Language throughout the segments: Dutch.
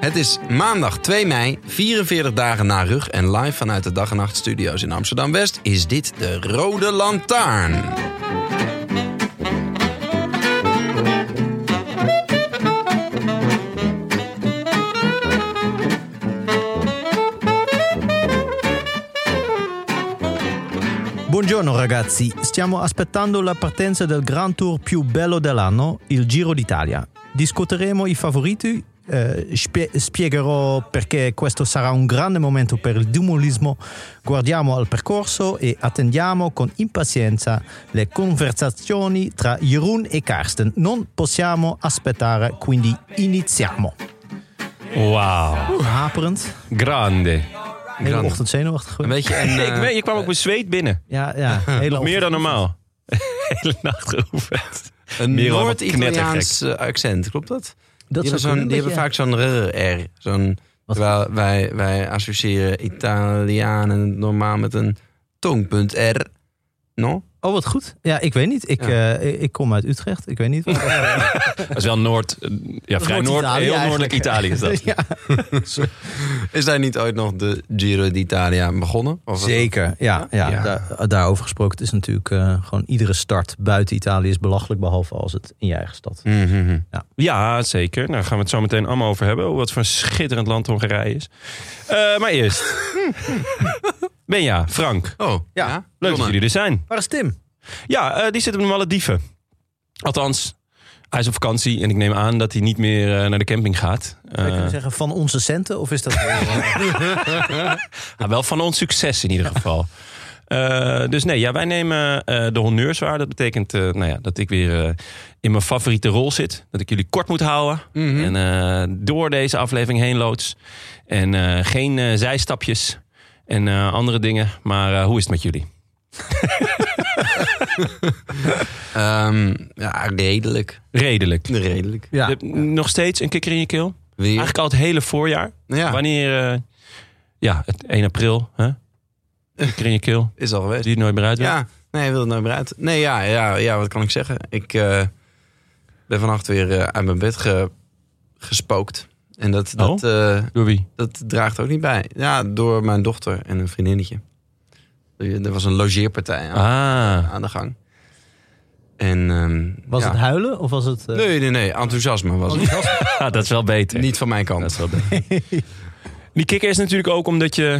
Het is maandag 2 mei, 44 dagen na rug en live vanuit de Dag en Nacht Studio's in Amsterdam West is dit de Rode Lantaarn. Buongiorno ragazzi, stiamo aspettando la partenza del Grand Tour più bello dell'anno, il Giro d'Italia. Discuteremo i favoriti, eh, spie- spiegherò perché questo sarà un grande momento per il dumolismo. Guardiamo al percorso e attendiamo con impazienza le conversazioni tra Jeroen e Karsten. Non possiamo aspettare, quindi iniziamo. Wauw. Haperend, Grande. hele Uh. Grande. ochtend zenuwachtig. Een beetje en, Ik eh, weet, je kwam ook bezweet binnen. Ja, ja, hele Meer ochtend. dan normaal. Hele nacht geoefend. een Merel wordt Noord-Italiaans eh, accent, klopt dat? die Dat zou hebben, zo'n- kunnen, die hebben beetje- vaak zo'n r-r. Zo'n, Wat? terwijl wij, wij associëren Italianen normaal met een tongpunt r. No? Oh, wat goed. Ja, ik weet niet. Ik, eh, ik- ik kom uit Utrecht. Ik weet niet. waar- Dat is wel Noord... eh, Ja, vrij Noord... Noord-Italië Heel eigenlijk. noordelijk Italië is dat. ja, Is daar niet ooit nog de Giro d'Italia begonnen? Of zeker. Ja, ja, Ja. Daar, daarover gesproken. Het is natuurlijk eh, gewoon iedere start buiten Italië is belachelijk. Behalve als het in je eigen stad. Mhm. Ja, zeker. Nou, daar gaan we het zo meteen allemaal over hebben. Wat voor een schitterend land Hongarije is. Eh, maar eerst. Benja, Frank. Oh, Ja, ja. Leuk dat Jonne. jullie er zijn. Waar is Tim? Ja, eh, die zit op de Malediven. Althans, hij is op vakantie. En ik neem aan dat hij niet meer eh, naar de camping gaat. Zou je Eh, kunnen zeggen van onze centen? Of is dat... Ja, Nou, wel van ons succes in ieder geval. Eh, dus nee, ja, wij nemen eh, de honneurs waar. Dat betekent eh, nou ja, dat ik weer eh, in mijn favoriete rol zit. Dat ik jullie kort moet houden. Mhm. En eh, door deze aflevering heen loods. En eh, geen eh, zijstapjes en eh, andere dingen. Maar eh, hoe is het met jullie? Ehm, ja, redelijk. Redelijk. Redelijk. Je hebt nog steeds een kikker in je keel? Weer. Eigenlijk al het hele voorjaar. Ja, Wanneer, eh, ja, het 1 april. Hè? Kikker in je keel. is al geweest. Die het nooit meer uit wil. Ja, nee, wil het nou weer uit? Nee, ja, ja, ja, wat kan ik zeggen? Ik eh, ben vannacht weer eh, uit mijn bed ge- gespookt. En dat, dat, eh, Door wie? dat draagt ook niet bij. Ja, door mijn dochter en een vriendinnetje. Er was een logeerpartij aan, Ah. aan de gang. En, ehm, Was ja. het huilen? Of was het... eh, Nee, nee, nee. Enthousiasme was het. Ja, Ah, dat is wel beter. Niet van mijn Oh, dat is kant. wel beter. Die kikker is natuurlijk ook omdat je...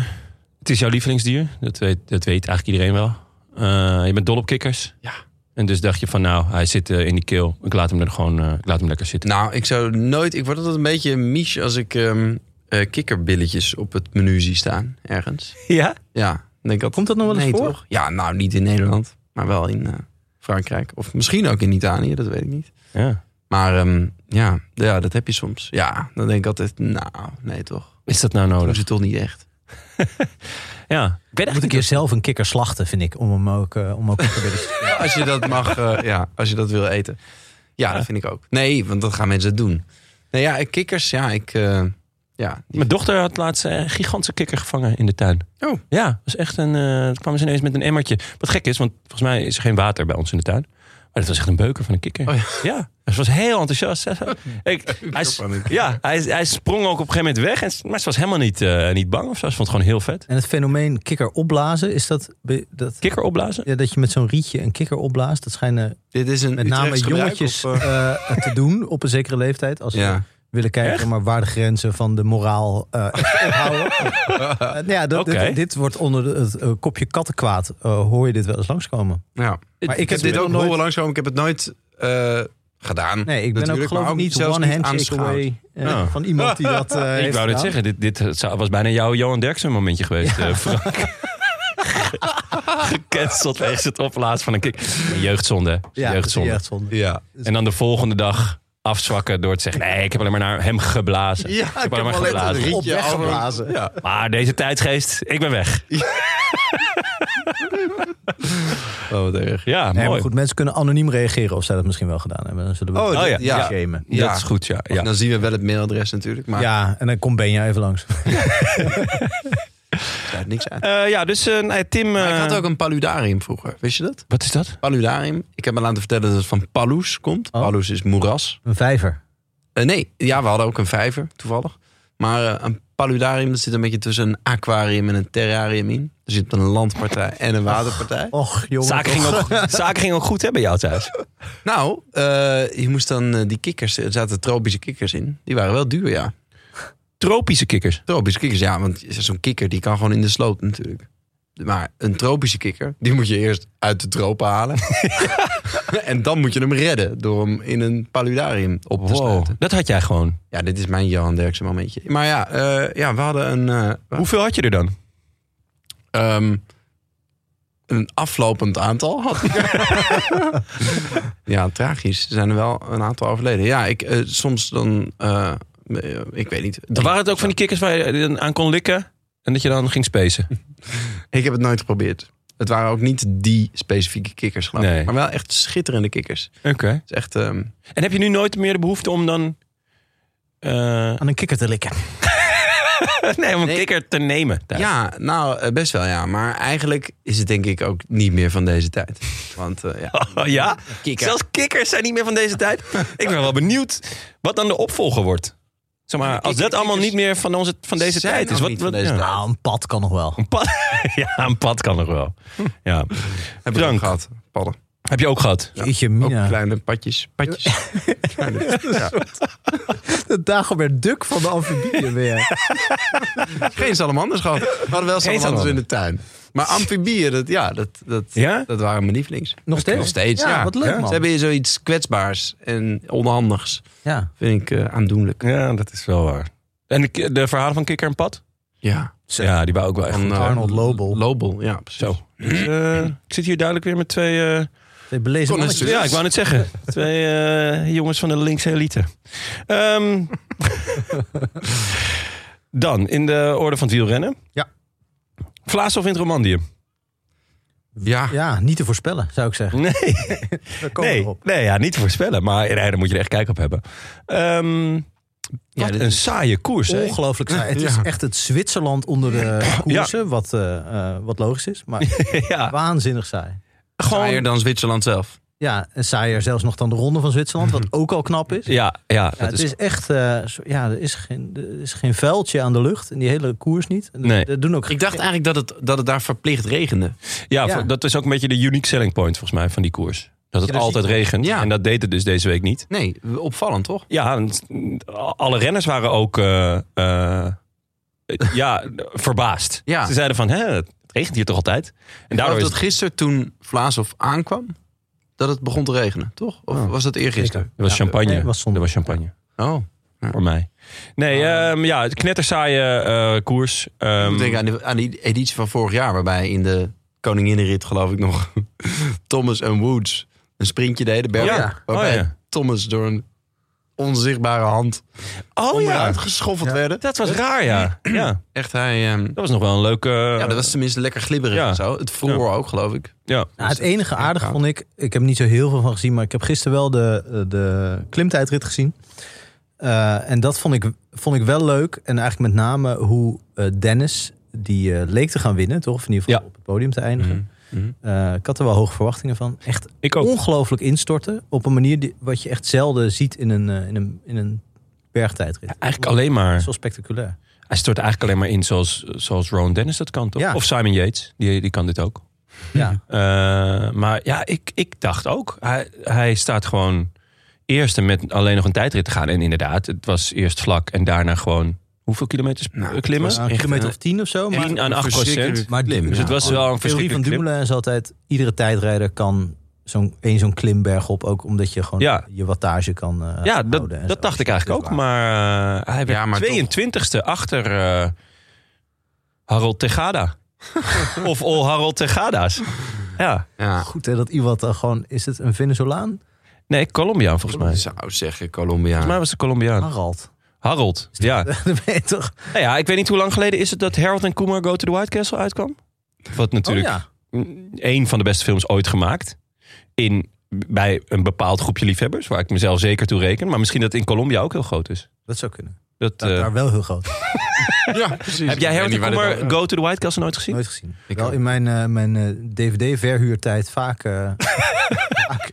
Het is jouw lievelingsdier. Dat weet, dat weet eigenlijk iedereen wel. Eh, je bent dol op kikkers. Ja. En dus dacht je van nou, hij zit eh, in die keel. Ik laat hem er gewoon eh, ik laat hem lekker zitten. Nou, ik zou nooit. Ik word altijd een beetje misch als ik ehm, eh, kikkerbilletjes op het menu zie staan ergens. Ja? Ja, dan denk ik altijd, Komt dat nog wel eens nee, voor? toch? Ja, nou niet in Nederland, maar wel in eh, Frankrijk of misschien ook in Italië, dat weet ik niet. ja. Maar ehm, ja, ja, dat heb je soms. Ja, dan denk ik altijd, nou, nee Oh, toch? Is dat nou Dat nodig? is het toch niet echt? Ja. Ik weet Moet eigenlijk ik hier zelf een kikker slachten, vind ik. Om hem ook... eh, om ook een beetje- Ja, als je dat mag, eh, ja, als je dat wil eten, ja, dat vind ik ook. Nee, want dat gaan mensen doen. Nee, ja, kikkers, ja, ik, eh, ja, Mijn dochter had laatst eh, een gigantische kikker gevangen in de tuin. Oh. Ja, was echt een. eh toen kwamen ze ineens met een emmertje. Wat gek is, want volgens mij is er geen water bij ons in de tuin. Maar dat was echt een beuker van een kikker. Oh ja. ze was heel enthousiast. Ik, hij, s- van een kikker. ja, hij, hij sprong ook op een gegeven moment weg. En, s- maar ze was helemaal niet, eh, niet bang of zo. Ze vond het gewoon heel vet. En het fenomeen kikker opblazen, is dat... be- dat... Kikker opblazen? Ja, dat je met zo'n rietje een kikker opblaast, dat schijnen dit is een met name Utrechts gebruik, jongetjes of, eh, eh, te doen op een zekere leeftijd. Als ze ja. willen kijken Echt? maar waar de grenzen van de moraal eh, houden. Eh, nou ja, dat- Oké. dit, dit wordt onder de- het eh, kopje kattenkwaad. eh, hoor je dit wel eens langskomen? Ja. Maar Nou, Ik heb dit ook nooit... horen langskomen. Ik heb het nooit eh, gedaan. Nee, ik natuurlijk, ben ook maar geloof ik niet zelfs one handshake aanschouwd. away eh, Ja. van iemand die dat eh, Ik heeft wou net gedaan. zeggen, dit, dit het zou- was bijna jouw Johan Derksen momentje geweest, eh, Frank. Gecanceld wegens het oplaatsen van een kick. Een Jeugdzonde. Het is een Ja, jeugdzonde. jeugdzonde. Ja. Dus- En dan de volgende dag afzwakken door te zeggen... nee, ik heb alleen maar naar hem geblazen. Ja, ik heb alleen geblazen. een rietje Op weggeblazen. over- Ja. Maar deze tijdsgeest, ik ben weg. Oh, wat erg. Ja, Nee, maar mooi. goed, mensen kunnen anoniem reageren of zij dat misschien wel gedaan hebben. Dan zullen we Oh, Oh ja, ja. ja. shamen. Ja. Ja. Dat is goed, ja. ja. Dan zien we wel het mailadres natuurlijk, maar ja. Ja, en dan komt Benja even langs. sluit niks uit. Eh, ja, dus eh, nee, Tim... Maar ik eh, had ook een paludarium vroeger, wist je dat? Wat is dat? Paludarium. Ik heb me laten vertellen dat het van palus komt. Oh. Palus is moeras. Een vijver. Eh, nee, ja, we hadden ook een vijver, toevallig. Maar eh, een paludarium, dat zit een beetje tussen een aquarium en een terrarium in. Er zit een landpartij en een waterpartij. Och, jongen. Zaken toch. ging, ook, zaken ging ook goed hè, bij jou thuis. Nou, eh, je moest dan eh, die kikkers, er zaten tropische kikkers in. Die waren wel duur, ja. Tropische kikkers. Tropische kikkers, ja, want zo'n kikker die kan gewoon in de sloot natuurlijk. Maar een tropische kikker, die moet je eerst uit de tropen halen. en dan moet je hem redden door hem in een paludarium op te sluiten. dat had jij gewoon. Ja, dit is mijn Johan Derksen momentje. Maar ja, eh, ja we hadden een, eh, Hoeveel had je er dan? ehm, een aflopend aantal. had ik. ja, tragisch. Er zijn er wel een aantal overleden. Ja, ik, eh, soms dan, eh, eh, ik weet niet. Drie- Waren het ook van die kikkers waar je dan aan kon likken en dat je dan ging spacen? Ik heb het nooit geprobeerd. Het waren ook niet die specifieke kikkers, geloof ik. Nee. Maar wel echt schitterende kikkers. Het Oké. is echt... ehm, En heb je nu nooit meer de behoefte om dan... eh, Aan een kikker te likken. nee, om een Nee. kikker te nemen thuis. ja, nou, eh, best wel ja. Maar eigenlijk is het denk ik ook niet meer van deze tijd. Want eh, ja, Oh, ja? kikker. Zelfs kikkers zijn niet meer van deze tijd. Ik ben wel benieuwd wat dan de opvolger wordt. Zeg maar, als dat allemaal niet meer van, onze, van deze Zijn tijd is. ook Wat, niet wat- van deze ja. tijd. Nou, een pad kan nog wel. Een pad, ja, een pad kan nog wel. Ja. heb ik Frank. ook gehad. Padden. Heb je ook gehad? Jeetje, Ook Mina. kleine padjes. Padjes. Kleine- ja. De Dagobert Duk van de amfibieën weer. Geen salamanders gehad. We hadden wel salamanders salamander. in de tuin. Maar amfibieën, dat, ja, dat, dat, Ja? dat waren mijn lievelings. Nog steeds? Nog steeds, ja. Ja, wat leuk, man. Ze hebben hier zoiets kwetsbaars en onhandigs. Ja. Vind ik eh, aandoenlijk. Ja, dat is wel waar. En de, ki- de verhalen van Kikker en Pad? Ja. Ja, die waren ook wel echt. Van, goed. eh, Arnold Lobel. Lobel, ja, precies. Zo. Dus, eh, ik zit hier duidelijk weer met twee. eh, De belezen Kon eens mannetjes. ja, ik wou net zeggen. Dus Twee eh, jongens van de linkse elite. Ehm, dan in de orde van het wielrennen. Ja. Vlaas of in het Romandium? Ja. Ja, niet te voorspellen, zou ik zeggen. Nee. We komen Nee, erop. nee ja, niet te voorspellen. Maar nee, daar moet je er echt kijk op hebben. Ehm, Ja, wat dit een is- saaie koers. hè? Ongelooflijk saai. Het is Ja. echt het Zwitserland onder de koersen, wat, eh, eh, wat logisch is. Maar ja, waanzinnig saai. gewoon Saaier dan Zwitserland zelf. Ja, en saaier zelfs nog dan de Ronde van Zwitserland, wat ook al knap is. Ja, ja, dat Ja, het is, is, echt, eh, zo- ja, er is, geen, er is geen vuiltje aan de lucht in die hele koers niet. En Nee. dat doen ook Ik dacht eigenlijk dat het, dat het daar verplicht regende. ja, ja. voor- dat is ook een beetje de unique selling point volgens mij van die koers. Dat het Ja, dus altijd die- regent. Ja. En dat deed het dus deze week niet. Nee, opvallend toch? Ja, en t- alle renners waren ook eh, eh, ja, verbaasd. Ja. Ze zeiden van, hè, het regent hier toch altijd? En Daardoor daardoor is dat gisteren toen Vlaashoff aankwam, dat het begon te regenen, toch? Of Oh, was dat eergisteren? Er was champagne. nee, het was zondag. er was champagne. Oh, Voor mij. Nee, ehm ja, het knettersaaie eh, koers. Ehm, Ah. ik denk aan, die- aan die editie van vorig jaar, waarbij in de Koninginrit, geloof ik nog, Thomas en Woods een sprintje deden. Bergen, Oh ja. Waarbij Oh ja. Thomas door een onzichtbare hand oh ja, onderuit geschoffeld werden. dat was raar, ja. ja. Echt, hij... ehm, Dat was nog wel een leuke... ja, dat was tenminste lekker glibberig ja. en zo. Het vroor ook, geloof ik. ja. Nou, het enige aardige vond ik, ik heb er niet zo heel veel van gezien, maar ik heb gisteren wel de, eh, de klimtijdrit gezien. Eh, en dat vond ik, vond ik wel leuk. En eigenlijk met name hoe eh, Dennis, die eh, leek te gaan winnen, toch? Of in ieder geval Ja. op het podium te eindigen. Eh, ik had er wel hoge verwachtingen van. Echt Ik ook. ongelooflijk instorten. Op een manier die, wat je echt zelden ziet in een, eh, in een, in een bergtijdrit. Eigenlijk alleen maar... Zo spectaculair. Hij stort eigenlijk alleen maar in zoals, zoals Ron Dennis dat kan, toch? Ja. Of Simon Yates, die, die kan dit ook. Ja. Eh, maar ja, ik, ik dacht ook. Hij, hij staat gewoon eerste met alleen nog een tijdrit te gaan. En inderdaad, het was eerst vlak en daarna gewoon hoeveel kilometers Nou, het klimmen? was een echt, kilometer eh, of tien of zo. Maar, 10 aan 8 procent. maar klim, Dus het was wel een de theorie van verschrikkelijk klim. Dumoulin is altijd... iedere tijdrijder kan zo'n één zo'n klimberg op. Ook omdat je gewoon Ja. je wattage kan eh, Ja, dat, houden en zo. dat dacht ik Dus eigenlijk ook. waar. Maar eh, hij werd Ja, maar toch. 22e achter eh, Harold Tegada. of all Harold Tegada's. Ja. Ja. Goed hè, dat iemand dan gewoon... Is het een Venezolaan? Nee, Colombiaan volgens mij. Ik Volgens zou zeggen Colombia. mij was het Colombiaan. Harald. Harold, ja. Dan ben je toch... Oh Nou ja, ik weet niet hoe lang geleden is het dat Harold en Kumar Go to the White Castle uitkwam. Wat natuurlijk Oh, ja. een van de beste films ooit gemaakt. In, bij een bepaald groepje liefhebbers, waar ik mezelf zeker toe reken. Maar misschien dat in Colombia ook heel groot is. Dat zou kunnen. Dat, Dat eh, daar wel heel groot. Ja, precies. heb jij Ik weet Harold niet en waar dit Kumar over- Go to the White Castle nooit gezien? Nooit gezien. Ik wel ook. in mijn, eh, mijn eh, DVD-verhuurtijd vaak eh,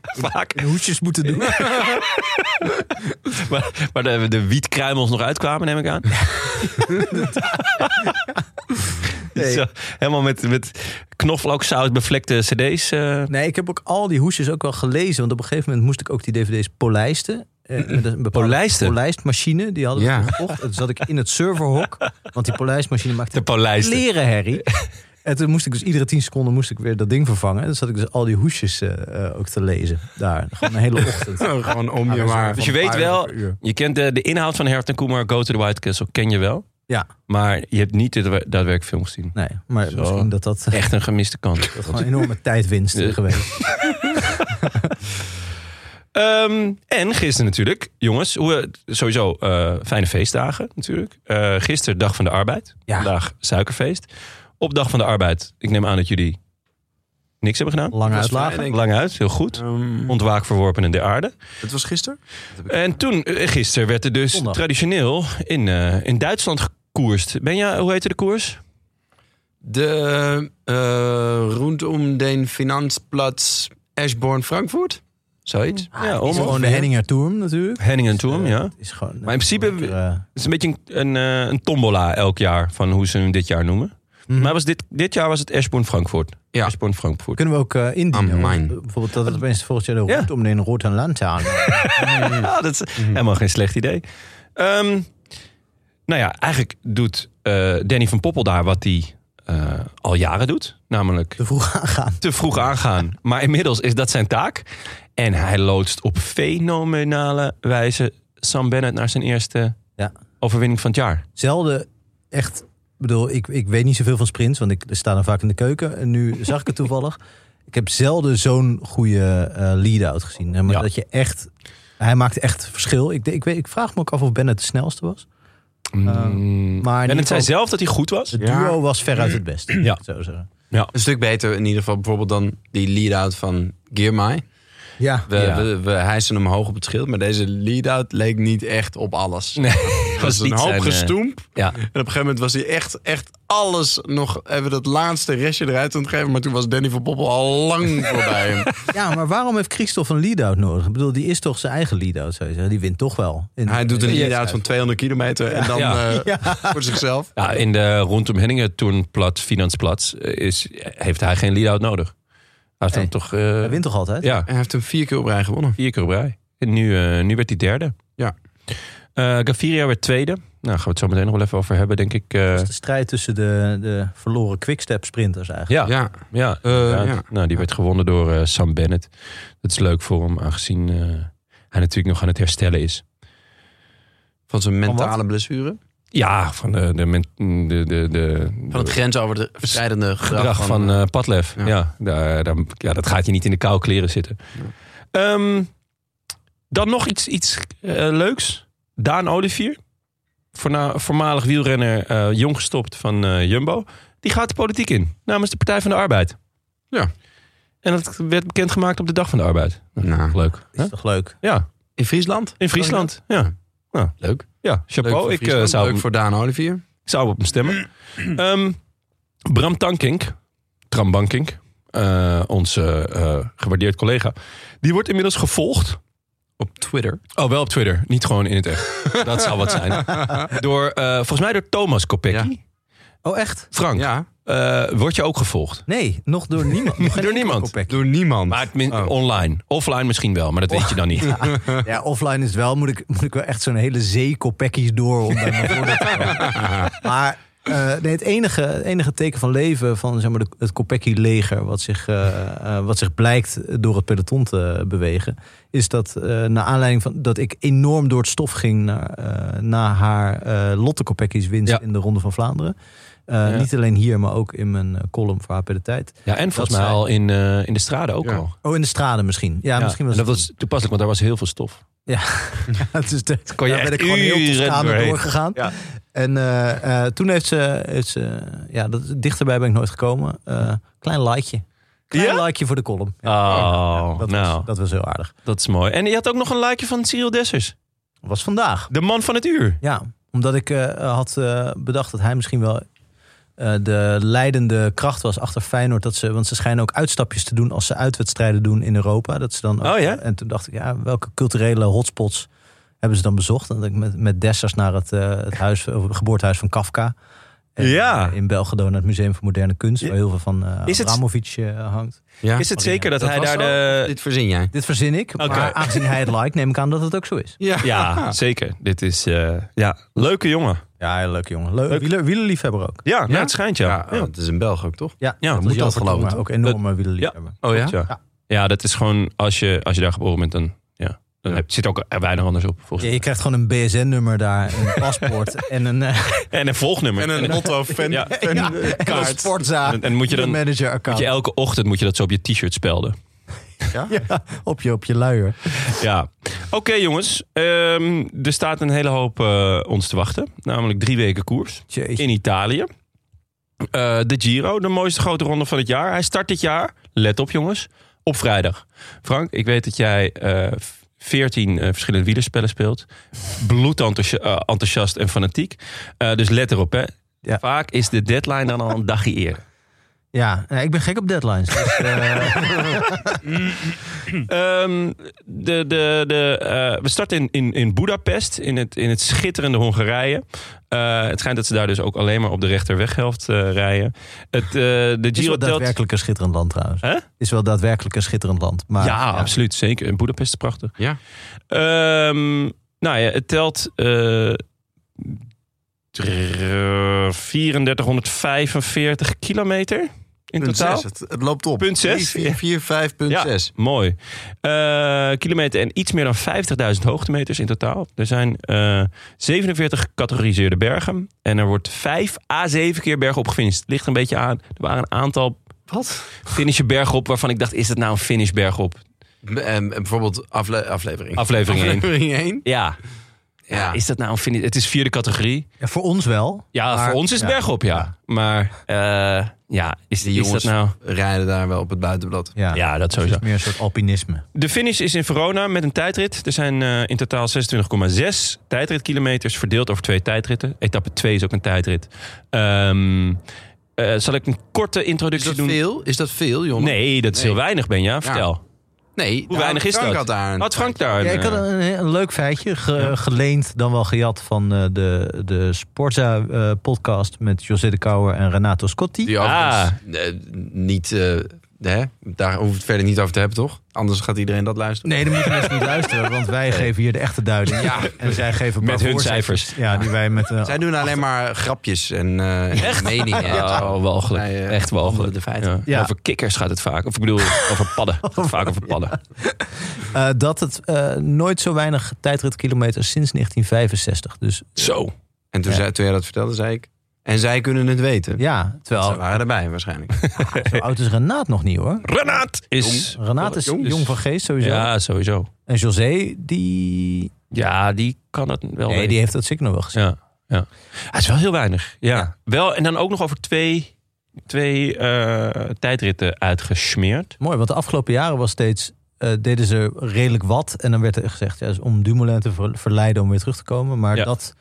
Vaak. in hoedjes moeten doen. Maar, maar de, de wietkruimels nog uitkwamen, neem ik aan. Nee. Zo, helemaal met, met knoflooksaus bevlekte cd's. eh. Nee, ik heb ook al die hoesjes ook wel gelezen. Want op een gegeven moment moest ik ook die dvd's polijsten. eh, met een bepaalde Polijsten? polijstmachine. Die hadden we Ja. gekocht. En toen zat ik in het serverhok. Want die polijstmachine maakte de polijsten. leren herrie. En toen moest ik dus iedere tien seconden moest ik weer dat ding vervangen. En dan zat ik dus al die hoesjes eh, eh, ook te lezen. Daar, gewoon een hele ochtend. Gewoon om je maar. Dus je weet wel, je kent de, de inhoud van Harold en Kumar Go to the White Castle, ken je wel. Ja, Maar je hebt niet de daadwerkelijk film gezien. nee. Maar Zo. misschien dat eh, dat, Echt een gemiste kans. dat gewoon een enorme tijdwinst is Ja. geweest. Ehm, en gisteren natuurlijk, jongens, hoe, we- sowieso eh, fijne feestdagen natuurlijk. Eh gisteren dag van de arbeid, Ja. vandaag suikerfeest. Op dag van de arbeid, ik neem aan dat jullie niks hebben gedaan. Lange Ah, was uitlagen. fijn, denk ik. Lang uit, heel goed. Ehm, Ontwaak verworpen en de aarde. het was gisteren? En toen, eh, gisteren werd er dus Zondag. traditioneel in, eh, in Duitsland gekoerst. Ben je, hoe heette de koers? De eh rondom den Finanzplatz Ashborn Frankfurt? Zoiets. ja, Mm. Ah, Is gewoon de Henninger Tour natuurlijk. Henning en Toom, Eh, ja. het Is gewoon, Maar in principe- eh, Het is een beetje een, een, eh, een tombola elk jaar van hoe ze hem dit jaar noemen. Mhm. Maar was dit, dit jaar was het Ashborn Frankfurt. Ja. Ashborn Frankfurt. Kunnen we ook eh, indienen? Amijn. Want, eh, Bijvoorbeeld dat het opeens volgend jaar de Ja. route om de rood en land aan. Ja, dat is Mhm. helemaal geen slecht idee. Ehm, nou ja, eigenlijk doet eh, Danny van Poppel daar wat hij eh, al jaren doet. Namelijk Te vroeg aangaan. te vroeg aangaan. Maar inmiddels is dat zijn taak. En hij loodst op fenomenale wijze Sam Bennett naar zijn eerste Ja. overwinning van het jaar. Zelden echt. Ik bedoel, ik, ik weet niet zoveel van sprints, want ik sta dan vaak in de keuken. En nu zag ik het toevallig. Ik heb zelden zo'n goede eh, lead-out gezien. Hè, Maar Ja. dat je echt. Hij maakt echt verschil. Ik, ik, weet, ik vraag me ook af of Bennett de snelste was. Mm. Ehm, maar in ieder Bennett zei geval- zelf dat hij goed was. Het Ja. duo was veruit het beste. Ja. Ja. Zo zeggen. Een stuk beter in ieder geval bijvoorbeeld dan die lead-out van Gearmai. Ja. We, Ja. we, we hijsen hem hoog op het schild, maar deze lead-out leek niet echt op alles. Nee, Het was was een niet hoop zijn, eh, gestoemp. Ja. En op een gegeven moment was hij echt, echt alles nog even dat laatste restje eruit aan het geven. Maar toen was Danny van Poppel al lang voorbij hem. ja, maar waarom heeft Christophe een lead-out nodig? Ik bedoel, die is toch zijn eigen lead-out, zou je zeggen. Die wint toch wel. In- Hij doet een in- lead-out van 200 kilometer en dan Ja. eh, voor zichzelf. Ja, in de rondom Henningen toernplat, Finansplat, eh, is, heeft hij geen lead-out nodig. Hij heeft Nee. dan toch... eh, Hij wint toch altijd? ja, Hij heeft hem vier keer op rij gewonnen. vier keer op rij. En nu, eh, nu werd hij derde. Ja. Eh, Gaviria werd tweede. Nou, gaan we het zo meteen nog wel even over hebben, denk ik. Eh, Dat is de strijd tussen de, de verloren quickstep sprinters eigenlijk. ja, ja. ja. Eh, inderdaad. ja. Nou, die werd gewonnen door eh, Sam Bennett. Dat is leuk voor hem, aangezien eh, hij natuurlijk nog aan het herstellen is. Van zijn wat? mentale blessure. Ja, van de, de, men- de, de, de, Van het grensoverschrijdende gedrag gedrag van, van... eh, Padlef. Ja, Ja. daar, daar- ja, dat gaat je niet in de koude kleren zitten. Ehm, dan nog iets, iets eh, leuks. Daan Olivier, voorna- voormalig wielrenner, eh, jong gestopt van eh, Jumbo. Die gaat de politiek in, namens de Partij van de Arbeid. Ja. En dat werd bekendgemaakt op de Dag van de Arbeid. Nou, Leuk. Is toch leuk? Ja, in Friesland. eh, in Friesland. Ja. Ja, Leuk. ja Leuk chapeau. voor ik, eh, Friesland, zou Leuk hem- voor Daan Olivier. ik zou op hem stemmen. Ehm, Bram Tankink, Tram Bankink, eh, onze eh, gewaardeerd collega, die wordt inmiddels gevolgd. Op Twitter. Oh, wel op Twitter, niet gewoon in het echt. Dat zou wat zijn. Door, eh, volgens mij door Thomas Kopecky. Oh, echt? Frank, Ja. eh, word je ook gevolgd. Nee, nog door niemand. Nog geen Door niemand. enkel Door niemand. Maar het min- online. Offline misschien wel, maar dat weet je dan niet. koppek. Ja, offline is wel, moet ik, moet ik wel echt zo'n hele zee koppekkies door om daar naar voren te komen. Maar eh, nee, het enige, het enige teken van leven van zeg maar, de, het koppekkie-leger... Wat, zich, eh, eh, wat zich blijkt door het peloton te bewegen... is dat eh naar aanleiding van dat ik enorm door het stof ging... na, eh, na haar eh, Lotte Kopeckis winst Ja. in de Ronde van Vlaanderen... Eh, Niet alleen hier, maar ook in mijn eh, column voor HP de Tijd. Ja, en volgens mij zij- al in, eh, in de straten ook Ja. al. Oh, in de straden misschien. Ja, Ja, misschien was en dat het- was toepasselijk, want daar was heel veel stof. dus de, kon je daar echt ben ik gewoon heel uren Toscane doorheen. doorgegaan. En eh, eh, toen heeft ze, heeft ze ja, dat, dichterbij ben ik nooit gekomen. Eh, klein likeje. Klein likeje voor de column. Ja, Oh, dat, nou, was, dat was heel aardig. dat is mooi. En je had ook nog een likeje van Cyril Dessers. Was vandaag. De man van het uur. Ja, omdat ik eh, had eh, bedacht dat hij misschien wel eh, de leidende kracht was achter Feyenoord. Dat ze, want ze schijnen ook uitstapjes te doen als ze uitwedstrijden doen in Europa. Dat ze dan ook- Oh ja? En toen dacht ik, ja, welke culturele hotspots hebben ze dan bezocht? En dat ik met, met Dessers naar het, eh, het, huis, of het geboortehuis van Kafka. En, Ja. eh, In Belgido naar het Museum voor Moderne Kunst, waar heel veel van eh Is het- Abramovic eh, hangt. Ja. Oh, Is het zeker dat, Dat hij was daar zo? de... Dit verzin jij. Dit verzin ik, Oké. maar aangezien hij het like, neem ik aan dat het ook zo is. Ja, zeker. Dit is... eh, ja, leuke jongen. Ja, leuk jongen. Leuk. Wieler, wielerliefhebber ook. Ja, nou, Ja? het schijnt Ja, ja. oh, het is in België ook, toch? Ja, Ja, dat moet is je dat jammer, geloven, maar toch? Ook enorme wielerliefhebber. Oh ja? Ja. Ja. dat is gewoon als je, als je daar geboren bent, dan, ja, dan heb- zit ook er weinig anders op. Volgens Ja, je krijgt gewoon een BSN-nummer daar, een paspoort en een, eh, mij. En een volgnummer. En, en, Otto fan, Ja. en een eh, sportzaak. en moet je een dan moet manager-account je elke ochtend moet je dat zo op je t-shirt spelden. Ja, op, je, op je luier. Ja. Oké jongens, Ehm, er staat een hele hoop eh, ons te wachten. Namelijk drie weken koers Jeetje. in Italië. Eh, de Giro, de mooiste grote ronde van het jaar. Hij start dit jaar, let op jongens, op vrijdag. Frank, ik weet dat jij eh, 14 eh, verschillende wielerspellen speelt. Bloedenthousiast enthousiast en fanatiek. Eh, dus let erop hè. Ja. Vaak is de deadline dan al een dagje eerder. Ja, nee, ik ben gek op deadlines. Dus, eh, Ehm, de, de, de, eh, we starten in, in, in Budapest, in het, in het schitterende Hongarije. Eh, het schijnt dat ze daar dus ook alleen maar op de rechterweghelft eh, rijden. Het, eh, de is Giro wel telt... daadwerkelijk een schitterend land trouwens. Hè? Is wel daadwerkelijk een schitterend land. Maar, Ja, absoluut. Zeker. En Budapest is prachtig. Ja. Ehm, nou ja, het telt eh, dr- 3445 kilometer in Punt totaal. zes, Het, het loopt op. Punt zes? 4, 4, 5, punt Ja, 6. mooi. Eh, kilometer en iets meer dan 50.000 hoogtemeters in totaal. Er zijn eh, 47 gecategoriseerde bergen. En er wordt 5 à 7 keer bergen op gefinished. Ligt een beetje aan. Er waren een aantal Wat? finishje bergen op waarvan ik dacht, is dat nou een finish berg op? ehm, bijvoorbeeld afle- aflevering. Aflevering één. Aflevering 1. Ja. Ja. Is dat nou een finish? Het is vierde categorie. Ja, voor ons wel. Ja, Maar- voor ons is het berg op, ja. Maar eh, ja, Die is, is dat jongens nou... rijden daar wel op het buitenblad. Ja, Ja, dat Het sowieso. is meer een soort alpinisme. De finish is in Verona met een tijdrit. Er zijn eh, in totaal 26,6 tijdritkilometers verdeeld over twee tijdritten. Etappe 2 is ook een tijdrit. Ehm, eh, zal ik een korte Is introductie dat doen? veel? Is dat veel, jongen? Nee, dat is heel weinig, Benja. Vertel. Nee. Hoe weinig is dat? Had daar een- Had Frank daar een, Ja, ik had eh, een, een leuk feitje ge- geleend, dan wel gejat van eh, de, de Sporza-podcast met José de Kouwer en Renato Scotti. Die overigens Ah. eh, niet... eh, hè? Daar hoeven we het verder niet over te hebben, toch? Anders gaat iedereen dat luisteren. Nee, dan moeten mensen niet luisteren, want wij geven hier de echte duiding. Ja. En zij geven een Met paar hun voorzetjes. Ja, die wij met... eh, Zij doen alleen maar grapjes en, eh en meningen. en zo. Oh, walgelijk. Wij, eh, Echt walgelijk. de feiten. Ja. Ja. Over kikkers gaat het vaak. Of ik bedoel, over padden. Het gaat vaak over padden. eh, dat het eh, nooit zo weinig tijdritkilometers sinds 1965. Dus Zo. En toen, zei, toen jij dat vertelde, zei ik... En zij kunnen het weten. ja, Ze terwijl waren erbij waarschijnlijk. zo oud is Renaat nog niet hoor. Renaat is... Renaat is Jong. dus- jong van geest sowieso. Ja, sowieso. En José, die... Ja, die kan het wel Nee, weten. die heeft dat zeker nog wel gezien. Ja, ja. Hij is wel heel weinig. Ja. Wel, en dan ook nog over twee, twee eh, tijdritten uitgesmeerd. Mooi, want de afgelopen jaren was steeds, eh, deden ze redelijk wat. En dan werd er gezegd, ja, is om Dumoulin te ver- verleiden om weer terug te komen. Maar Ja. dat,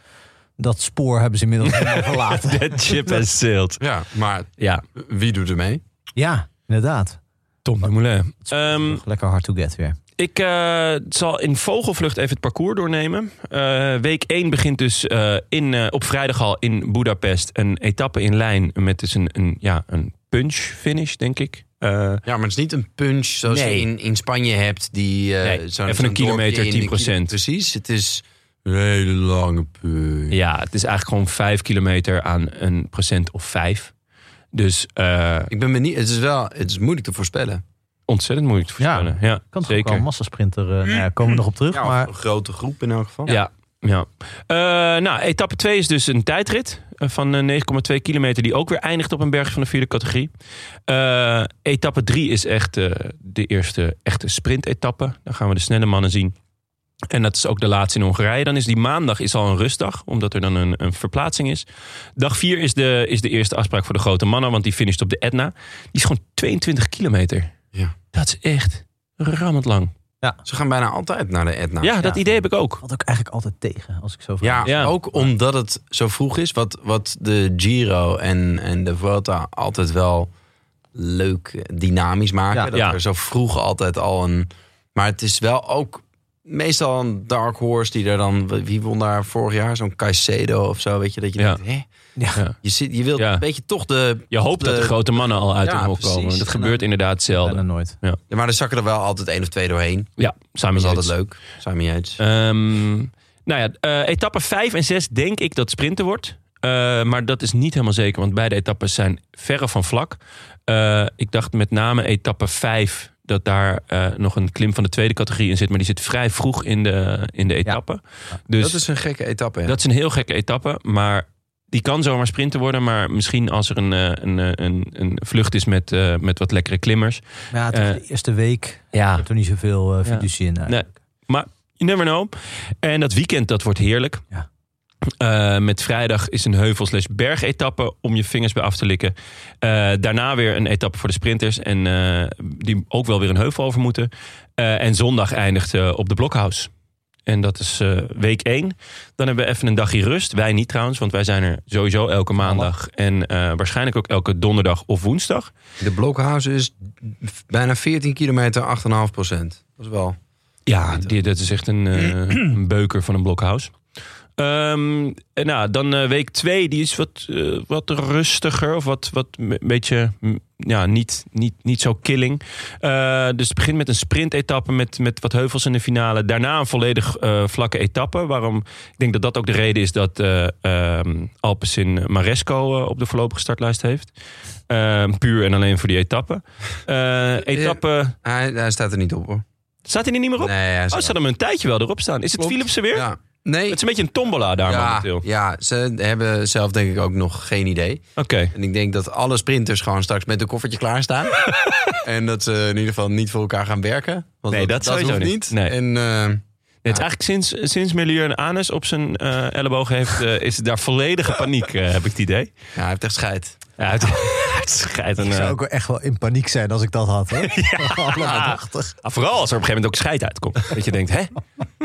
dat spoor hebben ze inmiddels helemaal verlaten. Dat chip is sealed. Ja, maar Ja, wie doet er mee? Ja, inderdaad. Tom de Moulin. Hm. Lekker hard to get weer. Ehm, Ik eh, zal in vogelvlucht even het parcours doornemen. Eh, week 1 begint dus eh, in, eh, op vrijdag al in Budapest een etappe in lijn met dus een, een, ja, een punch finish, denk ik. Eh, Ja, maar het is niet een punch zoals Nee. je in, in Spanje hebt. Die, eh, Nee, even een dorpje kilometer, in de 10%. precies, het is een hele lange punch. ja, het is eigenlijk gewoon 5 kilometer aan een procent of 5. Dus eh, Ik ben benieuwd. Het is wel het is moeilijk te voorspellen. ontzettend moeilijk te Ja, voorspellen. Ja, Kan toch ook zeker. wel een massasprinter. eh, nou ja, komen we nog op terug. Ja, of maar een grote groep in elk geval. Ja. ja. Eh, nou, etappe 2 is dus een tijdrit eh, van eh, 9,2 kilometer... die ook weer eindigt op een berg van de vierde categorie. Eh, etappe 3 is echt eh, de eerste echte sprintetappe. Dan gaan we de snelle mannen zien. En dat is ook de laatste in Hongarije. Dan is die maandag is al een rustdag, omdat er dan een, een verplaatsing is. Dag 4 is de, is de eerste afspraak voor de grote mannen, want die finisht op de Etna. Die is gewoon 22 kilometer. Ja. Dat is echt rammend lang. Ze gaan bijna altijd naar de Etna. ja, dat idee heb ik ook. valt ook eigenlijk altijd tegen, als ik zo vraag. Ja, Ja. ook omdat het zo vroeg is. Wat, wat de Giro en, en de Vuelta altijd wel leuk dynamisch maken. Ja. dat Ja. er zo vroeg altijd al een... Maar het is wel ook meestal een dark horse die er dan... Wie won daar vorig jaar? Zo'n Caicedo of zo, weet je? Dat je Ja. denkt, hè? Ja. Je, zit, je wilt Ja. een beetje toch de... Je hoopt dat de grote mannen al uit Ja, hun hol precies. komen. Dat En gebeurt inderdaad Bijna zelden. nooit. Ja, maar er zakken er wel altijd één of twee doorheen. Ja, Dat samen is altijd leuk. leuk. Simon Yates. Eh, nou ja, eh, etappe 5 en 6 denk ik dat sprinten wordt. Eh, maar dat is niet helemaal zeker, want beide etappes zijn verre van vlak. Eh, ik dacht met name etappe 5 dat daar eh, nog een klim van de tweede categorie in zit. Maar die zit vrij vroeg in de, in de etappe. Dus dat is een gekke etappe. hè? Dat is een heel gekke etappe, maar die kan zomaar sprinten worden. Maar misschien als er een, eh, een, eh, een, een vlucht is met, eh, met wat lekkere klimmers. Maar ja, het was Eh, de eerste week. Ik Ja. heb er niet zoveel eh Ja. fiducie in. Nee, maar you never know. En dat weekend, dat wordt heerlijk. Ja. Eh, met vrijdag is een heuvel slash bergetappe om je vingers bij af te likken. Eh, daarna weer een etappe voor de sprinters. En eh, die ook wel weer een heuvel over moeten. Eh, en zondag eindigt eh, op de Blokhouse. En dat is eh, week 1. Dan hebben we even een dagje rust. Wij niet trouwens, want wij zijn er sowieso elke maandag. En eh, waarschijnlijk ook elke donderdag of woensdag. De Blokhouse is bijna 14 kilometer, 8,5 procent. Dat is wel... Ja, die- dat is echt een, eh, een beuker van een blokhuis. Ehm, en nou, dan eh, week 2, die is wat, eh, wat rustiger of wat, wat een beetje mm, ja, niet, niet, niet zo killing. Eh, dus het begint met een sprintetappe met, met wat heuvels in de finale. Daarna een volledig eh, vlakke etappe. Waarom ik denk dat dat ook de reden is dat eh ehm, Alpecin Maresco eh, op de voorlopige startlijst heeft. Ehm, puur en alleen voor die etappe. Eh, etappe. Hij, hij staat er niet op hoor. Staat hij er niet meer op? Nee, hij Oh, ze hadden hem een tijdje wel erop staan. Is het Klopt. Philipsen weer? Ja. Nee. Het is een beetje een tombola daar ja, momenteel. Oké. ja, ze hebben zelf denk ik ook nog geen idee. En ik denk dat alle sprinters gewoon straks met een koffertje klaarstaan. en dat ze in ieder geval niet voor elkaar gaan werken. Want Nee, dat sowieso hoeft niet. niet. Nee. En, eh, Het is eigenlijk sinds, sinds Melier een anus op zijn eh, elleboog heeft... eh, is het daar volledige paniek, eh, heb ik het idee. ja, hij heeft echt scheid. Ja, het, het scheidt een... Ik zou eh, ook wel echt wel in paniek zijn als ik dat had. Hè? Allemaal prachtig. ah, vooral als er op een gegeven moment ook scheid uitkomt. Dat je denkt, hè?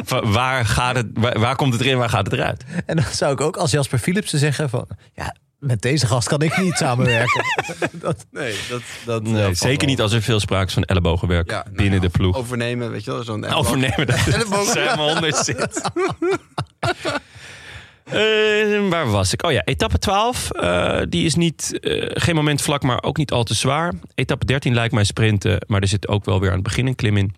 Va- Waar, gaat het, waar, waar komt het erin, waar gaat het eruit? En dan zou ik ook als Jasper Philipsen zeggen van... Ja, met deze gast kan ik niet samenwerken. dat, Nee, dat... dat eh, Nee, zeker niet als er veel sprake is van ellebogenwerk Ja, nou binnen ja, de ploeg. Overnemen, weet je wel. Zo'n Overnemen dat het Elleboog. helemaal onder zit. Eh, waar was ik? Oh ja, etappe 12. eh, die is niet, eh, geen moment vlak, maar ook niet al te zwaar. Etappe 13 lijkt mij sprinten, maar er zit ook wel weer aan het begin een klim in.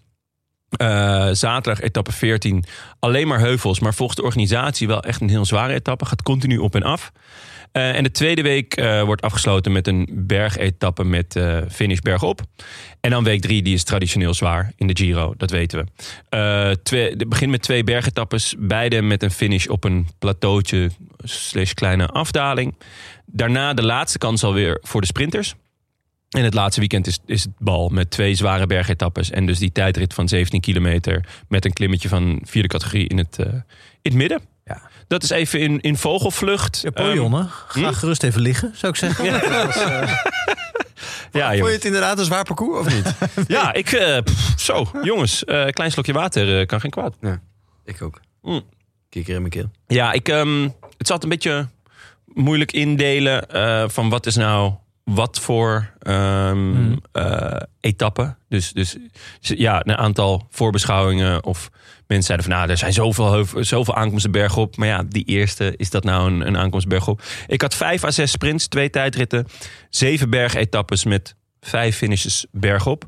Eh, zaterdag etappe 14. Alleen maar heuvels, maar volgens de organisatie wel echt een heel zware etappe. Gaat continu op en af. Eh, en de tweede week eh, wordt afgesloten met een bergetappe met eh finish bergop. En dan week drie, die is traditioneel zwaar in de Giro, dat weten we. Eh twee, het begint met twee bergetappes, beide met een finish op een plateautje slash kleine afdaling. Daarna de laatste kans alweer voor de sprinters. En het laatste weekend is, is het bal met twee zware bergetappes. En dus die tijdrit van 17 kilometer met een klimmetje van vierde categorie in het, eh, in het midden. Ja. Dat is even in, in vogelvlucht. Ehm, Napoleon, hè? ga hm? gerust even liggen, zou ik zeggen. Ehm, Ja, Vond jongens. je het inderdaad een zwaar parcours of niet? ja ik. eh, pff, zo, jongens. eh, klein slokje water eh, kan geen kwaad. ik ook. Mm. Kikker in mijn keel. Ja, ik, ehm, het zat een beetje moeilijk indelen eh, van wat is nou wat voor ehm eh, etappen. Dus, dus ja, een aantal voorbeschouwingen. Of mensen zeiden van nou, er zijn zoveel, heuvel- zoveel aankomsten bergop. Maar ja, die eerste, is dat nou een, een aankomst bergop? Ik had vijf à zes sprints, twee tijdritten, zeven bergetappes met vijf finishes bergop.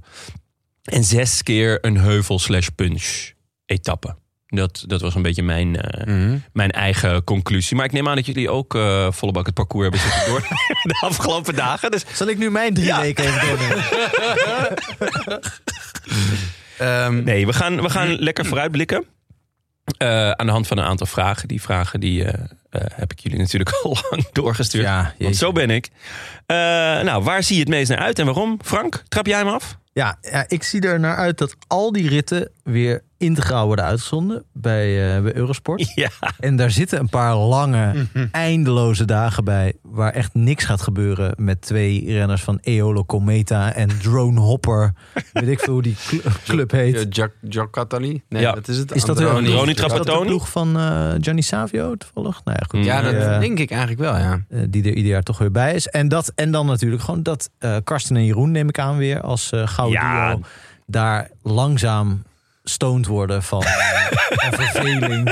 En zes keer een heuvel slash punch etappe. Dat, dat was een beetje mijn, eh, mijn eigen conclusie. Maar ik neem aan dat jullie ook eh volle bak het parcours hebben zitten door de afgelopen dagen. Dus Zal ik nu mijn drie Ja. weken even doornemen? Ehm, nee, we gaan, we gaan lekker vooruitblikken. Eh, aan de hand van een aantal vragen. Die vragen die, eh, eh, heb ik jullie natuurlijk al lang doorgestuurd. Ja, want jeetje. zo ben ik. Eh, nou, waar zie je het meest naar uit en waarom? Frank, trap jij hem af? Ja, ja, ik zie er naar uit dat al die ritten weer integraal worden uitgezonden bij, eh, bij Eurosport. Ja. En daar zitten een paar lange, eindeloze dagen bij waar echt niks gaat gebeuren met twee renners van Eolo Cometa en Drone Hopper. Weet ik veel hoe die cl- club Ja, heet. Jack, Jack Catali? eh, Nee, Ja. dat is het. Is dat Androni. Androni is dat de Trapattoni? ploeg van eh, Gianni Savio toevallig? Nou ja, goed. Ja, dat Die, eh, denk ik eigenlijk wel, ja. eh, die er ieder jaar toch weer bij is. En, dat, en dan natuurlijk gewoon dat eh, Karsten en Jeroen neem ik aan weer als eh gouden Ja. duo. Daar langzaam stoned worden van, eh, van verveling.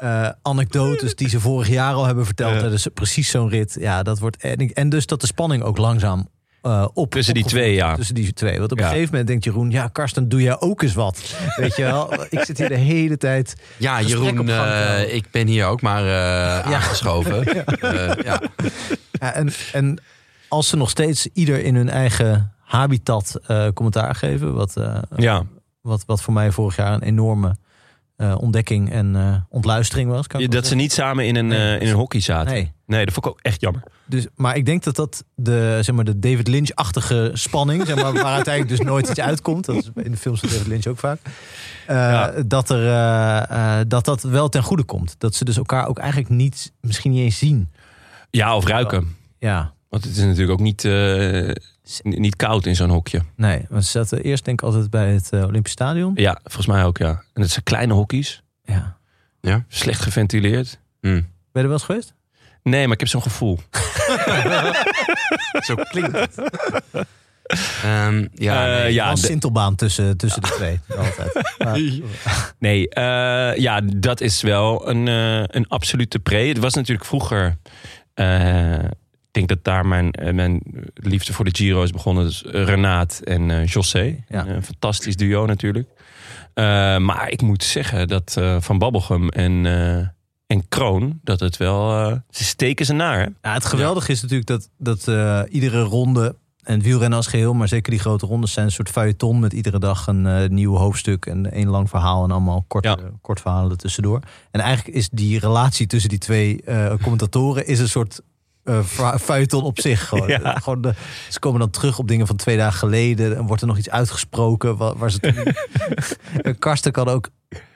Eh, anekdotes die ze vorig jaar al hebben verteld. Ja. tijdens precies zo'n rit. Ja, dat wordt, en, ik- en dus dat de spanning ook langzaam eh op. Tussen die opgevoerd twee, wordt. ja. Tussen die twee. Want op Ja. een gegeven moment denkt Jeroen... Ja, Karsten, doe jij ook eens wat. Weet je wel? Ik zit hier de hele tijd... Ja, Gesprek op Jeroen, gang eh, komen. ik ben hier ook maar eh aangeschoven. Eh, ja. Ja, en, en als ze nog steeds ieder in hun eigen habitat eh, commentaar geven, wat, eh, Ja. wat, wat voor mij vorig jaar een enorme eh, ontdekking en eh, ontluistering was. Kan ik wel Dat ze niet samen in een, Nee. eh, in een hockey zaten. zeggen. Nee. Nee, dat vond ik ook echt jammer. dus, maar ik denk dat dat de, zeg maar, de David Lynch-achtige spanning, zeg maar, waar uiteindelijk dus nooit iets uitkomt, dat is in de films van David Lynch ook vaak, eh, Ja. dat, er, eh, eh, dat dat wel ten goede komt. Dat ze dus elkaar ook eigenlijk niet, misschien niet eens zien. Ja, of ruiken. Ja, Want het is natuurlijk ook niet, eh, niet koud in zo'n hokje. nee, want ze zaten eerst denk ik altijd bij het eh, Olympisch Stadion. Ja, volgens mij ook, ja. En het zijn kleine hokjes. Ja. Slecht geventileerd. Ben je er wel eens geweest? Nee, maar ik heb zo'n gevoel. Zo klinkt het. Ehm, ja, Eh, nee. ja, Als de- Sintelbaan tussen, tussen de twee. Altijd. Maar- nee, eh, ja, dat is wel een, eh, een absolute pre. Het was natuurlijk vroeger. eh, ik denk dat daar mijn, eh, mijn liefde voor de Giro is begonnen. Dus Renaat en eh, José. Ja. Een fantastisch duo natuurlijk. Eh, maar ik moet zeggen dat eh, Van Babbelgem en, eh, en Kroon, dat het wel... eh, ze steken ze naar, hè? Ja, het geweldige is natuurlijk dat, dat eh, iedere ronde, en het wielrennen als geheel, maar zeker die grote rondes zijn een soort feuilleton met iedere dag een eh, nieuw hoofdstuk en een lang verhaal en allemaal korte, Ja. kort verhalen er tussendoor. En eigenlijk is die relatie tussen die twee eh, commentatoren is een soort eh, fra- feuilleton op zich. Gewoon. Eh, Ja. gewoon de, ze komen dan terug op dingen van twee dagen geleden en wordt er nog iets uitgesproken waar, waar ze toen... En Karsten kan ook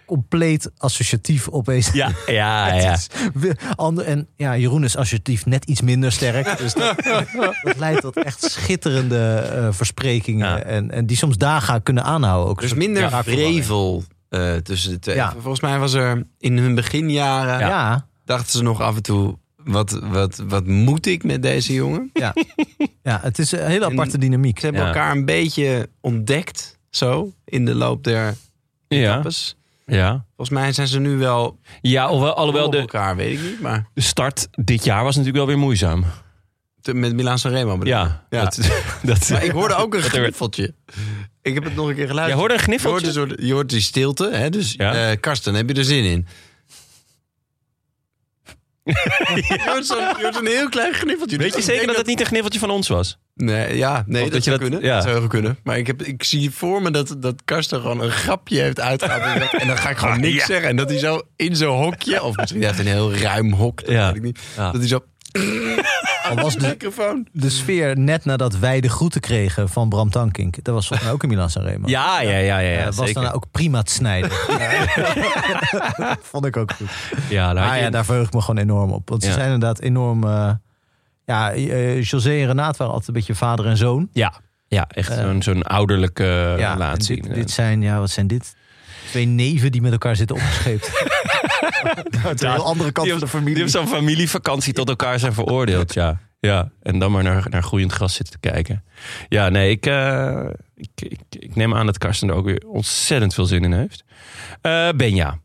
compleet associatief opeens Ja, ja, ja. Het is we- ander- en ja, Jeroen is associatief net iets minder sterk. Dus dat, dat leidt tot echt schitterende eh, versprekingen. Ja. Dus En, en die soms dagen kunnen aanhouden. Ook. Er is minder Ja. vrevel eh, tussen de twee. Ja. Volgens mij was er in hun beginjaren... Ja. Ja. dachten ze nog af en toe... Wat, wat, wat moet ik met deze jongen? het is een hele En- aparte dynamiek. Ze hebben Ja. elkaar een beetje ontdekt, zo, in de loop der Ja, etappes. ja. Volgens mij zijn ze nu wel ja alhoewel, alhoewel op de, elkaar, weet ik niet. Maar de start dit jaar was natuurlijk wel weer moeizaam. te- met Milan Sanremo bedoel ik. Ja, Ja. Dat, dat, Maar ik hoorde ook een Dat er- gniffeltje. Ik heb het nog een keer Jij geluisterd. hoorde een je, hoort een gniffeltje? soort, je hoort die stilte, hè? dus Ja. eh, Karsten, heb je er zin in? je, hoort zo'n- je hoort een heel klein gniffeltje. Weet je Dus ik zeker denk dat het niet een gniffeltje van ons was? Nee, ja, nee Of dat, dat je zou dat- kunnen. ja. Dat zou heel goed kunnen. Maar ik, heb, ik zie voor me dat, dat Karsten gewoon een grapje heeft uitgehaald. en dan ga ik gewoon Ah, niks zeggen. En dat hij zo in zo'n hokje, of misschien heeft hij een heel ruim hok, dat Ja. weet ik niet. Ja. Dat hij zo... Al was de, microfoon. de sfeer net nadat wij de groeten kregen van Bram Tankink. Dat was volgens mij ook in Milan Sanremo. Ja, ja, ja, ja, Eh, ja, was zeker. dan ook prima te snijden. Ja. Vond ik ook goed. ja, daar had Ah je- ja, daar verheug ik me gewoon enorm op. Want ze Ja. zijn inderdaad enorm... eh, ja, eh, José en Renaat waren altijd een beetje vader en zoon. ja, ja, echt Eh, zo'n, zo'n ouderlijke eh, ja, relatie. en Dit, dit zijn, ja, wat zijn dit? Twee neven die met elkaar zitten opgescheept. Inderdaad. andere die hebben- Die hebben zo'n familievakantie tot elkaar zijn veroordeeld, ja. Ja, en dan maar naar, naar groeiend gras zitten te kijken. Ja, nee, ik, eh, ik, ik, ik neem aan dat Karsten er ook weer ontzettend veel zin in heeft. Eh, Benja,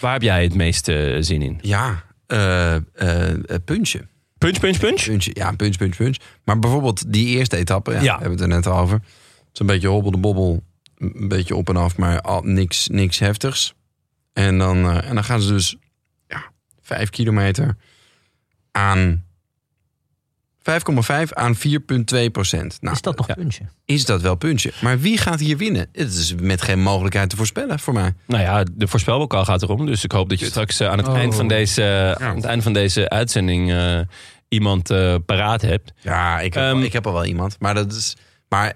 waar heb jij het meeste zin in? Ja, eh, eh, eh, puntje. Punch, punch, punch? puntje. Ja, punch, punch, punch. Maar bijvoorbeeld die eerste etappe, ja, Ja. we hebben het er net al over. Het is een beetje hobbel de bobbel, een beetje op en af, maar al, niks, niks heftigs. En dan, eh, en dan gaan ze dus ja, vijf kilometer aan 5,5 aan 4,2 procent. Nou, Is dat nog ja. puntje? is dat wel puntje. Maar wie gaat hier winnen? Het is met geen mogelijkheid te voorspellen voor mij. Nou ja, de voorspelbokaal gaat erom. Dus ik hoop dat je straks eh, aan het, Oh. eind, van deze, eh, aan het eind van deze uitzending eh, iemand eh, paraat hebt. Ja, ik heb, Ehm, ik heb al wel iemand. Maar dat is. Maar,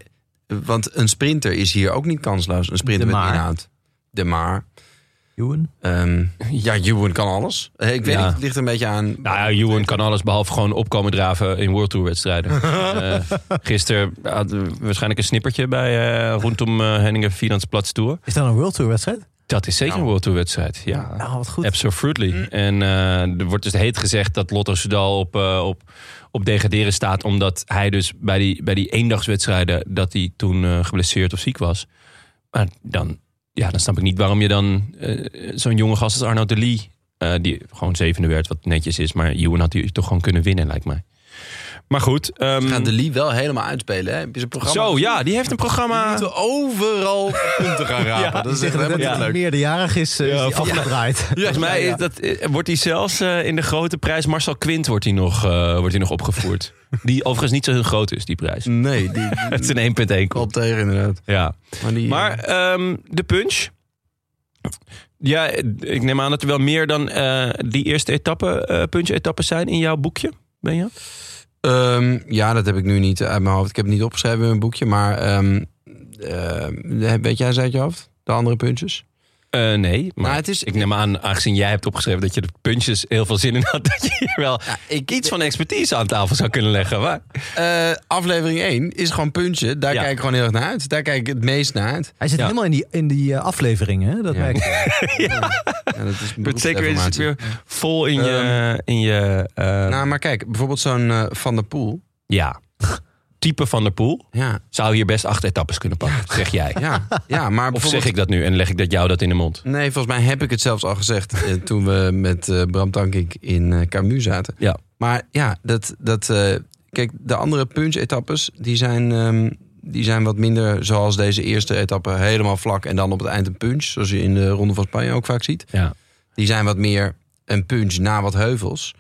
want een sprinter is hier ook niet kansloos. Een sprinter De met Maar. inhoud. De maar. Ewan? Ehm, ja, Juwen kan alles. Eh, Ik weet Ja. niet, het ligt een beetje aan. Nou ja, Ewan kan alles behalve gewoon opkomen draven in World Tour wedstrijden. Eh, gisteren hadden we waarschijnlijk een snippertje bij eh rondom eh Henningen Finans Plats Tour. Is dat een World Tour wedstrijd? Dat is zeker een World Tour wedstrijd, Nou. ja. Nou, wat goed. Absolutely. En eh, er wordt dus heet gezegd dat Lotto Soudal op, eh, op, op degraderen staat. Omdat hij dus bij die, bij die eendagswedstrijden, dat hij toen eh, geblesseerd of ziek was. Maar dan, ja, dan snap ik niet waarom je dan eh, zo'n jonge gast als Arno de Lee, eh, die gewoon zevende werd, wat netjes is. Maar Ewan had hij toch gewoon kunnen winnen, lijkt mij. Maar goed. ehm, Gaat de Lee wel helemaal uitspelen? Hè? Heb je zijn programma? zo, ja, die heeft een programma. Te Overal punten gaan rapen. Ja, dat is echt Zeggen dat helemaal het ja. niet leuk. meerderjarig is, eh, is Ja, die volgens- afgedraaid. Volgens mij is dat, eh, wordt hij zelfs eh, in de grote prijs Marcel Quint wordt hij nog, eh, wordt hij nog opgevoerd. Die overigens niet zo heel groot is, die prijs. Nee, die, die Het is een 1.1 wel kop. tegen inderdaad. Ja. Maar, die, Maar ehm, de punch. Ja, ik neem aan dat er wel meer dan eh, die eerste etappe, eh punch-etappes zijn in jouw boekje, ben je? Ehm, ja, dat heb ik nu niet uit mijn hoofd. Ik heb het niet opgeschreven in mijn boekje. Maar ehm, eh, weet jij ze uit je hoofd? De andere puntjes? Eh, nee, maar Nou, het is- ik neem aan, aangezien jij hebt opgeschreven dat je de punches heel veel zin in had, dat je hier wel ik, iets van expertise aan tafel zou kunnen leggen. Maar, Eh, aflevering 1 is gewoon puntje. Daar Ja. kijk ik gewoon heel erg naar uit. Daar kijk ik het meest naar uit. Hij zit Ja. helemaal in die, in die eh, aflevering, hè? Dat merk ik. Ja, dat is wordt zeker is het beroepsdeformatie. weer vol in je... in je eh, Nou, maar kijk, bijvoorbeeld zo'n eh, Van der Poel. ja, type van de pool Ja, zou hier best acht etappes kunnen pakken, zeg jij. ja, ja maar Of zeg bijvoorbeeld- ik dat nu en leg ik dat jou dat in de mond? Nee, volgens mij heb ik het zelfs al gezegd eh, toen we met eh, Bram Tankink in eh Camus zaten. Ja. Maar ja, dat, dat, eh, kijk, de andere punch-etappes, die zijn, ehm, die zijn wat minder zoals deze eerste etappe. Helemaal vlak en dan op het eind een punch, zoals je in de Ronde van Spanje ook vaak ziet. Ja. Die zijn wat meer een punch na wat heuvels.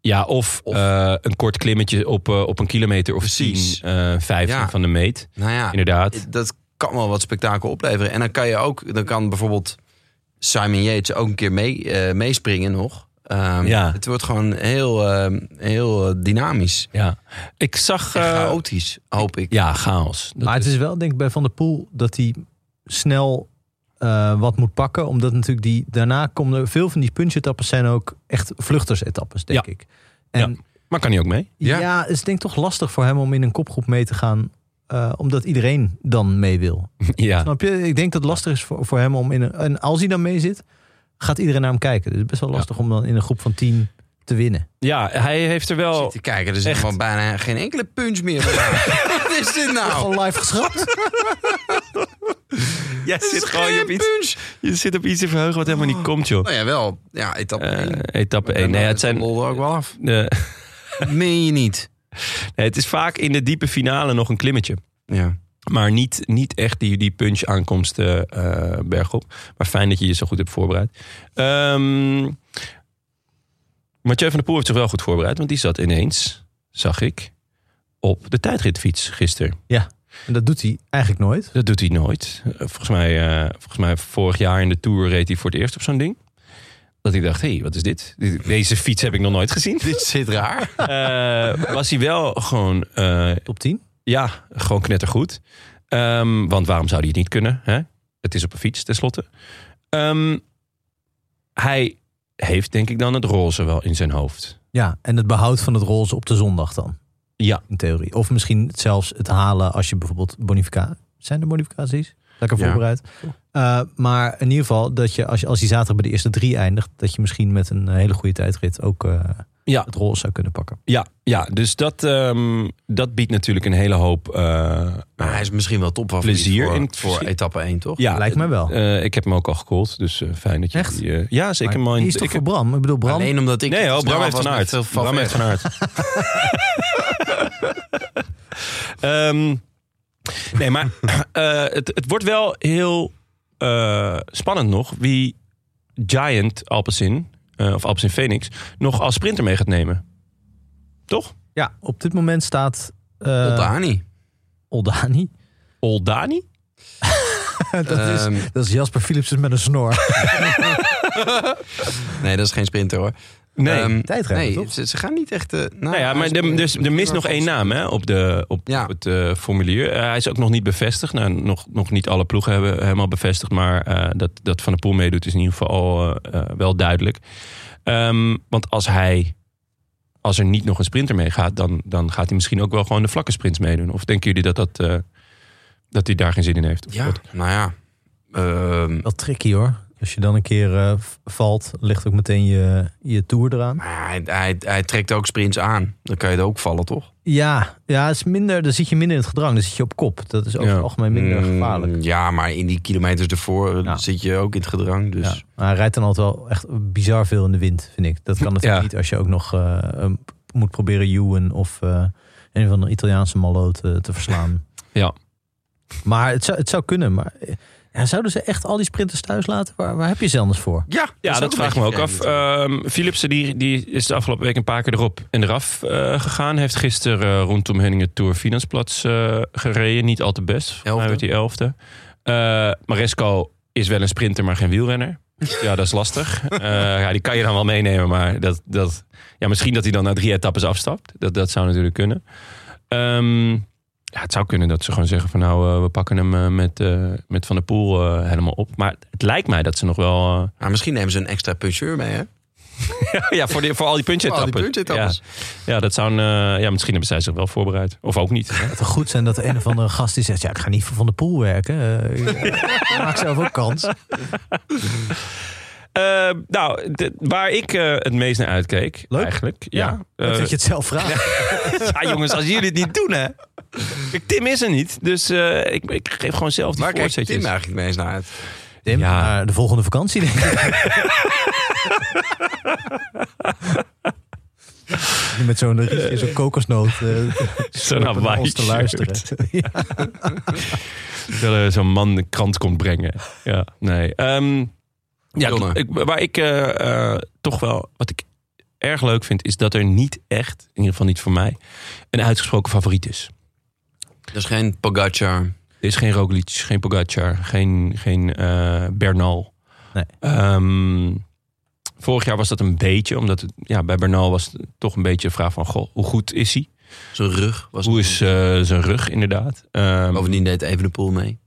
Ja, of, eh, een kort klimmetje op, eh, op een kilometer of Precies. 10, eh 15 Ja. van de meet. Nou ja, Inderdaad. dat kan wel wat spektakel opleveren. En dan kan je ook, dan kan bijvoorbeeld Simon Yates ook een keer mee, eh, meespringen nog. Ehm, Ja. Het wordt gewoon heel, ehm, heel eh, dynamisch. Ja. Ik zag... En eh, chaotisch, hoop ik. ja, chaos. Dat Maar het is wel, denk ik, bij Van der Poel dat hij snel eh, wat moet pakken. Omdat natuurlijk die, daarna komen er veel van die punch-etappes zijn ook echt vluchters-etappes, denk ik. En Maar kan hij ook mee? Ja. ja. het is denk ik toch lastig voor hem om in een kopgroep mee te gaan. eh, omdat iedereen dan mee wil. ja. Snap je? Ik denk dat het lastig is voor, voor hem om in een. En als hij dan mee zit, gaat iedereen naar hem kijken. Dus het is best wel lastig om dan in een groep van tien te winnen. ja, hij heeft er wel... Zit te kijken, er zit echt. gewoon bijna geen enkele punch meer. Wat is dit nou? Gewoon live geschrapt. Jij Dit zit is gewoon je geen hebt iets, punch. je zit op iets te verheugen wat helemaal niet komt, joh. Nou ja, wel. Ja, etappe Eh, één. etappe En 1. Nee, dan het is zijn... de lol er ook wel af. de- Meen je niet? Nee, het is vaak in de diepe finale nog een klimmetje. Ja. Maar niet, niet echt die, die punch aankomst eh, bergop. Maar fijn dat je je zo goed hebt voorbereid. Ehm Mathieu van der Poel heeft zich wel goed voorbereid. Want die zat ineens, zag ik, op de tijdritfiets gisteren. En dat doet hij eigenlijk nooit. Dat doet hij nooit. Eh, Volgens mij, eh, volgens mij vorig jaar in de Tour reed hij voor het eerst op zo'n ding. Dat ik dacht, hé, hey, wat is dit? Dit- Deze fiets heb ik nog nooit gezien. Dit zit raar. Eh, was hij wel gewoon eh, Top 10. ja, gewoon knettergoed. Ehm, want waarom zou hij het niet kunnen? Hè? Het is op een fiets, tenslotte. Ehm, hij heeft denk ik dan het roze wel in zijn hoofd. Ja, en het behoud van het roze op de zondag dan. Ja. In theorie. Of misschien zelfs het halen als je bijvoorbeeld bonificatie... Zijn er bonificaties? Lekker Ja. voorbereid. Eh, maar in ieder geval, dat je als, je, als die zaterdag bij de eerste drie eindigt, dat je misschien met een hele goede tijdrit ook eh, Ja. het roze zou kunnen pakken. Ja, ja dus dat, ehm, dat biedt natuurlijk een hele hoop eh, Maar hij is misschien wel top Plezier voor, in het voor verschil. etappe 1, toch? Ja, Lijkt mij wel. eh, ik heb hem ook al gecallt, dus eh, fijn dat je Echt? die... eh, ja, zeker. Maar man. die is toch ik voor Bram? Ik bedoel, Bram, Alleen omdat ik... nee, snel oh, Bram heeft was van met aard. veel Bram heeft van aard. Ehm, nee, maar eh, het, het wordt wel heel eh, spannend nog wie Giant Alpecin, eh, of Alpecin Phoenix, nog als sprinter mee gaat nemen. Toch? ja, op dit moment staat eh, Oldani. Oldani. Oldani? dat, Ehm, is, dat is Jasper Philipsen met een snor. nee, dat is geen sprinter hoor. Nee. Ehm, Tijdrijder, nee, toch? Ze, ze gaan niet echt... eh, nou, Nou ja, hij maar is- er, dus, er mist maar nog één volgens- naam hè, op, de, op, Ja. op het eh, formulier. Eh, hij is ook nog niet bevestigd. Nou, nog, nog niet alle ploegen hebben helemaal bevestigd. Maar eh, dat, dat Van der Poel meedoet is in ieder geval al, eh, eh, wel duidelijk. Ehm, want als hij... Als er niet nog een sprinter meegaat, dan, dan gaat hij misschien ook wel gewoon de vlakke sprints meedoen. Of denken jullie dat, dat, eh, dat hij daar geen zin in heeft? Of Ja, wat? nou ja. Ehm, Wel tricky hoor. Als je dan een keer eh, v- valt, ligt ook meteen je, je tour eraan. maar hij, hij, hij trekt ook sprints aan. Dan kan je er ook vallen, toch? Ja, ja het is minder, dan zit je minder in het gedrang. Dan zit je op kop. Dat is over Ja. het algemeen minder Mm, gevaarlijk. Ja, maar in die kilometers ervoor eh, Ja. zit je ook in het gedrang. Dus Ja. Maar hij rijdt dan altijd wel echt bizar veel in de wind, vind ik. Dat kan natuurlijk Ja. niet als je ook nog eh, een- moet proberen Ewan of eh, een van de Italiaanse malloot eh, te verslaan. Ja. Maar het zou, het zou kunnen. Maar eh, ja, zouden ze echt al die sprinters thuis laten? Waar, waar heb je ze anders voor? Ja, Ja, dat, is ook vraag ik een me ook beetje af. vreemd. Ehm, Philipsen die, die is de afgelopen week een paar keer erop en eraf eh, gegaan. Heeft gisteren eh, rondom Henningen Tour Finansplatz eh gereden. Niet al te best. Volgens mij Elfde. werd hij elfde. Eh Maresco is wel een sprinter, maar geen wielrenner. Ja, dat is lastig. Eh, ja, die kan je dan wel meenemen, maar dat, dat, ja, misschien dat hij dan na drie etappes afstapt. Dat, dat zou natuurlijk kunnen. Ehm, ja, het zou kunnen dat ze gewoon zeggen van nou, eh, we pakken hem eh, met, eh, met Van der Poel eh, helemaal op. Maar het lijkt mij dat ze nog wel... eh, Maar Ah, misschien nemen ze een extra puncheur mee, hè? ja, voor, die, voor al Voor al die punchetappen. die punchetappes. Ja, ja, dat zou een, eh, ja, misschien hebben zij zich wel voorbereid. Of ook niet. hè? Het zou goed zijn dat de een of andere gast die zegt... ja, ik ga niet voor Van de Poel werken. Eh, ik maak zelf ook kans. Eh, nou, de- waar ik eh, het meest naar uitkeek, Leuk. eigenlijk. Ja, Leuk Eh, dat je het zelf vraagt. ja, jongens, als jullie het niet doen, hè. Kijk, Tim is er niet, dus eh, ik, ik geef gewoon zelf die Waar kijkt voorzetjes. Tim eigenlijk mee eens naar uit? Tim, Ja. naar de volgende vakantie denk ik. Met zo'n rietje, zo'n kokosnoot. eh, Zo'n om naar ons te Hawaii-shirt. luisteren. Ja. Dat er eh, zo'n man de krant komt brengen. Ja, nee. Ehm, ja, Jonne. ik, waar ik eh, eh, toch wel, wat ik erg leuk vind, is dat er niet echt, in ieder geval niet voor mij, een uitgesproken favoriet is. Dat is geen Pogacar. Er is geen Roglic, geen Pogacar, geen, geen eh, Bernal. Nee. Ehm, vorig jaar was dat een beetje, omdat het, ja, bij Bernal was het toch een beetje de vraag van, goh, hoe goed is hij? Zijn rug was Hoe nog is een- eh, zijn rug inderdaad? Ehm, Bovendien deed even de pool mee.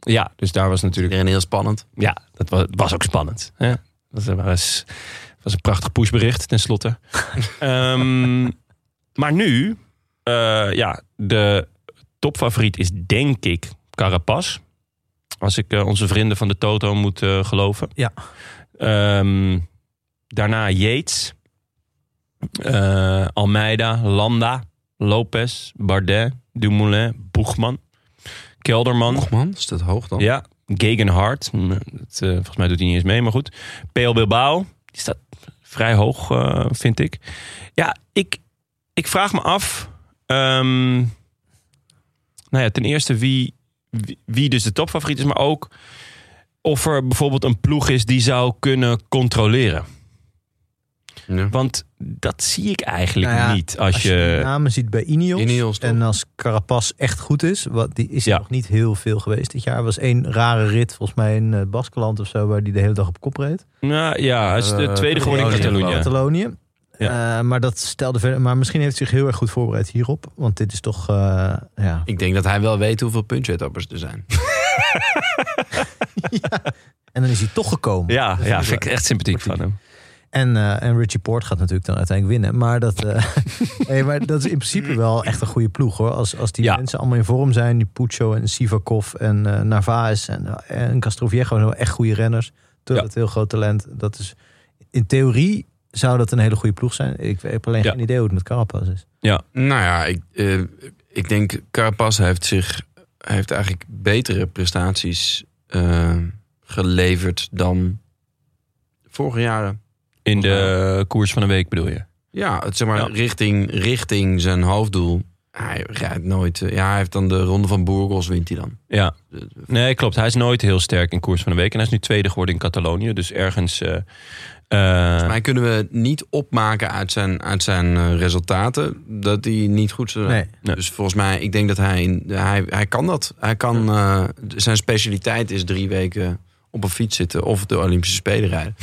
ja, dus daar was natuurlijk Iedereen heel spannend. Ja, dat was, was ook spannend. Hè? Dat was, was een prachtig pushbericht, tenslotte. Ehm maar nu, eh, ja, de topfavoriet is denk ik Carapaz. Als ik eh, onze vrienden van de Toto moet eh, geloven. Ja. Ehm, daarna Yates. eh, Almeida, Landa, Lopez, Bardet, Dumoulin, Boegman, Kelderman. Och man, is dat hoog dan? Ja, Gegenhard. Hm, Dat, eh, volgens mij doet hij niet eens mee, maar goed. PL Bilbao, die staat vrij hoog, eh, vind ik. Ja, ik, ik vraag me af... ehm, nou ja, ten eerste wie, wie, wie dus de topfavoriet is... maar ook of er bijvoorbeeld een ploeg is die zou kunnen controleren. Ja. Want dat zie ik eigenlijk Nou ja, niet als, Als je... je de namen ziet bij Ineos. Ineos, toch? en als Carapaz echt goed is, wat, die is er Ja. nog niet heel veel geweest dit jaar. Er was één rare rit, volgens mij in eh, Baskeland of zo, waar die de hele dag op kop reed. nou, ja, hij is de Eh, tweede geworden in Catalonië. Catalonië. Catalonië. Ja. Eh, maar dat stelde verder. Maar misschien heeft hij zich heel erg goed voorbereid hierop. Want dit is toch. eh, ja. Ik denk dat hij wel weet hoeveel punchetappers er zijn. En dan is hij toch gekomen. Ja, Dat ja, is vind ik echt sympathiek van sympathiek. hem. En, eh, en Richie Poort gaat natuurlijk dan uiteindelijk winnen. Maar dat, eh, nee, maar dat is in principe wel echt een goede ploeg hoor. Als, als die Ja. mensen allemaal in vorm zijn. Die Puccio en Sivakov en eh Narvaez en, eh, en Castroviejo. zijn wel echt goede renners. Terwijl Ja. het heel groot talent. Dat is, in theorie zou dat een hele goede ploeg zijn. Ik heb alleen Ja. geen idee hoe het met Carapaz is. Nou ja, ik, eh, ik denk Carapaz heeft zich heeft eigenlijk betere prestaties eh, geleverd dan vorige jaren. In de koers van een week bedoel je? Ja, het, zeg maar Ja. Richting, richting zijn hoofddoel. Hij rijdt nooit. eh, ja, hij heeft dan de ronde van Burgos wint hij dan. Ja. Eh, Nee, klopt. Hij is nooit heel sterk in koers van de week. En hij is nu tweede geworden in Catalonië. Dus ergens... eh, eh, Maar kunnen we niet opmaken uit zijn, uit zijn eh, resultaten dat die niet goed zijn. Nee. Nee. Dus volgens mij, ik denk dat hij, in- hij, hij kan dat. Hij kan, eh, zijn specialiteit is drie weken op een fiets zitten of de Olympische Spelen rijden.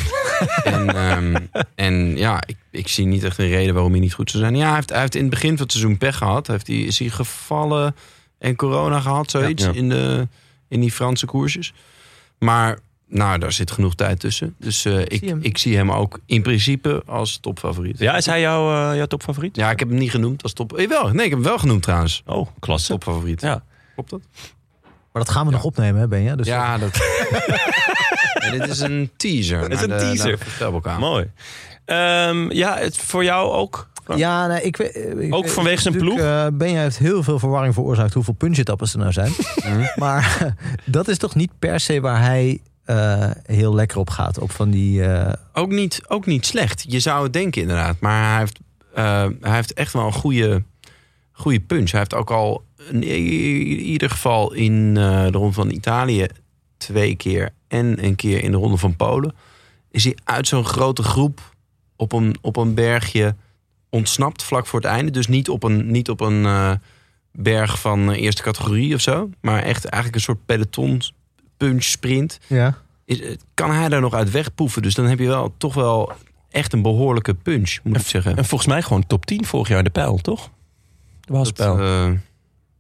en, ehm, en ja, ik, ik zie niet echt een reden waarom hij niet goed zou zijn. Ja, hij heeft, hij heeft in het begin van het seizoen pech gehad. Heeft hij, is hij gevallen en corona gehad, zoiets, Ja. In, de, in die Franse koersjes. Maar nou, daar zit genoeg tijd tussen. Dus eh, ik, zie hem. ik zie hem ook in principe als topfavoriet. ja, is hij jouw, eh, jouw topfavoriet? Ja, ik heb hem niet genoemd als top. Jawel, nee, ik heb hem wel genoemd trouwens. Oh, klasse. Topfavoriet. Ja. Klopt dat? Maar dat gaan we nog opnemen, hè, Benja? Dus ja, dat. eh, Ja, dit is een teaser. is een teaser. elkaar. Mooi. Ehm, ja, het, voor jou ook? Ja, nee, ik, weet- eh, ik Ook weet- vanwege zijn natuurlijk, eh, Benja heeft heel veel verwarring veroorzaakt hoeveel punchetappers er nou zijn. Mhm. maar dat is toch niet per se waar hij eh, heel lekker op gaat. Op van die. eh, Ook niet, ook niet slecht. Je zou het denken inderdaad. Maar hij heeft, eh, hij heeft echt wel een goede, goede punch. Hij heeft ook al in, i- ieder geval in eh, de Ronde van Italië twee keer... en een keer in de Ronde van Polen... is hij uit zo'n grote groep op een, op een bergje ontsnapt vlak voor het einde. Dus niet op een, niet op een eh, berg van eh, eerste categorie of zo. Maar echt eigenlijk een soort peloton punch sprint ja. is, eh, kan hij daar nog uit wegpoeven. Dus dan heb je wel toch wel echt een behoorlijke punch, moet ik zeggen. En volgens mij gewoon top 10 vorig jaar in de pijl, toch? De Waalspijl. eh,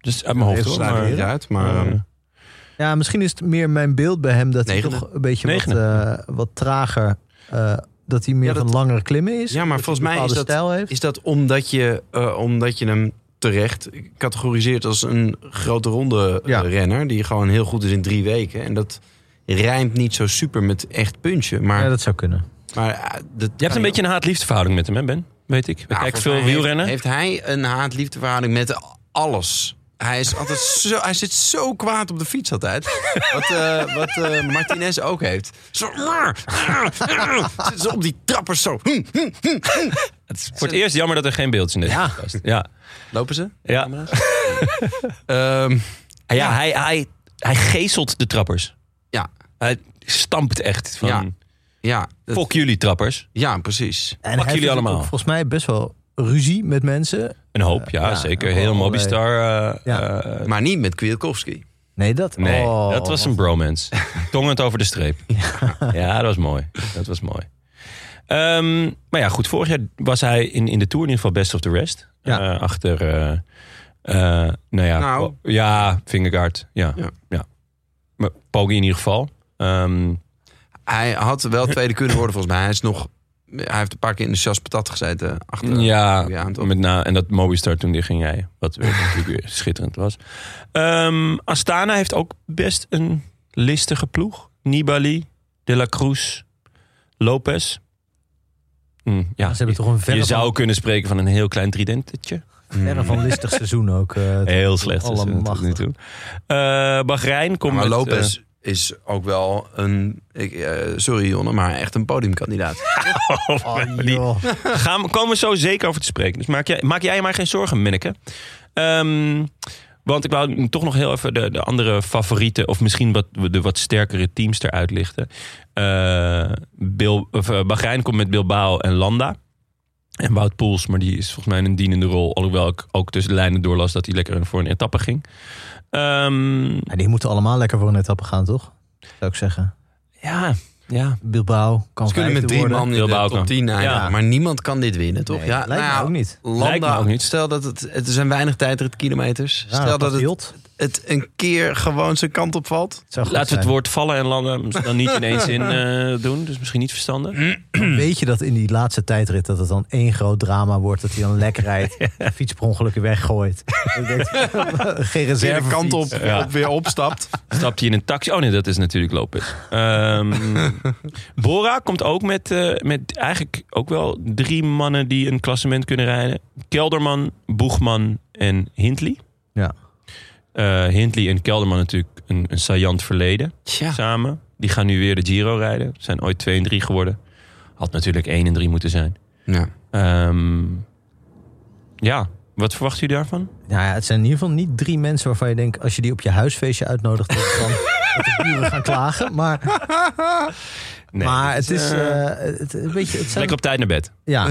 Dus uit mijn hoofd. even hoor, sluit maar- ik niet uit, maar... Eh, eh, ja, misschien is het meer mijn beeld bij hem dat hij Negende. toch een beetje wat, Negende. eh, wat trager. eh, dat hij meer Ja, dat- van langere klimmen is. Ja, maar Dat hij volgens een mij is bepaalde dat- stijl heeft. is dat omdat je, eh, omdat je hem terecht categoriseert als een grote ronde eh, Ja. renner... die gewoon heel goed is in drie weken. En dat rijmt niet zo super met echt punchen. Maar, Ja, dat zou kunnen. maar, eh, dat Je hebt een beetje een haat-liefdeverhouding met hem, hè Ben? Weet ik. We Nou, volgens kijken veel mij wielrennen. Heeft, heeft hij een haat-liefdeverhouding met alles? Hij, is altijd zo, hij zit zo kwaad op de fiets altijd. Wat, eh, wat eh, Martinez ook heeft. Zo, zit ze op die trappers zo. Hm, hm. Het is voor het eerst jammer dat er geen beeld is in deze ja. podcast. Ja. Lopen ze? Ja. Ehm, Ja, Hij, hij, hij geeselt de trappers. ja, Hij stampt echt van... Ja. ja, dat- Fok jullie trappers. ja, precies. En Pak hij jullie heeft allemaal. ook Volgens mij best wel ruzie met mensen. Een hoop, ja, ja, zeker. ook wel Heel allerlei- Mobistar. eh, Ja. eh, Maar niet met Kwiatkowski. Nee, dat. nee, oh, dat was een bromance. Tongend over de streep. ja, dat was mooi. Dat was mooi. Ehm, maar ja, goed. Vorig jaar was hij in, in de Tour in ieder geval best of the rest. Ja. Eh, achter, eh, eh, nou ja, Nou. Po- ja, Vingegaard. Ja, ja. Ja. Maar Poggi in ieder geval. Ehm, Hij had wel tweede kunnen worden volgens mij. Hij, is nog, hij heeft een paar keer in de chasse patat gezeten. Achter ja, ja, toch? met na, en dat Mobistar toen die ging jij. Wat weer natuurlijk weer schitterend was. Ehm, Astana heeft ook best een listige ploeg. Nibali, De La Cruz, Lopez. Hm, ja, Ze hebben toch een verre je zou van, kunnen spreken van een heel klein tridentetje. Hm. verre van listig seizoen ook. eh, Heel slecht. is het tot Allemachtig. nu toe. Eh, Bahrein komt maar met, Lopez is ook wel een, ik, eh, sorry Jonne, maar echt een podiumkandidaat. eh, Oh, die- joh. Gaan we, komen we zo zeker over te spreken. Dus maak jij, maak jij je maar geen zorgen, Minneke. Ehm, want ik wou toch nog heel even de, de andere favorieten... of misschien wat, de wat sterkere teams eruit lichten. Eh, Bil, of, eh, Bahrein komt met Bilbao en Landa. En Wout Poels, maar die is volgens mij in een dienende rol. Alhoewel ik ook tussen de lijnen doorlas dat hij lekker voor een etappe ging. Ehm, Ja, die moeten allemaal lekker voor een etappe gaan, toch? Zou ik zeggen. ja, ja. Bilbao kan Ze kunnen met vijfde drie worden. man in Bilbao de kan. top 10 eindigen. Ja. Maar niemand kan dit winnen, toch? Nee, lijkt nou me ook niet. Landa, Lijkt me ook niet. Stel dat het, het zijn weinig tijdritkilometers. Ja, stel dat het Hield. het een keer gewoon zijn kant op valt. Zou goed Laten we het zijn. woord vallen en landen dan niet in één zin eh, doen. Dus misschien niet verstandig. Weet je dat in die laatste tijdrit dat het dan één groot drama wordt? Dat hij dan lek rijdt, de fiets per ongeluk weggooit. Ik denk, Weer Geen de reserve kant op, Ja. op weer opstapt. Stapt hij in een taxi? Oh nee, dat is natuurlijk Lopez. Ehm, Bora komt ook met, eh, met eigenlijk ook wel drie mannen die een klassement kunnen rijden. Kelderman, Boegman en Hindley. Ja. Eh, Hindley en Kelderman natuurlijk een, een saillant verleden Tja. samen. Die gaan nu weer de Giro rijden. Zijn ooit 2 en 3 geworden. Had natuurlijk 1 en 3 moeten zijn. Ja. Ehm, ja, wat verwacht u daarvan? Nou ja, het zijn in ieder geval niet drie mensen waarvan je denkt... als je die op je huisfeestje uitnodigt... dat dan dat de buren gaan klagen. Maar, Nee, maar dat het is... eh, eh, het, een beetje, het zijn, lekker op tijd naar bed. ja,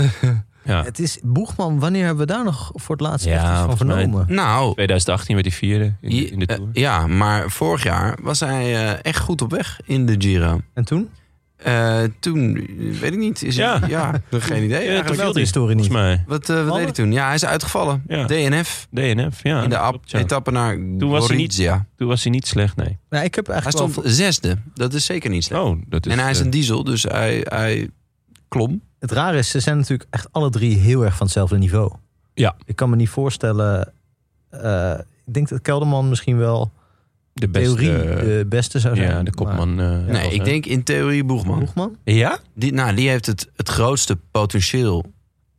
Ja. het is... Boegman, wanneer hebben we daar nog voor het laatst Ja, echt iets van volgens mij- vernomen? Nou, 2018 werd hij vierde in de, in de eh, Tour. ja, maar vorig jaar was hij eh, echt goed op weg in de Giro. En toen? Eh, toen, eh, weet ik niet. Is Ja. Hij, ja, geen idee. Ja, eigenlijk. toen viel de hij, historie volgens niet. mij. Wat, eh, wat deed hij toen? Ja, hij is uitgevallen. Ja. DNF DNF, ja. in de dat ap- klopt, ja. etappe naar Toen was hij niet- Gorizia. Toen was hij niet slecht, nee. Nou, ik heb Hij eigenlijk wel stond zesde. Dat is zeker niet slecht. Oh, dat is... en hij is eh, een diesel, dus hij, hij klom. Het rare is, ze zijn natuurlijk echt alle drie heel erg van hetzelfde niveau. Ja. Ik kan me niet voorstellen. eh, ik denk dat Kelderman misschien wel de beste, eh, theorie de beste zou zijn. ja, de maar- kopman. eh, eh, nee, ik hè? denk in theorie Boegman. Boegman? Ja? Die, nou, die heeft het, het grootste potentieel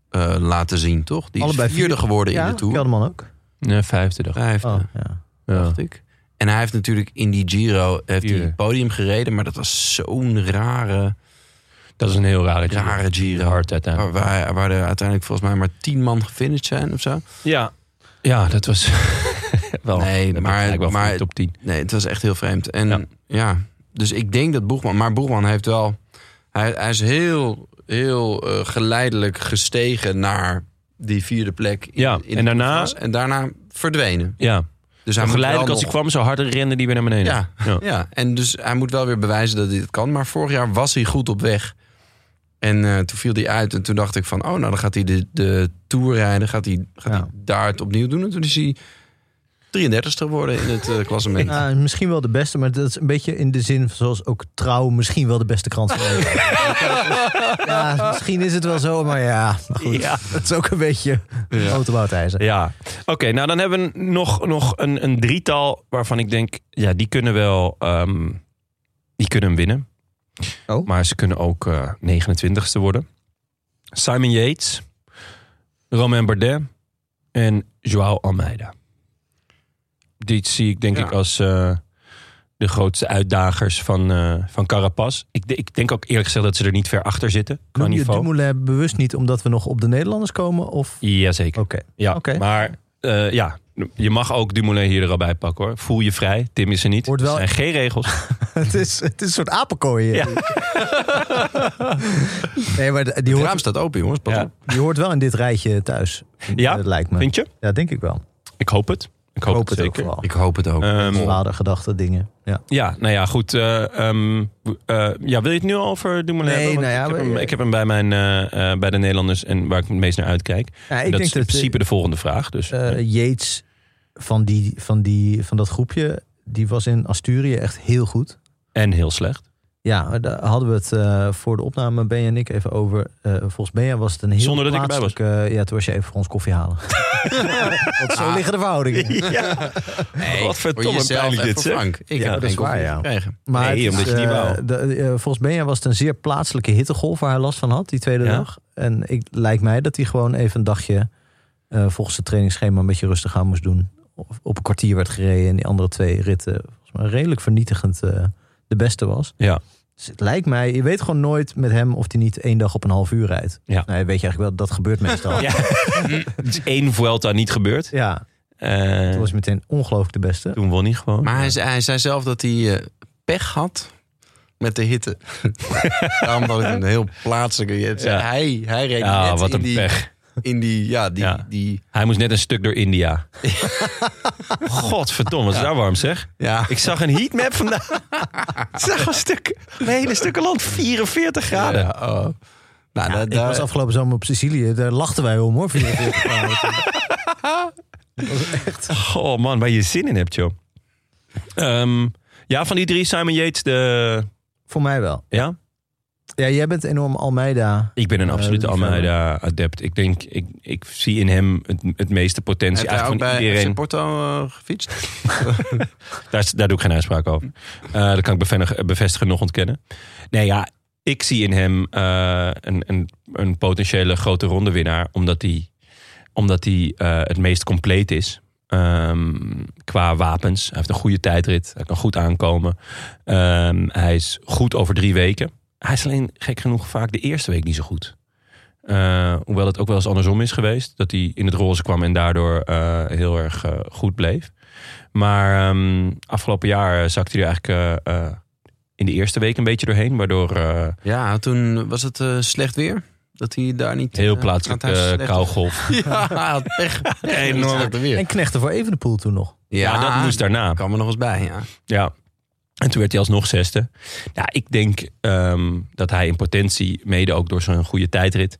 eh, laten zien, toch? Die Allebei is vierde vierde. geworden Ja, in de Tour. Kelderman ook. Nee, vijfde dag. Vijfde, Oh, ja. Ja. dacht ik. En hij heeft natuurlijk in die Giro heeft hij Vierde. het podium gereden. Maar dat was zo'n rare, Dat is een heel rare Giro. rare Giro. Hard uiteindelijk. Waar, waar, waar er uiteindelijk volgens mij maar tien man gefinished zijn of zo. Ja. Ja, dat was wel. Oh. Nee, dat maar- was eigenlijk wel maar- voor de top 10. Nee, het was echt heel vreemd. En Ja. ja, dus ik denk dat Boegman... Maar Boegman heeft wel... Hij, hij is heel, heel eh, geleidelijk gestegen naar die vierde plek. in- Ja, in de en daarna- Tour de France. En daarna verdwenen. Ja, Dus hij zo moet geleidelijk wel als hij nog- kwam, zo harder rende die weer naar beneden. Ja. Ja, en dus hij moet wel weer bewijzen dat hij het kan. Maar vorig jaar was hij goed op weg. En eh, toen viel hij uit. En toen dacht ik van, oh, nou dan gaat hij de, de Tour rijden. Gaat hij, gaat Ja. hij daar het opnieuw doen. En toen is hij 33ste geworden in het eh, klassement. Nou, misschien wel de beste, maar dat is een beetje in de zin van zoals ook trouw misschien wel de beste krant van Nederland. ja, misschien is het wel zo, maar ja, goed. Ja. Het is ook een beetje Ja. autoboutijzer. Ja. Oké, nou dan hebben we nog, nog een, een drietal waarvan ik denk, ja, die kunnen wel, ehm, die kunnen hem winnen. Oh. Maar ze kunnen ook eh 29ste worden. Simon Yates, Romain Bardet en Joao Almeida. Dit zie ik denk Ja. ik als eh, de grootste uitdagers van, eh van Carapaz. Ik, de- ik denk ook eerlijk gezegd dat ze er niet ver achter zitten. Qua Noem je niveau. Dumoulin bewust niet omdat we nog op de Nederlanders komen? Of? Jazeker. Oké. Ja, Oké. maar eh, ja, je mag ook Dumoulin hier er al bij pakken hoor. Voel je vrij. Tim is er niet. Wordt wel- Er zijn geen regels. Het is, het is een soort apenkooi. hier. nee, maar de- die Het hoort, raam staat open, jongens. Pas Ja. op. die hoort wel in dit rijtje thuis. Ja, Eh, lijkt me. Vind je? Ja, denk ik wel. Ik Ik hoop het. Ik hoop, het ook zeker. vooral. Ik hoop het ook. Ehm, Vadergedachten, dingen. Ja. ja, nou ja, goed. eh, ehm, w- eh, ja, wil je het nu al over Dumoulin Nee, hebben? Want nou ja, ik, heb we- hem, ik heb hem bij, mijn, eh, eh, bij de Nederlanders en waar ik het meest naar uitkijk. Ja, En ik dat denk is in dat eh, principe principe... de volgende vraag. Dus, Eh, Yates van, die, van, die, van dat groepje, die was in Asturië echt heel goed. en heel slecht. Ja, daar hadden we het eh, voor de opname, Ben en ik, even over. Eh, volgens Ben was het een heel Zonder dat ik erbij was. plaatselijke- ja, toen was je even voor ons koffie halen. Want zo liggen de verhoudingen. Ah. Ja. Nee, Wat verdomme voor jezelf pijnlijk en dit, voor zeg. Frank. Ik Ja, heb dat is geen koffie waar, ja. gekregen. Maar Nee, het is, omdat je niet eh, wou. de- eh, volgens Benja was het een zeer plaatselijke hittegolf waar hij last van had, die tweede Ja. dag. En ik, lijkt mij dat hij gewoon even een dagje eh, volgens het trainingsschema een beetje rustig aan moest doen. Of op een kwartier werd gereden en die andere twee ritten volgens mij redelijk vernietigend eh, de beste was. Ja. Dus het lijkt mij, je weet gewoon nooit met hem of hij niet één dag op een half uur rijdt. Ja. Nou, weet je eigenlijk wel, dat gebeurt meestal. ja. ja. Het is één Vuelta niet gebeurd. Eh, toen was hij meteen ongelooflijk de beste. toen won hij gewoon. Maar hij, zei- hij zei zelf dat hij eh, pech had met de hitte. Daarom dat ik een heel plaatselijke... het- Ja. Hij, hij reed ja, net wat in een die... pech. In die, ja, die, Ja. die Hij moest net een stuk door India. Godverdomme, wat is daar warm zeg. ja, Ik zag een heatmap vandaag. Ik zag een stuk, een hele stukken land, 44 graden. Ja, oh. Nou, daar- ik daar- was afgelopen zomer op Sicilië, daar lachten wij om hoor. 44 graden. Oh man, waar je zin in hebt, joh. Ehm, ja, van die drie, Simon Yates, de... Voor mij wel. Ja? Ja, jij bent enorm Almeida. Ik ben een Eh, absolute liefhebber. Almeida-adept. Ik denk, ik, ik zie in hem het, het meeste potentie Heb jij ook eigenlijk bij van FC iedereen. Porto eh, gefietst? Daar, is- daar doe ik geen uitspraak over. Eh dat kan ik bevenig- bevestigen, nog ontkennen. Nee, ja, ik zie in hem eh, een, een, een potentiële grote rondewinnaar. Omdat hij omdat hij eh, het meest compleet is. Ehm, qua wapens. Hij heeft een goede tijdrit. Hij kan goed aankomen. Ehm, hij is goed over drie weken. Hij is alleen gek genoeg vaak de eerste week niet zo goed. Eh, hoewel het ook wel eens andersom is geweest. Dat hij in het roze kwam en daardoor eh, heel erg eh, goed bleef. Maar ehm, afgelopen jaar eh, zakte hij er eigenlijk eh, eh, in de eerste week een beetje doorheen. Waardoor eh, Ja, toen was het eh, slecht weer. Dat hij daar niet... heel eh, plaatselijk aan het huis eh slecht- kougolf. Ja, hij had pech. Enorm weer. En knechten voor Evenepoel toen nog. Ja, dat moest daarna. kwam er nog eens bij, ja. Ja. En toen werd hij alsnog zesde. Ja, ik denk ehm, dat hij in potentie, mede ook door zijn goede tijdrit.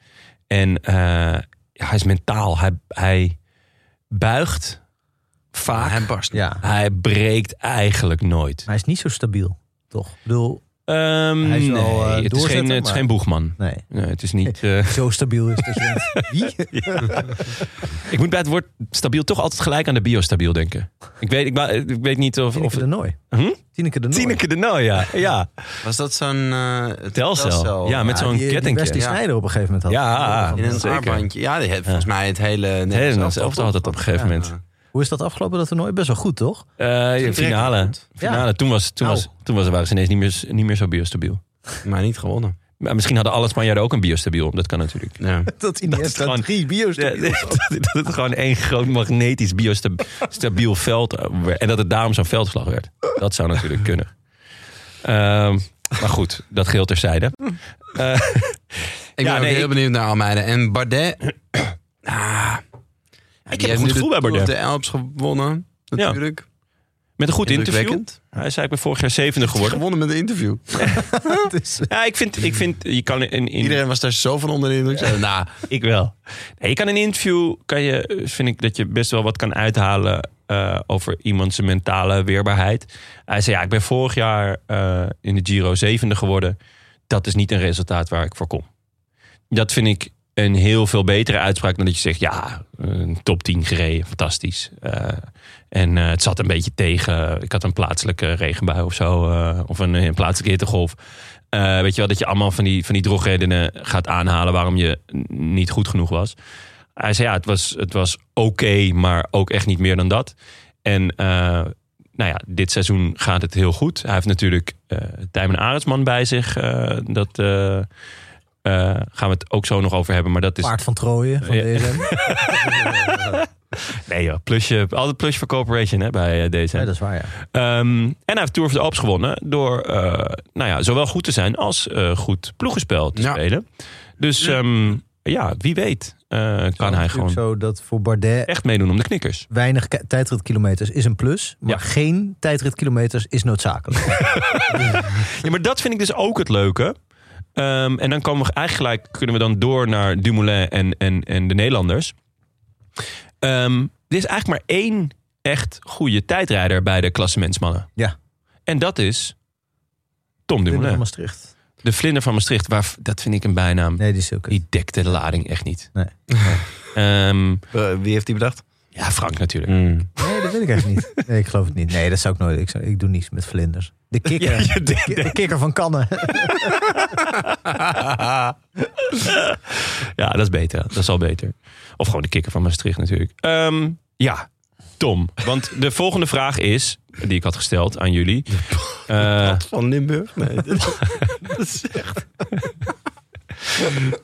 En eh, ja, hij is mentaal. Hij, hij buigt vaak. Hij barst. Ja. Hij breekt eigenlijk nooit. Maar hij is niet zo stabiel, toch? Ik bedoel, Ehm, Hij is wel, nee, eh, het, is doorzetter, geen, het is maar- geen boegman. nee. Nee, het is niet. eh, Zo stabiel is dat je denkt, wie? ik moet bij het woord stabiel toch altijd gelijk aan de biostabiel denken. Ik weet, ik, ma- ik weet niet of. of Tineke de Nooi. Hm? Tineke de Nooi. Tineke de Nooi, ja. ja. Was dat zo'n... eh, het Telcel. Ja, met zo'n die, die kettingje. Wesley ja. Sneijder op een gegeven moment had. Ja. In een Zeker. armbandje. Ja, die heeft volgens mij het hele... Het hele zelf Nederlands elftal had het op een gegeven moment. Hoe is dat afgelopen, dat toernooi? Best wel goed, toch? Eh, ja, finale. finale. Toen, was, toen, was, Nou. toen was, waren ze ineens niet meer, niet meer zo biostabiel. eh, Maar niet gewonnen. Maar misschien hadden alle Spanjaarden ook een biostabiel. Dat kan natuurlijk. Ja. Dat in is gewoon- drie bio's. Ja, dat dat het gewoon één groot magnetisch biostabiel veld eh, werd. En dat het daarom zo'n veldslag werd. Dat zou natuurlijk kunnen. Ehm, maar goed, dat geheel terzijde. Eh, Ik ben Ja, ook nee, heel ik- benieuwd naar Almeida. En Bardet. ah, heb die een goed nu gevoel de bij Tour Bardet. of de Alps gewonnen. Natuurlijk. met een goed interview. Indrukwekkend. Hij is eigenlijk vorig jaar zevende geworden. Gewonnen met een interview. Ja, ik vind, ik vind je kan in, in, Iedereen was daar zo van onder de indruk. Zeiden, Nou, Ik wel. Nee, je kan in een interview, kan je, eh, vind ik dat je best wel wat kan uithalen eh, over iemands mentale weerbaarheid. Hij zei, ja, ik ben vorig jaar eh, in de Giro zevende geworden. Dat is niet een resultaat waar ik voor kom. Dat vind ik een heel veel betere uitspraak dan dat je zegt, ja, een top 10 gereden, fantastisch. Eh, en eh, het zat een beetje tegen, eh, ik had een plaatselijke regenbui of zo, eh, of een, een plaatselijke hittegolf. Eh, weet je wel, dat je allemaal van die, van die drogredenen gaat aanhalen waarom je n- niet goed genoeg was. Hij zei ja, het was, het was oké, maar ook echt niet meer dan dat. En eh, nou ja, dit seizoen gaat het heel goed. Hij heeft natuurlijk eh Tijmen Arendsman bij zich. eh, dat eh, eh, gaan we het ook zo nog over hebben. Maar dat is Paard van Trooien van E Ja. DSM. nee joh, plusje, altijd plusje voor corporation hè, bij eh, DSM. Ja, dat is waar, ja. Ehm, en hij heeft Tour of the Alps gewonnen door eh, nou ja, zowel goed te zijn als eh, goed ploegenspel te Ja. spelen. Dus ehm, ja, wie weet eh, kan hij gewoon Zo dat voor Bardet echt meedoen om de knikkers. weinig ke- tijdritkilometers is een plus. Maar Ja. geen tijdritkilometers is noodzakelijk. Ja, maar dat vind ik dus ook het leuke. Ehm, en dan komen we eigenlijk gelijk- kunnen we dan door naar Dumoulin en, en, en de Nederlanders. Ehm, er is eigenlijk maar één echt goede tijdrijder bij de klassementsmannen. Ja. En dat is Tom Willem van Dumoulin. Maastricht. De vlinder van Maastricht, waar, dat vind ik een bijnaam. Nee, die is ook Die dekte de lading echt niet. Nee. Ehm, Eh, wie heeft die bedacht? ja, Frank natuurlijk. Nee, dat weet ik eigenlijk niet. Nee, ik geloof het niet. Nee, dat zou ik nooit. Ik, zou- ik doe niets met vlinders. De kikker. Ja, je de, ki- de kikker van Kannen. Ja, dat is beter. Dat is al beter. Of gewoon de kikker van Maastricht natuurlijk. Ehm, ja, Tom. Want de volgende vraag is, die ik had gesteld aan jullie. Eh, Van Limburg? Nee.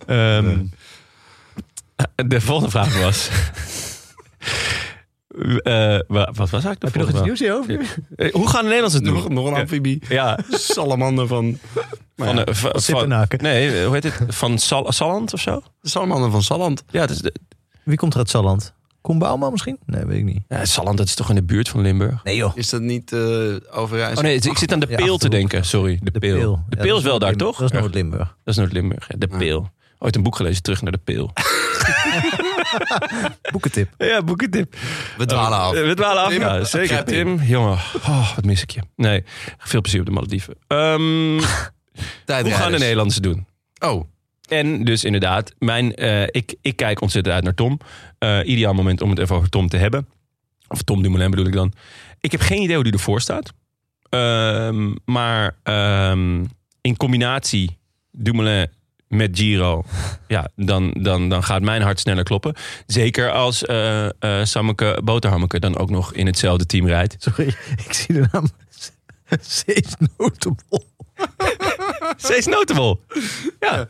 ehm, de volgende vraag was... Eh, wa- wat was eigenlijk de Heb je nog iets nieuws in je hoofd? nu? Eh, Hoe gaan de Nederlanders het doen? nog, nog een amfibie. Ja, Salamander van... van, eh, van- Zippenhaken. nee, hoe heet het? Van Sal Salland of zo? Salamander van Salland. Ja, het is de, Wie komt er uit Salland? Koen Bouwman misschien? Nee, weet ik niet. ja, Salland, dat is toch in de buurt van Limburg? Nee joh. Is dat niet eh overijs? Oh nee, ik zit aan de Ja, peel te Achterhoek. denken. Sorry, de, peel. De Ja, peel dat is wel daar, Noord-Limburg. toch? Dat is Erg- Noord-Limburg. dat is Noord-Limburg. hè. De peel. Ooit een boek gelezen, terug naar de peel. Boekentip. Ja, boekentip. We dwalen af. Eh, We dwalen af. Tim, ja, zeker. grijp in. Tim, jongen. Oh, wat mis ik je. Nee, veel plezier op de Malediven. Ehm, hoe Tijdrijders. gaan de Nederlanders het doen? Oh, En dus inderdaad, mijn, eh, ik, ik kijk ontzettend uit naar Tom. Eh, ideaal moment om het even over Tom te hebben. Of Tom Dumoulin bedoel ik dan. Ik heb geen idee hoe die ervoor staat. Ehm, maar ehm, in combinatie Dumoulin met Giro... ja, dan, dan, dan gaat mijn hart sneller kloppen. Zeker als eh eh, Sammeke Boterhammeke dan ook nog in hetzelfde team rijdt. Sorry, ik zie de naam. Zees notable. Steeds notable. Ja.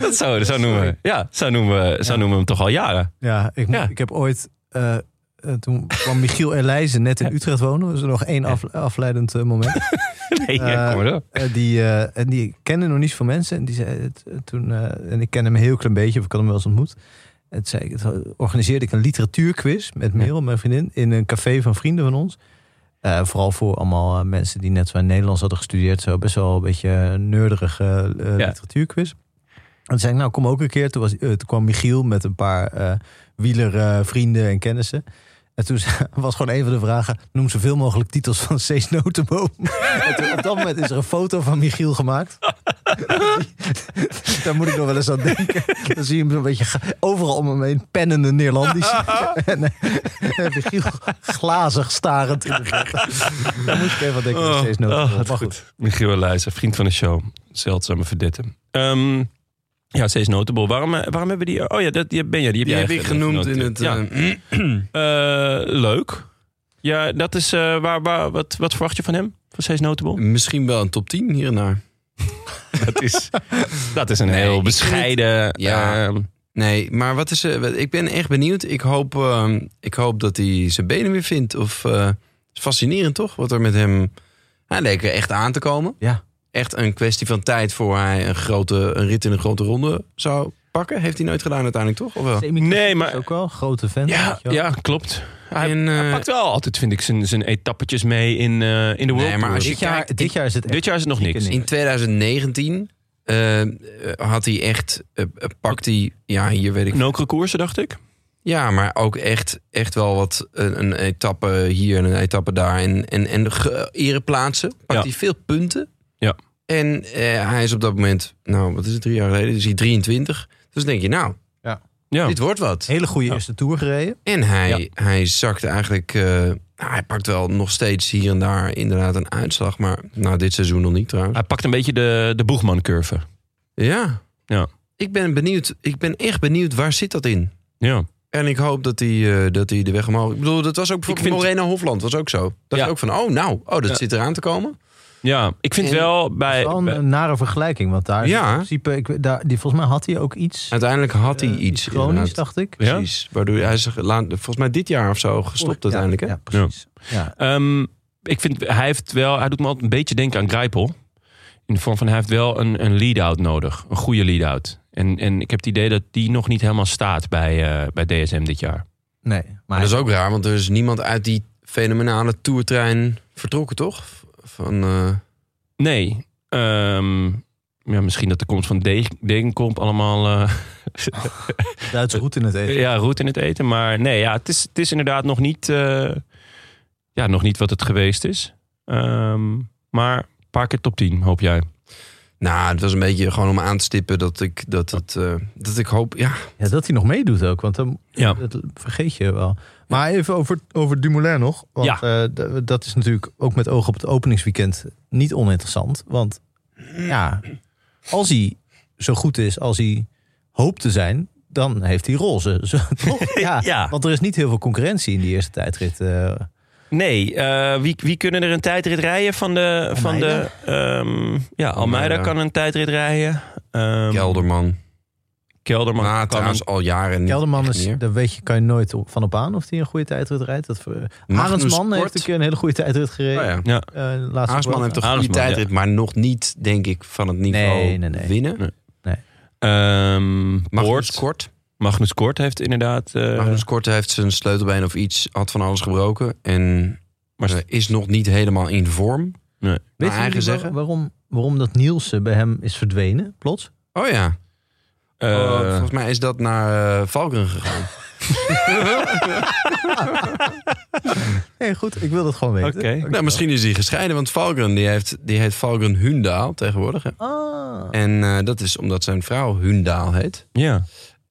dat zou, zo noemen we. Ja, zo noemen we, zo noemen we hem toch al jaren. Ja, ik, moet- Ja. ik heb ooit... eh, eh, toen kwam Michiel Elijzen net in Utrecht wonen. was er nog één afle- afleidend eh, moment. Nee, ja, Eh, kom maar door. Eh, die, eh, en die kende nog niet veel mensen. En, die zei, het, eh, toen, eh, en ik ken hem een heel klein beetje, of ik had hem wel eens ontmoet. En toen zei ik, toen organiseerde ik een literatuurquiz met Merel, mijn vriendin, in een café van vrienden van ons. Eh, vooral voor allemaal eh, mensen die net zo in Nederlands hadden gestudeerd. Zo best wel een beetje een nerdige eh, eh, Ja. literatuurquiz. En toen zei ik, nou kom ook een keer. Toen, was, eh, toen kwam Michiel met een paar eh, wieler wielervrienden en kennissen. En toen ze- was gewoon een van de vragen... noem zoveel mogelijk titels van Cees Notenboom. En toen, op dat moment is er een foto van Michiel gemaakt. Daar moet ik nog wel eens aan denken. Dan zie je hem zo'n beetje ga- overal om hem heen pennende Neerlandisch. en eh, Michiel glazig starend in de verte. Daar moet ik even aan denken. van Cees Notenboom. Oh, wat Maar goed. Michiel Leijzer, vriend van de show. Zeldzame verdette. Ehm, ja, steeds notable. Waarom, eh, waarom hebben we die... Oh ja, dat, die ben je. Die heb, die jij heb ik ge- genoemd in genoteerd. het... Ja. eh, Eh, leuk. Ja, dat is... eh, waar, waar, wat, wat verwacht je van hem? Van steeds notable? misschien wel een top 10 hiernaar. dat, is, dat is een Nee, ik heel vind bescheiden... Ja. ehm, Nee, maar wat is, eh, wat- ik ben echt benieuwd. Ik hoop, eh, ik hoop dat hij zijn benen weer vindt. Of, eh, het is fascinerend toch, wat er met hem... Hij leek er echt aan te komen. Ja. Echt een kwestie van tijd voor hij een, grote, een rit in een grote ronde zou pakken. Heeft hij nooit gedaan uiteindelijk toch? Of wel? goed. nee, maar... Is ook wel een grote fan. Ja, weet je wel. ja, klopt. Hij, En, eh, hij pakt wel altijd, vind ik, zijn, zijn etappetjes mee in, eh, in de World Nee, maar als Tour. je Dit, jaar, kijkt- dit jaar is het echt Dit jaar is het nog dikke niks. niks. In 2019 eh, eh, had hij echt, eh, eh, pakt hij, ja, hier weet ik. Nokere koersen, dacht ik. Ja, maar ook echt, echt wel wat een, een etappe hier en een etappe daar. En, en, en ge- ereplaatsen. Pakt Ja. hij veel punten. Ja. En eh, hij is op dat moment, nou, wat is het, drie jaar geleden? Is hij 23. Dus denk je, nou, Ja. dit wordt wat. hele goede eerste tour gereden. En hij, hij zakt eigenlijk. eh, nou, hij pakt wel nog steeds hier en daar inderdaad een uitslag. Maar nou, dit seizoen nog niet trouwens. Hij pakt een beetje de, de boegman-curve. Ja. Ja. Ik ben benieuwd. Ik ben echt benieuwd waar zit dat in. Ja. En ik hoop dat hij, eh, dat hij de weg omhoog. Ik bedoel, dat was ook voor vind- Morena Hofland was ook zo. Dat Ja. je ook van, oh nou, oh dat zit eraan te komen. ja, ik vind En- eh, wel bij... Wel een, bij- een nare vergelijking. Want daar Ja. in principe, ik, daar, die, volgens mij had hij ook iets, Uiteindelijk had hij eh, iets chronisch, inderdaad. dacht ik. Ja? Precies. Waardoor hij is laat, volgens mij dit jaar of zo gestopt Ja, uiteindelijk. Hè? Ja, precies. Ja. Ehm, ik vind, hij heeft wel... Hij doet me altijd een beetje denken aan Grijpel. In de vorm van, hij heeft wel een, een lead-out nodig. Een goede lead-out. En, en ik heb het idee dat die nog niet helemaal staat bij, eh, bij DSM dit jaar. Nee, Maar maar dat is ook raar, want er is niemand uit die fenomenale toertrein vertrokken, toch? Van, eh, Nee. Ehm, ja, misschien dat de komst van Degen- Degenkamp allemaal... eh, Duitse route in het eten. Ja, roet in het eten. Maar nee, ja, het, is, het is inderdaad nog niet, eh, ja, nog niet wat het geweest is. Ehm, maar een paar keer top 10, hoop jij. nou, het was een beetje gewoon om aan te stippen dat ik, dat, het, eh, dat ik hoop... Ja, Ja, dat hij nog meedoet ook, want dan, Ja. dat vergeet je wel. Maar even over, over Dumoulin nog. Want Ja. eh, d- dat is natuurlijk ook met oog op het openingsweekend niet oninteressant. Want ja, als hij zo goed is als hij hoopt te zijn, dan heeft hij roze. Zo, toch? Ja, Ja. Want er is niet heel veel concurrentie in die eerste tijdrit. eh. Nee, eh, wie, wie kunnen er een tijdrit rijden van de... Van de ehm, ja, Almeida Almeida. kan een tijdrit rijden. Ehm, Kelderman. Kelderman Maar kan een- trouwens al jaren niet. Kelderman echt is, meer. daar weet je, kan je nooit op- van op aan of hij een goede tijdrit rijdt. Dat, ver- Magnus Arendsman heeft Kort. een keer een hele goede tijdrit gereden. Oh ja. ja. Eh, laatste Haasman Vuelta. heeft toch een goede Haasman, tijdrit, maar nog niet, denk ik, van het niveau Nee, nee, nee. winnen. Nee. Ehm Magnus Poort, Kort. Magnus Kort heeft inderdaad... eh, Magnus Kort heeft zijn sleutelbeen of iets, had van alles gebroken. En Maar- eh, is nog niet helemaal in vorm. Nee. Naar Weet je eigen zeggen. waarom, waarom dat Nielsen bij hem is verdwenen, plots? Oh ja. Eh, Oh, volgens mij is dat naar eh, Valken gegaan. Nee, goed, ik wil dat gewoon weten. Oké. Nou, misschien is hij gescheiden, want Valken die heeft, die heet Valken Hundaal tegenwoordig. Hè? Ah, En eh, dat is omdat zijn vrouw Hundaal heet. Ja.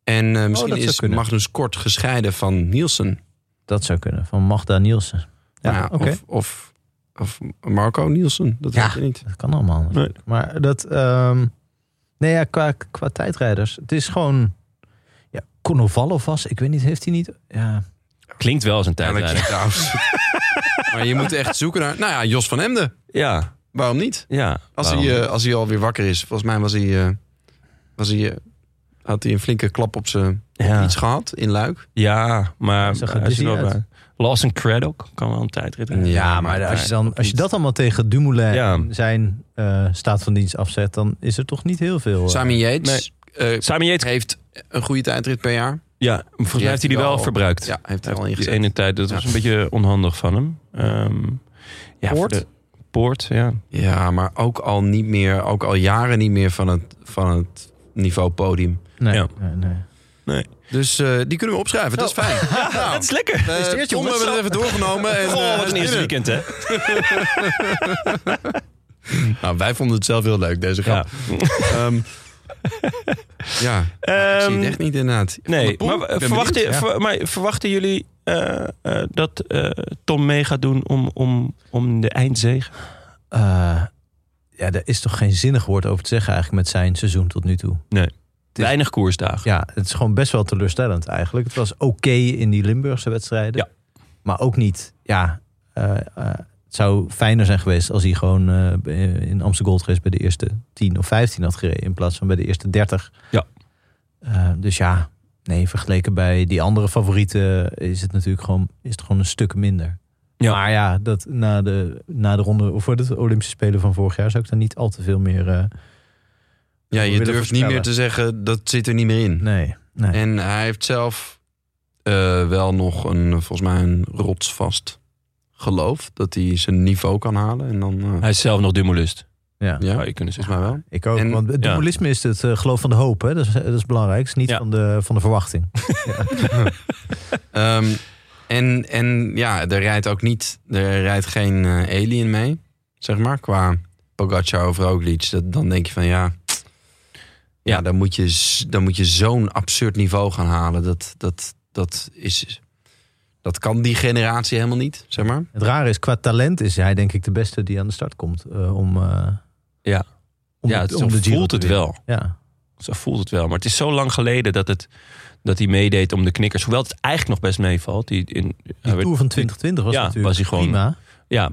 En eh, misschien dat zou is kunnen. Magnus Kort gescheiden van Nielsen. dat zou kunnen. Van Magda Nielsen. Ja, Nou oké. of, of, of Marco Nielsen, dat Ja. weet je niet. Dat kan allemaal. natuurlijk. Maar dat... ehm, nee, ja, qua, qua tijdrijders. Het is gewoon... Ja, Konovalov was, ik weet niet, heeft hij niet... Ja, Klinkt wel als een Elk tijdrijder. trouwens. maar je moet echt zoeken naar... Nou ja, Jos van Emden. Ja, Waarom niet? ja. Als, Waarom? hij, eh als hij alweer wakker is. Volgens mij was hij, eh, was hij, eh, had hij een flinke klap eh, op zijn ja. iets gehad in Luik. ja, maar Zag er als je dizzy wel uit. bij... Lawson Craddock kan wel een tijdrit rijden. Ja, maar als je, dan, als je dat allemaal tegen Dumoulin Ja. en zijn eh, staat van dienst afzet... dan is er toch niet heel veel... eh, Sami Yates eh, Simon Yates, heeft een goede tijdrit per jaar. ja, volgens Die mij heeft hij die wel verbruikt. Ja, heeft Hij hij al heeft die ingezet. ene tijd, dat Ja. was een beetje onhandig van hem. Ehm, ja, Poort? voor de- Poort, ja. Ja, maar ook al niet meer, ook al jaren niet meer van het, van het niveau podium. nee, ja. nee, nee. Dus eh, die kunnen we opschrijven, dat is Oh. fijn. Nou, Ja, Het is lekker. Eh, we Tom hebben we het even doorgenomen. En, eh, Goh, wat een eerste binnen. weekend, hè? nou, wij vonden het zelf heel leuk, deze grap. Ja, ja. ik Ehm, zie het echt niet inderdaad. Van der Nee, Poel? maar, Ik ben verwachten, benieuwd. ver- maar verwachten jullie eh, eh, dat eh, Tom mee gaat doen om, om, om de eindzege? Eh, ja, daar is toch geen zinnig woord over te zeggen eigenlijk met zijn seizoen tot nu toe. is- Weinig koersdagen. Ja, het is gewoon best wel teleurstellend eigenlijk. Het was oké in die Limburgse wedstrijden. Maar ook niet, ja, eh, eh, het zou fijner zijn geweest als hij gewoon eh, in Amsterdam Gold Race bij de eerste 10 of 15 had gereden in plaats van bij de eerste 30. Ja. Eh, dus ja, nee, vergeleken bij die andere favorieten is het natuurlijk gewoon, is het gewoon een stuk minder. Ja. Maar ja, dat na de, na de ronde, of voor de Olympische Spelen van vorig jaar, zou ik daar niet al te veel meer. eh, Ja, we je willen durft niet voorspellen. meer te zeggen, dat zit er niet meer in. nee, nee. En hij heeft zelf eh, wel nog een, volgens mij, een rotsvast geloof. Dat hij zijn niveau kan halen. En dan, eh, Hij is zelf nog dummelust. ja. ja, Zou je kunnen zeggen. volgens mij wel. Ik ook, En- want het ja. dualisme is het eh, geloof van de hoop. Hè? Dat, is, dat is belangrijk. Het is niet Ja. van, de, van de verwachting. Ehm, en, en ja, er rijdt ook niet, er rijdt geen eh, alien mee, zeg maar, qua Pogacar of Roglic. Dat, dan denk je van ja, ja, dan moet je, z- dan moet je zo'n absurd niveau gaan halen. Dat, dat, dat, is, dat kan die generatie helemaal niet, zeg maar. Het rare is, qua talent is hij denk ik de beste die aan de start komt. eh, om, eh, Ja. om ja, de- het, om zo de Giro voelt te het winnen. wel. Ja. Zo voelt het wel. Maar het is zo lang geleden dat, het, dat hij meedeed om de knikkers. Hoewel het eigenlijk nog best meevalt. Die in, hij Die werd- Tour van 2020 was Ja, natuurlijk was hij gewoon- prima. ja,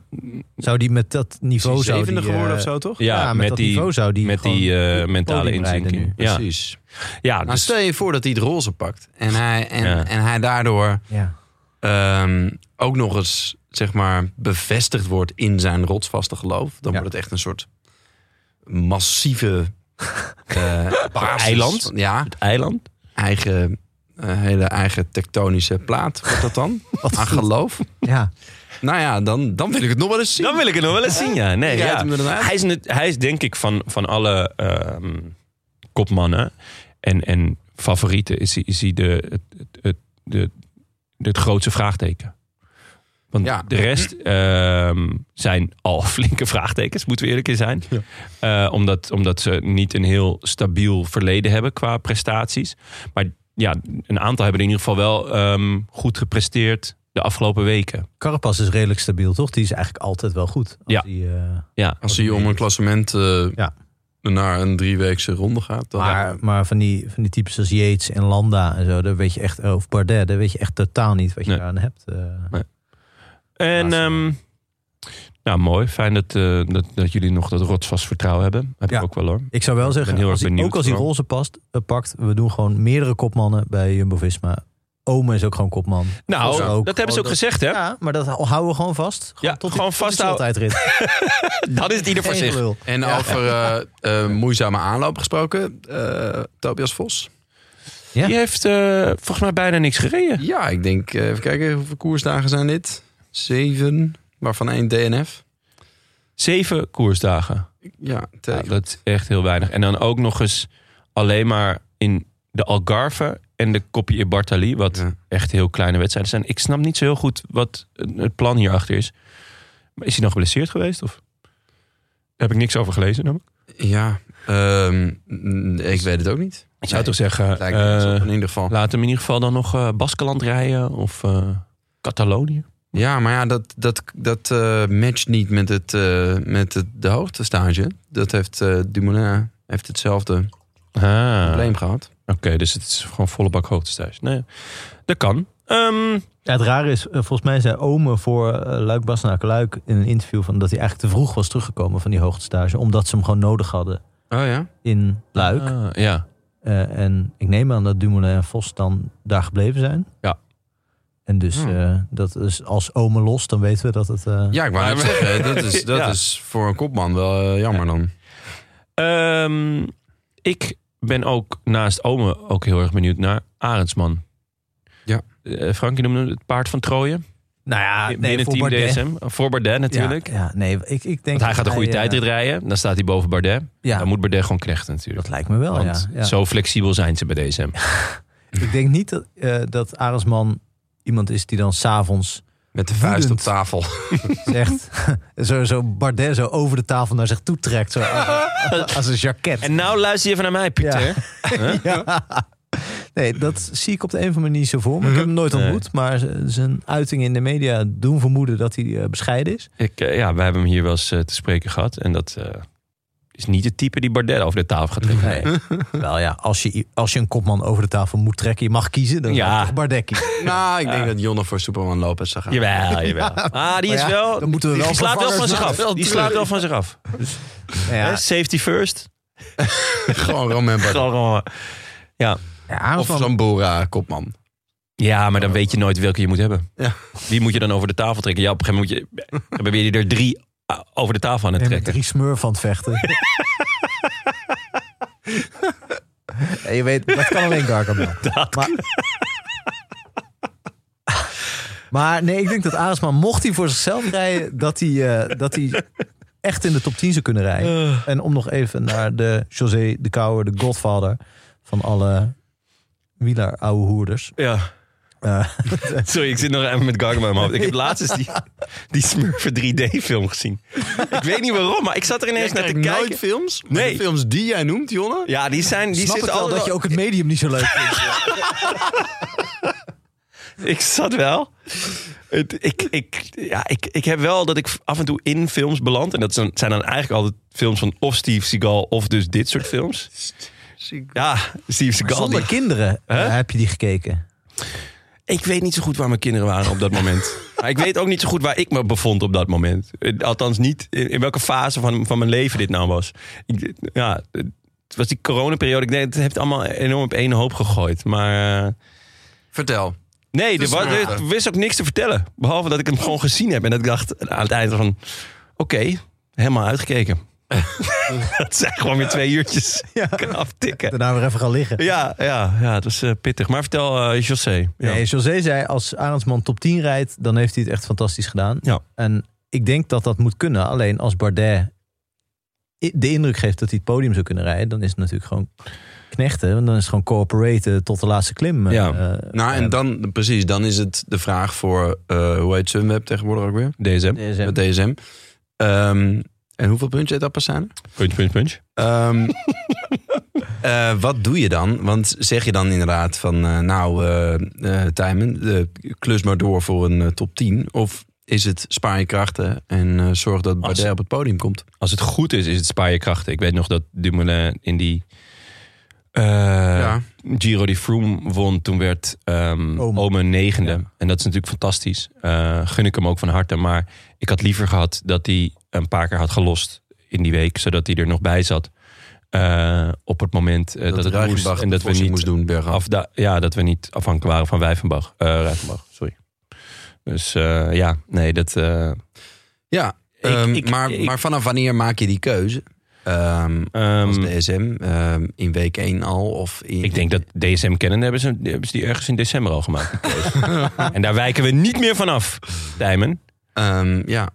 Zou die met dat niveau... zou die, eh, toch? ja, Ja, met, die, niveau zou die met gewoon die eh, op het mentale podium rijden inzinking. nu. Ja, Precies. ja Nou, dus stel je voor dat hij het roze pakt. En hij, en, Ja. en hij daardoor Ja. ehm, ook nog eens zeg maar, bevestigd wordt in zijn rotsvaste geloof. Dan Ja. wordt het echt een soort massieve eh, basis eiland? van- Ja, het eiland. eigen, eh, hele eigen tektonische plaat wordt dat dan. aan geloof. Ja. Nou ja, dan, dan wil ik het nog wel eens zien. Dan wil ik het nog wel eens zien, ja. Nee, Ik rijd ja. hem er dan uit. Hij is, net- hij is denk ik van, van alle ehm, kopmannen en, en favorieten... is hij, is hij de, het, het, het, de, de- het grootste vraagteken. Want Ja. de rest ehm, zijn al flinke vraagtekens, moeten we eerlijk in zijn. Eh, omdat, omdat ze niet een heel stabiel verleden hebben qua prestaties. Maar ja, een aantal hebben in ieder geval wel ehm, goed gepresteerd de afgelopen weken. Carapaz is redelijk stabiel, toch? Die is eigenlijk altijd wel goed. Als Ja. Die, eh, Ja. Als hij om een klassement eh, Ja. naar een drieweekse ronde gaat. Dan Maar, maar van, die, van die types als Yates en Landa en zo, daar weet je echt, of Bardet, daar weet je echt totaal niet wat je Nee. daaraan hebt. eh. En Laatste. ehm, nou, mooi. Fijn dat, eh, dat, dat jullie nog dat rotsvast vertrouwen hebben. Heb Ja. ik ook wel hoor. Ik zou wel zeggen, heel erg als hij- benieuwd ook als hij vooral. roze past, eh, pakt, we doen gewoon meerdere kopmannen bij Jumbo-Visma. Oma is ook gewoon kopman. Nou, Ook. dat hebben ze ook Oh, dat- gezegd, hè? Ja, maar dat houden we gewoon vast. Gewoon Ja, tot gewoon vasthouden. Altijd rit. Dat is het ieder voor zich. En over eh, eh, moeizame aanloop gesproken, eh, Tobias Vos. Ja. Die heeft eh, volgens mij bijna niks gereden. Ja, ik denk, eh, even kijken, hoeveel koersdagen zijn dit? Zeven, waarvan één DNF. Zeven koersdagen. Ja, te- Ah, Ja, dat is echt heel weinig. En dan ook nog eens alleen maar in de Algarve en de Coppi e Bartali, wat Ja. echt heel kleine wedstrijden zijn. Ik snap niet zo heel goed wat het plan hierachter is. Maar is hij nog geblesseerd geweest? Of? Daar heb ik niks over gelezen. namelijk. Ja, ehm, n- ik weet het ook niet. Ik zou toch zeggen, Het lijkt me eh, niks op in ieder geval. laat hem in ieder geval dan nog eh Baskeland rijden of eh, Catalonië. Ja, maar ja, dat, dat, dat eh, matcht niet met, het, eh, met het, de hoogtestage. Dat heeft eh, Dumoulin heeft hetzelfde Ah, oké, probleem gehad. dus het is gewoon volle bak hoogtes thuis. Nee, dat kan. Ehm, Ja, het rare is, eh, volgens mij zei Ome voor eh, Luik Bassenaar Luik in een interview van dat hij eigenlijk te vroeg was teruggekomen van die hoogtestage, omdat ze hem gewoon nodig hadden Oh ja? in Luik. ah, ja. Eh, en ik neem aan dat Dumoulin en Vos dan daar gebleven zijn. Ja. En dus eh, dat is als Ome los, dan weten we dat het. eh, Ja, ik wou net Maar- zeggen, dat, is, dat Ja. is voor een kopman wel eh, jammer dan. Ehm, ik ben ook naast Ome ook heel erg benieuwd naar Arendsman. Ja. Eh, Frankie noemde hem het paard van Troje. Nou ja, nee, binnen voor Team Bardet. DSM. Oh, Voor Ah, Bardet natuurlijk. Ja, ja, nee, ik, ik denk. Want hij dat gaat een goede eh, tijdrit rijden. Dan staat hij boven Bardet. Ja, Dan moet Bardet gewoon knechten natuurlijk. dat lijkt me wel. Ja, Want ja. zo flexibel zijn ze bij DSM. Ik denk niet dat, eh dat Arendsman iemand is die dan s'avonds Met de vuist op Woedend. tafel. zegt. zo, zo Bardet zo over de tafel naar zich toe trekt. Zo, als, als een jacket. En nou luister je even naar mij, Pieter. Ja. Ja. Mhm. Nee, dat zie ik op de een of andere manier niet zo voor. me. ik heb hem nooit Nee. ontmoet. Maar z- zijn uitingen in de media doen vermoeden dat hij eh, bescheiden is. Ik, eh, ja, we hebben hem hier wel eens eh, te spreken gehad. En dat eh, is niet het type die Bardet over de tafel gaat trekken. Nee. Wel ja, als je, als je een kopman over de tafel moet trekken, je mag kiezen, dan Ja. ja. toch Bardet kiezen. nou, ik denk dat Jonne voor Superman Lopez zou gaan. Jawel, jawel. Ah, die Maar is ja, wel... dan moeten we die wel slaat wel van vervangers zich af. halen. Die slaat wel van zich af. Ja, Hè, Safety first. Gewoon Romain Bardet. Gewoon, gewoon, eh, ja, Of Arendsman- Zambora, kopman. Ja, maar dan weet je nooit welke je moet hebben. Ja. Wie moet je dan over de tafel trekken? Ja, op een gegeven moment moet je, hebben we er drie ah, over de tafel aan het En met trekken. drie smurf van het vechten. Ja, je weet, dat kan alleen Gargamel. Maar, maar nee, ik denk dat Aresman, mocht hij voor zichzelf rijden, dat hij, eh, dat hij echt in de top 10 zou kunnen rijden. Eh. En om nog even naar de José de Kouwer, de godfather van alle wieler-ouwehoerders. Ja. Eh, Sorry, ik zit nog even met Gargamel in mijn hoofd. Ik heb laatst eens die, die Smurfen 3D-film gezien. Ik weet niet waarom, maar ik zat er ineens naar te kijken. nooit films? Maar Nee. de films die jij noemt, Jonne? Ja, die zijn... Die snap zitten ik wel altijd dat je ook het medium niet zo leuk vindt. Ik zat wel. Het, ik, ik, ja, ik, ik heb wel dat ik af en toe in films beland. En dat zijn zijn dan eigenlijk altijd films van of Steve Seagal of dus dit soort films. Ja, Steve Seagal. Zonder die- kinderen eh, Hè? heb je die gekeken. ik weet niet zo goed waar mijn kinderen waren op dat moment. Maar ik weet ook niet zo goed waar ik me bevond op dat moment. Eh, Althans niet in, in welke fase van, van mijn leven dit nou was. Ik, ja, het was die coronaperiode. Ik denk, het heeft allemaal enorm op één hoop gegooid. Maar... eh, Vertel. Nee, er, Dus was, maar- er wist ook niks te vertellen. Behalve dat ik hem gewoon gezien heb. En dat ik dacht aan het einde van... Oké, helemaal uitgekeken. dat zijn gewoon weer twee uurtjes. Ja. aftikken. Daarna weer even gaan liggen. Ja, ja, ja, het was eh, pittig. Maar vertel, eh José. Ja. Nee, José zei, als Arendsman top 10 rijdt, dan heeft hij het echt fantastisch gedaan. Ja. En ik denk dat dat moet kunnen. Alleen als Bardet i- de indruk geeft dat hij het podium zou kunnen rijden, dan is het natuurlijk gewoon knechten. Want dan is het gewoon coöperaten tot de laatste klim. eh, Ja. eh, Nou, en eh, dan, precies, dan is het de vraag voor, eh, hoe heet Sunweb tegenwoordig ook weer? DSM. DSM. Met DSM. Ehm, en hoeveel punten zijn er? Punch, punch, punch. Ehm eh, wat doe je dan? Want zeg je dan inderdaad van, eh, nou, eh eh Tijmen, eh, klus maar door voor een eh, top 10? Of is het spaar je krachten en eh, zorg dat Bardet op het podium komt? Als het goed is, is het spaar je krachten. Ik weet nog dat Dumoulin in die... eh, ja. Giro die Froome won, toen werd ehm Omen. Omen negende. En dat is natuurlijk fantastisch. Eh, gun ik hem ook van harte. Maar ik had liever gehad dat hij een paar keer had gelost in die week. Zodat hij er nog bij zat. Eh, op het moment eh, dat, het moest. Reichenbach En dat we Vossi niet, moest doen, bergaf. afda- ja, dat we niet afhankelijk waren van Wijvenbach. Eh Rijvenbach, sorry. Dus eh, ja, nee, dat... eh, Ja, Ik- ehm, ik- maar, ik- maar vanaf wanneer maak je die keuze? Ehm ehm, als DSM, ehm, in week 1 al? Of in, ik denk dat DSM kennen hebben ze, hebben ze die ergens in december al gemaakt. die keuze. en daar wijken we niet meer vanaf, Dijmen. Ehm, ja,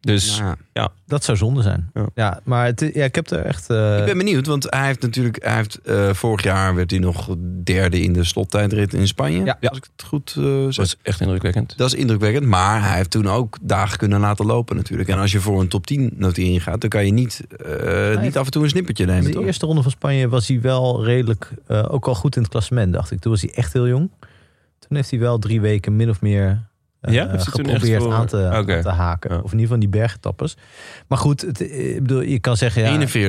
Dus Ja. Dat zou zonde zijn. Ja. Ja, maar het, ja, ik heb er echt... eh, Ik ben benieuwd, want hij heeft natuurlijk, hij heeft, eh, vorig jaar werd hij nog derde in de slottijdrit in Spanje. Ja. Als ik het goed eh, dat zeg. is echt indrukwekkend. Dat is indrukwekkend, maar hij heeft toen ook dagen kunnen laten lopen natuurlijk. En als je voor een top 10 notering gaat, dan kan je niet, eh, niet af en toe een snippertje nemen, de toch? eerste ronde van Spanje was hij wel redelijk... eh, ook al goed in het klassement, dacht ik. Toen was hij echt heel jong. Toen heeft hij wel drie weken min of meer... eh, Ja? Heeft hij toen echt geprobeerd voor- aan, te, aan Oké. te haken. Ja. Of in ieder geval die bergtappers. Maar goed, het, eh, ik bedoel, je kan zeggen... Ja, 41ste.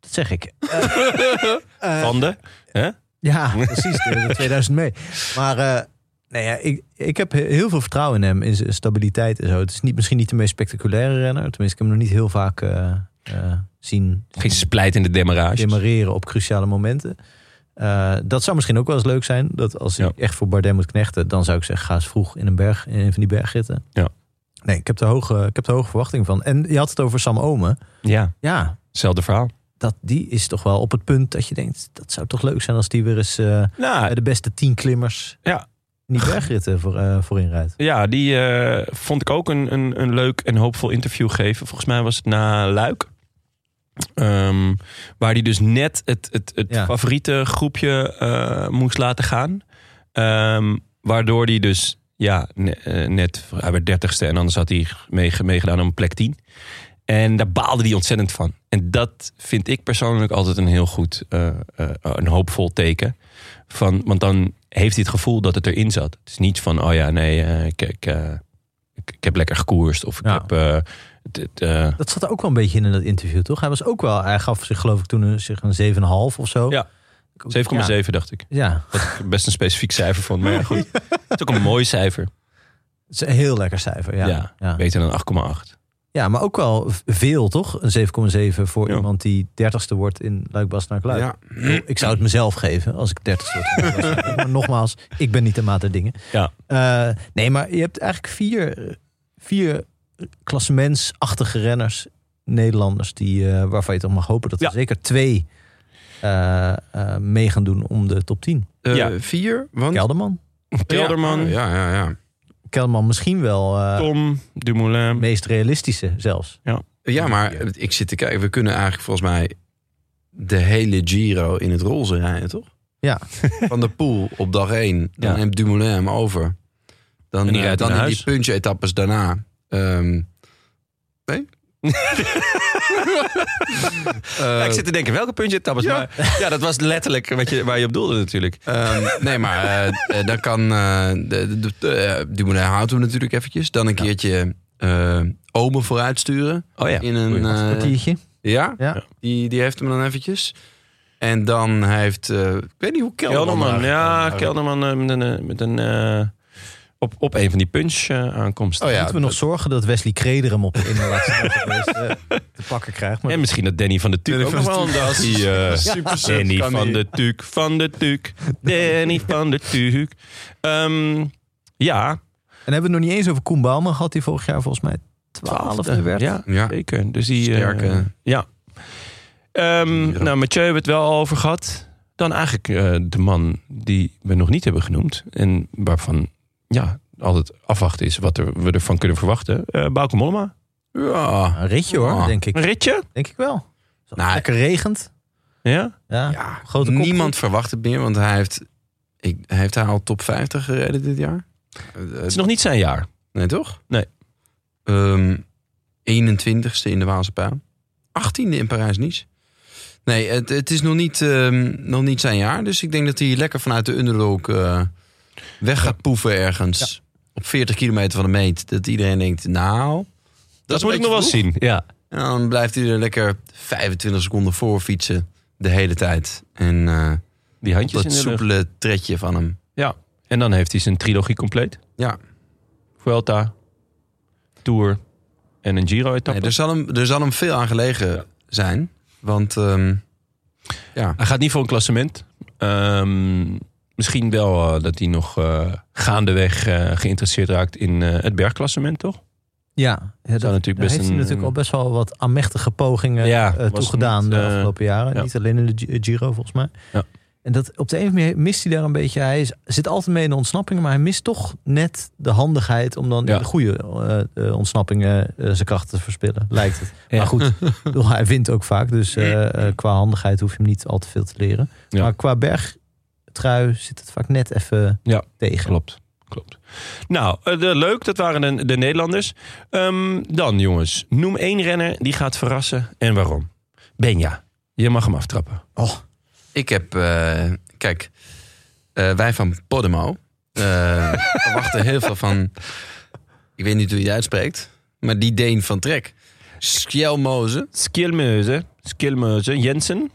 dat zeg ik. Van de Ja, precies. De, de 2000 mee. Maar eh, nee, ja, ik, ik heb he- heel veel vertrouwen in hem, in zijn stabiliteit en zo. Het is niet, misschien niet de meest spectaculaire renner. Tenminste, ik heb hem nog niet heel vaak eh, eh, zien Geen splijt in de demarage. demareren op cruciale momenten. Eh, dat zou misschien ook wel eens leuk zijn. Dat als ik Ja. echt voor Bardet moet knechten, dan zou ik zeggen: ga eens vroeg in een berg, in een van die bergritten. Ja. Nee, ik heb de hoge, ik heb de hoge verwachting van. En je had het over Sam Omen. Ja, Ja, hetzelfde verhaal. dat, die is toch wel op het punt dat je denkt... dat zou toch leuk zijn als die weer eens eh, Nou, bij de beste tien klimmers... Ja. in die bergritten voor, eh, voorin rijdt. Ja, die eh, vond ik ook een, een, een leuk en hoopvol interview geven. Volgens mij was het na Luik. Ehm, waar hij dus net het, het, het Ja. favoriete groepje eh, moest laten gaan. Ehm, waardoor hij dus, ja, ne- eh, net, hij werd dertigste en anders had hij mee, meegedaan om plek 10. En daar baalde hij ontzettend van. En dat vind ik persoonlijk altijd een heel goed, eh, eh, een hoopvol teken. Van, want dan heeft hij het gevoel dat het erin zat. Het is niet van, oh ja, nee, eh, ik, ik, eh, ik, ik heb lekker gekoerst. Of ik Ja. heb... eh, het, het, eh, Dat zat er ook wel een beetje in in dat interview, toch? Hij was ook wel... Hij gaf zich geloof ik toen een, zich een 7,5 of zo. Ja. 7,7 dacht ik. Ja, ja. Wat ik best een specifiek cijfer vond. Maar ja, goed. Het is ook een mooi cijfer. Het is een heel lekker cijfer. Ja, ja. Ja. ja. Beter dan 8,8. maar ook wel v- veel, toch? Een 7,7 voor Ja. iemand die 30ste wordt in luik bastenaak luik Ja. Ik zou het mezelf geven als ik 30 word. van de wedstrijd. maar nogmaals, ik ben niet de maat der dingen. Ja. Eh, nee, maar je hebt eigenlijk vier, vier klassementsachtige renners, Nederlanders, die, eh, waarvan je toch mag hopen dat er Ja. zeker twee eh, eh, mee gaan doen om de top 10. Eh, Ja. Vier, want... Kelderman. Kelderman, Ja, ja, ja. Kelderman misschien wel eh, Tom, Dumoulin. het meest realistische zelfs. Ja, maar ik zit te kijken. We kunnen eigenlijk volgens mij de hele Giro in het roze rijden, toch? Ja. Van de pool op dag één. Dan Ja. neemt Dumoulin hem over. Dan, En die eh, rijdt dan naar in huis. die punch-etappes daarna. ehm, nee? Ja, Eh, ik zit te denken, welke puntje het tabbers? Ja. Maar ja, dat was letterlijk wat je, waar je op doelde natuurlijk. Ehm, nee, maar eh, eh, dan kan eh, de, de, de, eh, Dumoulin houdt hem natuurlijk eventjes. Dan een keertje eh Ome vooruitsturen. Oh ja. In een, Goeie. eh, Kwartiertje. ja, Ja. Die, die heeft hem dan eventjes. En dan heeft, eh, ik weet niet hoe Kelderman... Kelderman, daar- ja, daar- Kelderman eh, met een, eh, met een eh, op, op een van die punch eh, aankomsten. Oh ja, Moeten we nog zorgen dat Wesley Kreder hem op de inderlaatste dag het meest, eh, te pakken krijgt. Maar En misschien dat Danny van de Tuuk Danny ook van nog de wel een dag. Die, eh, Danny kan van die. de Tuuk, van de Tuuk. Danny van de Tuuk. Ehm, ja, En hebben we het nog niet eens over Koen Bouwman gehad, die vorig jaar volgens mij twaalfde werd. ja, Ja. zeker. Dus die, eh, Sterke. ja. Ehm, Ja. Nou, Mathieu hebben we het wel over gehad. Dan eigenlijk eh, de man die we nog niet hebben genoemd. En waarvan ja, altijd afwachten is wat er, we ervan kunnen verwachten. Eh Bauke Mollema. Ja. Een ritje hoor, Ah. denk ik. Een ritje. Denk ik wel. Nou, Lekker regent. Ja? Ja. ja, Grote kop. niemand verwacht het meer, want hij heeft, ik, heeft hij al top 50 gereden dit jaar? Eh, Het is nog niet zijn jaar. Nee, toch? Nee. Ehm, 21ste in de Waalse Pijl. 18e in Parijs-Nice. Nee, het, het is nog niet, ehm, nog niet zijn jaar. Dus ik denk dat hij lekker vanuit de underdog eh, weg gaat poeven ergens. Op 40 kilometer van de meet. Dat iedereen denkt, nou... Dat, Dat, is een moet ik nog wel beetje zien. Ja. en dan blijft hij er lekker 25 seconden voor fietsen de hele tijd. En eh Die op handjes dat in de lucht. soepele tredje van hem. En dan heeft hij zijn trilogie compleet. Ja. Vuelta, Tour en een Giro-etappe. Nee, er, zal hem, er zal hem veel aan gelegen zijn. Want ehm, ja, Hij gaat niet voor een klassement. Ehm, misschien wel eh, dat hij nog eh, gaandeweg eh, geïnteresseerd raakt in eh, het bergklassement, toch? Ja, ja dat, Zou natuurlijk daar best heeft hij een- natuurlijk al best wel wat amechtige pogingen Ja, eh, was toegedaan niet, de eh, afgelopen jaren. ja. Niet alleen in de Gi- eh, Giro volgens mij. Ja. En dat op de een of andere manier mist hij daar een beetje. Hij is, zit altijd mee in de ontsnappingen, maar hij mist toch net de handigheid om dan Ja. in de goede eh, eh, ontsnappingen eh, zijn krachten te verspillen, lijkt het. Maar goed, ik bedoel, hij wint ook vaak, dus eh, eh, qua handigheid hoef je hem niet al te veel te leren. Ja. Maar qua bergtrui zit het vaak net even Ja, tegen. Klopt. Klopt. Nou, eh, de- leuk. Dat waren de, de Nederlanders. Ehm, dan, jongens. Noem één renner die gaat verrassen en waarom. Benja, je mag hem aftrappen. Ik heb, eh, kijk, eh, wij van Podemo eh, verwachten heel veel van, ik weet niet hoe je het uitspreekt, maar die Deen van Trek. Skjelmoze. Skilmeuze. Skilmeuze Jensen.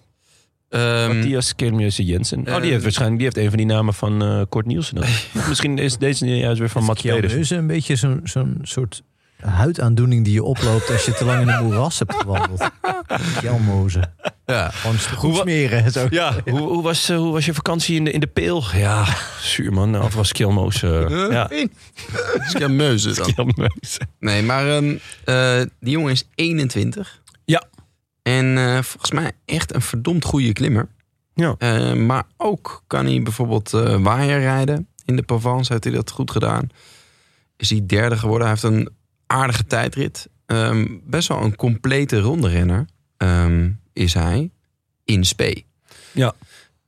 Ehm Matthias Skilmeuze Jensen. oh, die eh, heeft waarschijnlijk die heeft een van die namen van eh Kort Nielsen. dan. Misschien is deze juist weer van Matt Pedersen. Kjelmeuze, een beetje zo'n zo'n soort huidaandoening die je oploopt als je te lang in een moeras hebt gewandeld. Jelmozen. ja. Gewoon goed Hoe wa- smeren en zo. Ja, hoe, hoe, was, eh, hoe was je vakantie in de, in de Peel? Ja, zuur man. Of was Skilmeuze. eh, ja, Skjelmeuze dan. Skilmeuze. Nee, maar ehm, eh, die jongen is 21. Ja. En eh, volgens mij echt een verdomd goede klimmer. Ja. Eh, maar ook kan hij bijvoorbeeld eh waaier rijden. In de Provence heeft hij dat goed gedaan. Is hij derde geworden. Hij heeft een aardige tijdrit. Ehm, best wel een complete ronderenner ehm, is hij in spe. Ja.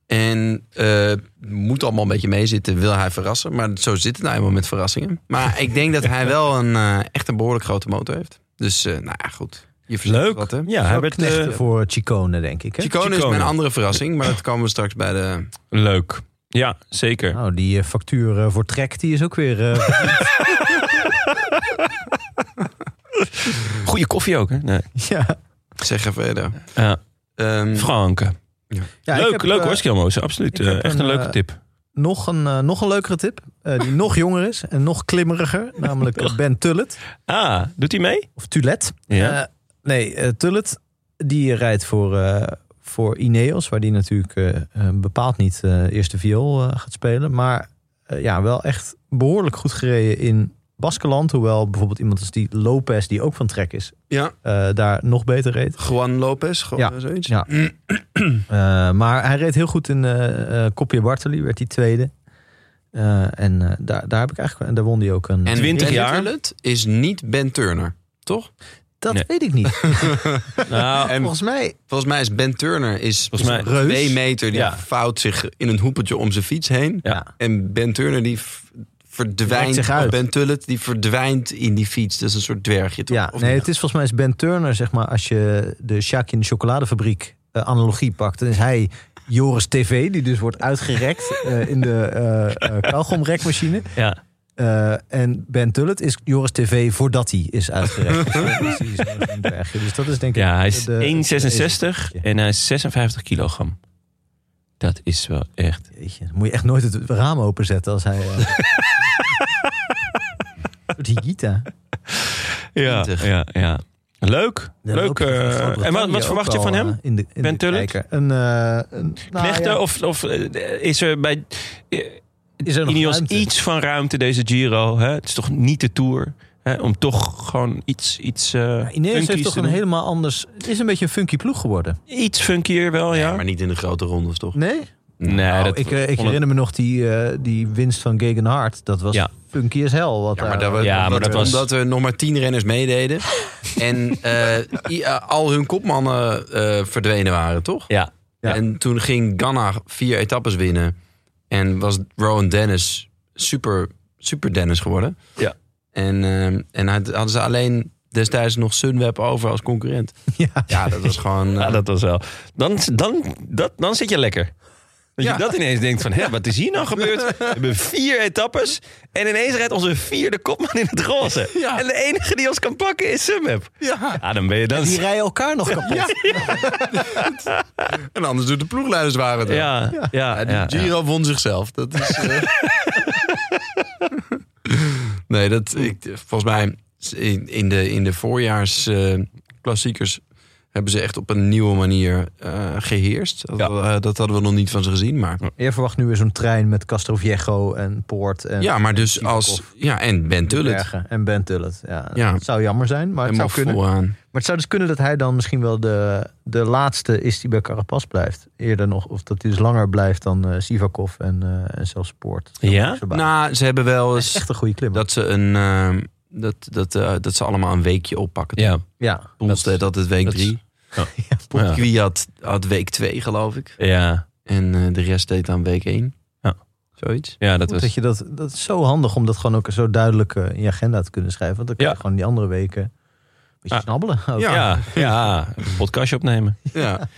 En eh, moet allemaal een beetje meezitten, wil hij verrassen. Maar zo zit het nou eenmaal met verrassingen. Maar ik denk dat hij wel een, eh, echt een behoorlijk grote motor heeft. Dus eh, nou ja, goed. Je verzint Leuk. Wat, hè? Ja, hij werd, eh, Knechten voor Chicone, denk ik. Hè? Chicone is Chicone. mijn andere verrassing, maar dat komen we straks bij de... leuk. Ja, zeker. Nou, die eh, factuur eh, voor Trek, die is ook weer... eh, Goeie koffie ook, hè? Nee. ja. Zeg even verder. Ja. Ehm, Franke. Ja, ik leuk, heb, leuk eh, hoor, Skilmoze. Absoluut. ik heb Eh, echt een, een, leuke eh, tip. nog, een, eh, nog een leukere tip, eh, die nog jonger is en nog klimmeriger. Namelijk eh, Ben Tullet, Ah, doet hij mee? of Tullet. Ja. Eh, nee, eh, Tullet, die rijdt voor, eh, voor Ineos, waar die natuurlijk eh, eh, bepaald niet eh, eerste viool eh, gaat spelen. Maar eh, ja, wel echt behoorlijk goed gereden in Baskeland. Hoewel bijvoorbeeld iemand als die Lopez, die ook van Trek is, ja, eh, daar nog beter reed. Juan Lopez, gewoon Ja. zoiets. Mm. Ja. Hm. Eh, maar hij reed heel goed in eh eh Kopje Bartoli, werd hij tweede. Eh, en eh, daar, daar heb ik eigenlijk en daar won hij ook een. En 20 Ben jaar. Tullet is niet Ben Turner, toch? dat Nee. weet ik niet. Nou, En- Volgens mij Volgens mij is Ben Turner is Volgens mij- twee meter. Die Ja. vouwt zich in een hoepeltje om zijn fiets heen. Ja. En Ben Turner die v- verdwijnt. Maakt zich uit. of Ben Tullet die verdwijnt in die fiets. Dat is een soort dwergje. Toch? Ja, Of nee, niet? het is volgens mij is Ben Turner, zeg maar, als je de Sjaak in de chocoladefabriek eh, analogie pakt, dan is hij Joris TV, die dus wordt uitgerekt eh, in de eh eh kauwgomrekmachine. ja. Eh, en Ben Tullet is Joris TV voordat hij is uitgerekt. Dus die is zo'n bergje. dus dat is denk ik... ja, hij is de- de- 1,66 en hij is 56 kilogram. Dat is wel echt. Jeetje, dan moet je echt nooit het raam openzetten als hij... eh, Die Gita. Ja, Twintig. ja, ja. Leuk. Dan leuk. loop je eh, echt wel door. en wat, Kan wat je verwacht ook je van wel, hem? eh, in de, in Ben de Tullet? kijker. Een, eh een, nou Knechten? ja, Of, of eh, is er bij eh, is er nog Ineos ruimte? iets van ruimte deze Giro? Hè? Het is toch niet de Tour? Hè? Om toch gewoon iets... iets eh Ja, Ineos funkies heeft toch te een doen. helemaal anders... Het is een beetje een funky ploeg geworden. Iets funkier wel, ja. Maar niet in de grote rondes, toch? Nee? Nee, dat ik, eh, ik vond ik- herinner me nog die, eh, die winst van Gegenhard. Dat was Ja. funky as hell. Wat eh, Ja, maar, daar- dat, we- Ja, maar omdat- dat was- Omdat er nog maar tien renners meededen. en eh, i- eh, al hun kopmannen eh, verdwenen waren, toch? Ja. Ja. En toen ging Ganna vier etappes winnen. En was Rowan Dennis super, super Dennis geworden. Ja. En, ehm, en had- hadden ze alleen destijds nog Sunweb over als concurrent. Ja. Ja, dat was gewoon... eh, Ja, dat was wel. Dan, dan, dat, dan zit je lekker. Dat Ja. je dat ineens denkt van, hè, wat is hier nou gebeurd? We hebben vier etappes en ineens rijdt onze vierde kopman in het roze. Ja. En de enige die ons kan pakken is Sunweb. ja. Ja, dan ben je dan... Die rijden elkaar nog kapot. En anders doet de ploegleiders waren het wel. Ja, ja, ja, Ja, die Giro won zichzelf. Dat is. eh. nee, dat, ik, volgens mij in- in de, in de voorjaarsklassiekers eh, hebben ze echt op een nieuwe manier eh, geheerst. Dat, Ja. eh, dat hadden we nog niet van ze gezien, maar... Je verwacht nu weer zo'n trein met Castroviejo en Poort en Ja, maar dus Sivakov. als... Ja, en Ben Tullet. Bergen en Ben Tullet. Ja, Ja. Het zou jammer zijn, maar het Helemaal zou kunnen. vooraan. Maar het zou dus kunnen dat hij dan misschien wel de, de laatste is die bij Carapaz blijft. Eerder nog, of dat hij dus langer blijft dan eh, Sivakov en, eh, en zelfs Poort. Ja? Nou, Nou, ze hebben wel eens... echt een goede klimmer. dat ze een ehm, dat, dat, eh, dat ze allemaal een weekje oppakken. Ja. ja, Poels deed dat het week dat is- drie. Ja. Wie had, had week twee, geloof ik. Ja, En eh, de rest deed dan week één. Ja. Zoiets. ja dat dat, was... dat, je dat, dat is zo handig om dat gewoon ook zo duidelijk eh, in je agenda te kunnen schrijven. Want dan kun je Ja. gewoon die andere weken een beetje Ah. snabbelen. ook. Ja, ja, een podcastje opnemen. Ja.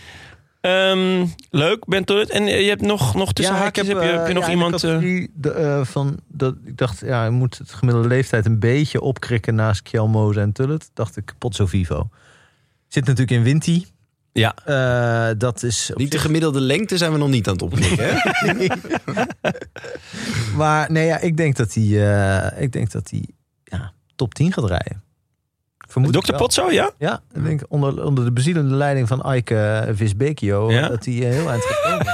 Ehm, leuk, Ben Tullet. En eh, je hebt nog, nog tussen Ja, ik haakjes, heb, je, heb je eh, nog ja, iemand... Ik, had eh, die, de, eh, van, dat, ik dacht, ja, je moet het gemiddelde leeftijd een beetje opkrikken naast Kjelmoze en Tullet. Dacht ik, Potso Vivo. Zit natuurlijk in Winti. Ja. Eh, dat is. op Niet de gemiddelde lengte zijn we nog niet aan het opkrikken. hè? zich- Maar nee, ja, ik denk dat hij. eh, ik denk dat hij. Ja, top 10 gaat rijden. Vermoed ik Dr. wel. Potso, ja? Ja, ik denk onder, onder de bezielende leiding van Ike Visbekio. Ja. Dat hij eh, heel eind gaat komen.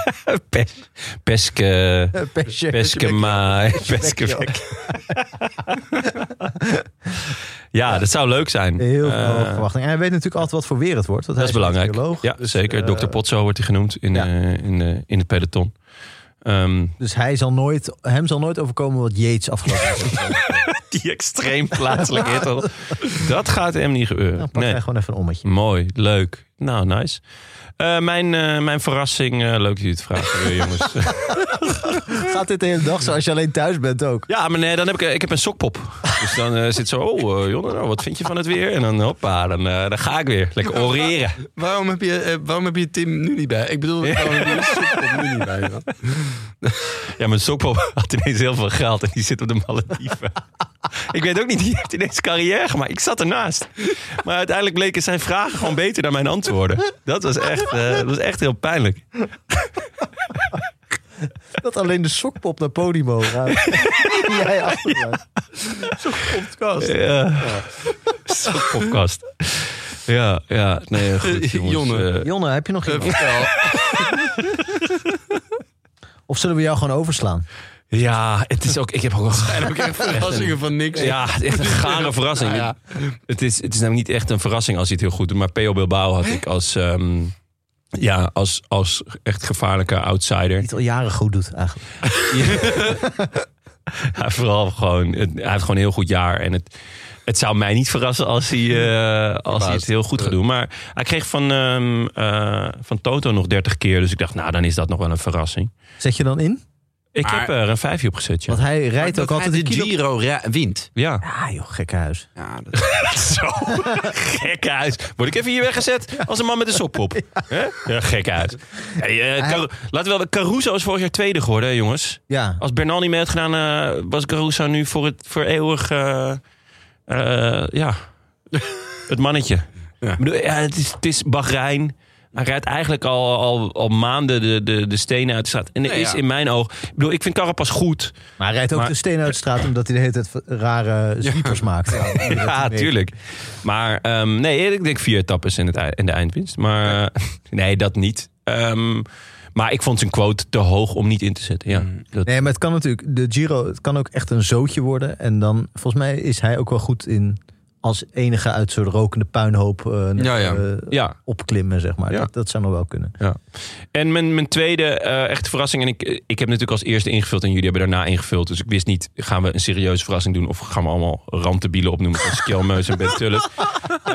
Pes, peske... Eh, Pesje. Peskema, Peskevek. Ja, dat zou leuk zijn. Heel veel Eh, hoge verwachtingen. En hij weet natuurlijk altijd wat voor weer het wordt. Want Dat hij is belangrijk. meteoroloog. Ja, Dus, zeker. eh, Dr. Potso wordt hij genoemd in, ja. eh, in, eh, in het peloton. Ehm, Dus hij zal nooit, hem zal nooit overkomen wat Yates afgelopen heeft. die extreem plaatselijke hitte. Dat gaat hem niet gebeuren. Dan pak nee. hij gewoon even een ommetje. Mooi, leuk. Nou, nice. Eh, mijn, eh, mijn verrassing, eh, leuk dat jullie het vragen, weer, jongens. Gaat dit de hele dag zo als je alleen thuis bent ook? Ja, maar nee, dan heb ik, eh, ik heb een sokpop. Dus dan eh, zit zo, oh eh, Jonne, nou, wat vind je van het weer? En dan, hoppa, dan, eh, dan ga ik weer. Lekker oreren. waarom, heb je, eh, waarom heb je Tim nu niet bij? Ik bedoel, waarom heb je Sipkop nu niet bij? man? Ja, mijn sokpop had ineens heel veel geld en die zit op de Malediven. ik weet ook niet, die heeft ineens carrière gemaakt. Ik zat ernaast. Maar uiteindelijk bleken zijn vragen gewoon beter dan mijn antwoorden. Dat was echt, eh, dat was echt heel pijnlijk. Dat alleen de sokpop naar Podimo gaat. Die jij achterblijft. Sokpopkast. Ja. Sokpopkast. Ja, ja. Nee, Eh, goed, jongens. Jonne. Eh, Jonne, heb je nog iemand? Of zullen we jou gewoon overslaan? Eh, ja, het is ook, ik heb ook wel Heb ik echt verrassingen van niks. Ja, het is echt een gare verrassing. Nou ja. Het, is, het is namelijk niet echt een verrassing als hij het heel goed doet. Maar P.O. Bilbao had ik als, ehm, ja, als, als echt gevaarlijke outsider. Die het al jaren goed doet eigenlijk. Ja, vooral gewoon, het- hij heeft gewoon een heel goed jaar. En het, het zou mij niet verrassen als hij, eh, als hij het heel goed gaat doen. Maar hij kreeg van, ehm, eh, van Toto nog 30 keer. Dus ik dacht, nou, dan is dat nog wel een verrassing. Zet je dan in? Ik Maar- heb er een vijfje op gezet, ja. Want hij rijdt Dat ook altijd hij in de kilo. Giro ra- wint. Ja, Ah joh, gekke huis. Ja, dat- zo. gek uit. Word ik even hier weggezet als een man met een sokpop. Hè? Ja, gek uit. Hey, eh, Caru- Laten we wel, Caruso is vorig jaar tweede geworden, hè, jongens. Ja, Als Bernal niet mee had gedaan, eh, was Caruso nu voor, het, voor eeuwig... eh, eh, ja, het mannetje. Ja. Ik bedoel, ja, het, is, het is Bahrein. Hij rijdt eigenlijk al, al, al maanden de, de, de stenen uit de straat. En er Nee, is ja. in mijn oog... Ik bedoel, ik vind Carapaz goed. maar hij rijdt ook Maar- de steen uit de straat omdat hij de hele tijd v- rare sweepers maakt. Ja, tuurlijk. Maar ehm, nee, ik denk vier etappes in, het, ei- in de eindwinst. Maar eh, nee, dat niet. Ehm, maar ik vond zijn quote te hoog om niet in te zetten. Ja, Mm. dat, Nee, maar het kan natuurlijk, de Giro, het kan ook echt een zootje worden. En dan, volgens mij is hij ook wel goed in als enige uit zo'n rokende puinhoop eh, Ja, ja. eh, ja. opklimmen, zeg maar. Ja. Dat, dat zou nog wel kunnen. En mijn, mijn tweede eh, echte verrassing. En ik, ik heb natuurlijk als eerste ingevuld en jullie hebben daarna ingevuld. Dus ik wist niet, gaan we een serieuze verrassing doen? Of gaan we allemaal rantebielen opnoemen als Kjelmeus en Ben Tullet? Eh,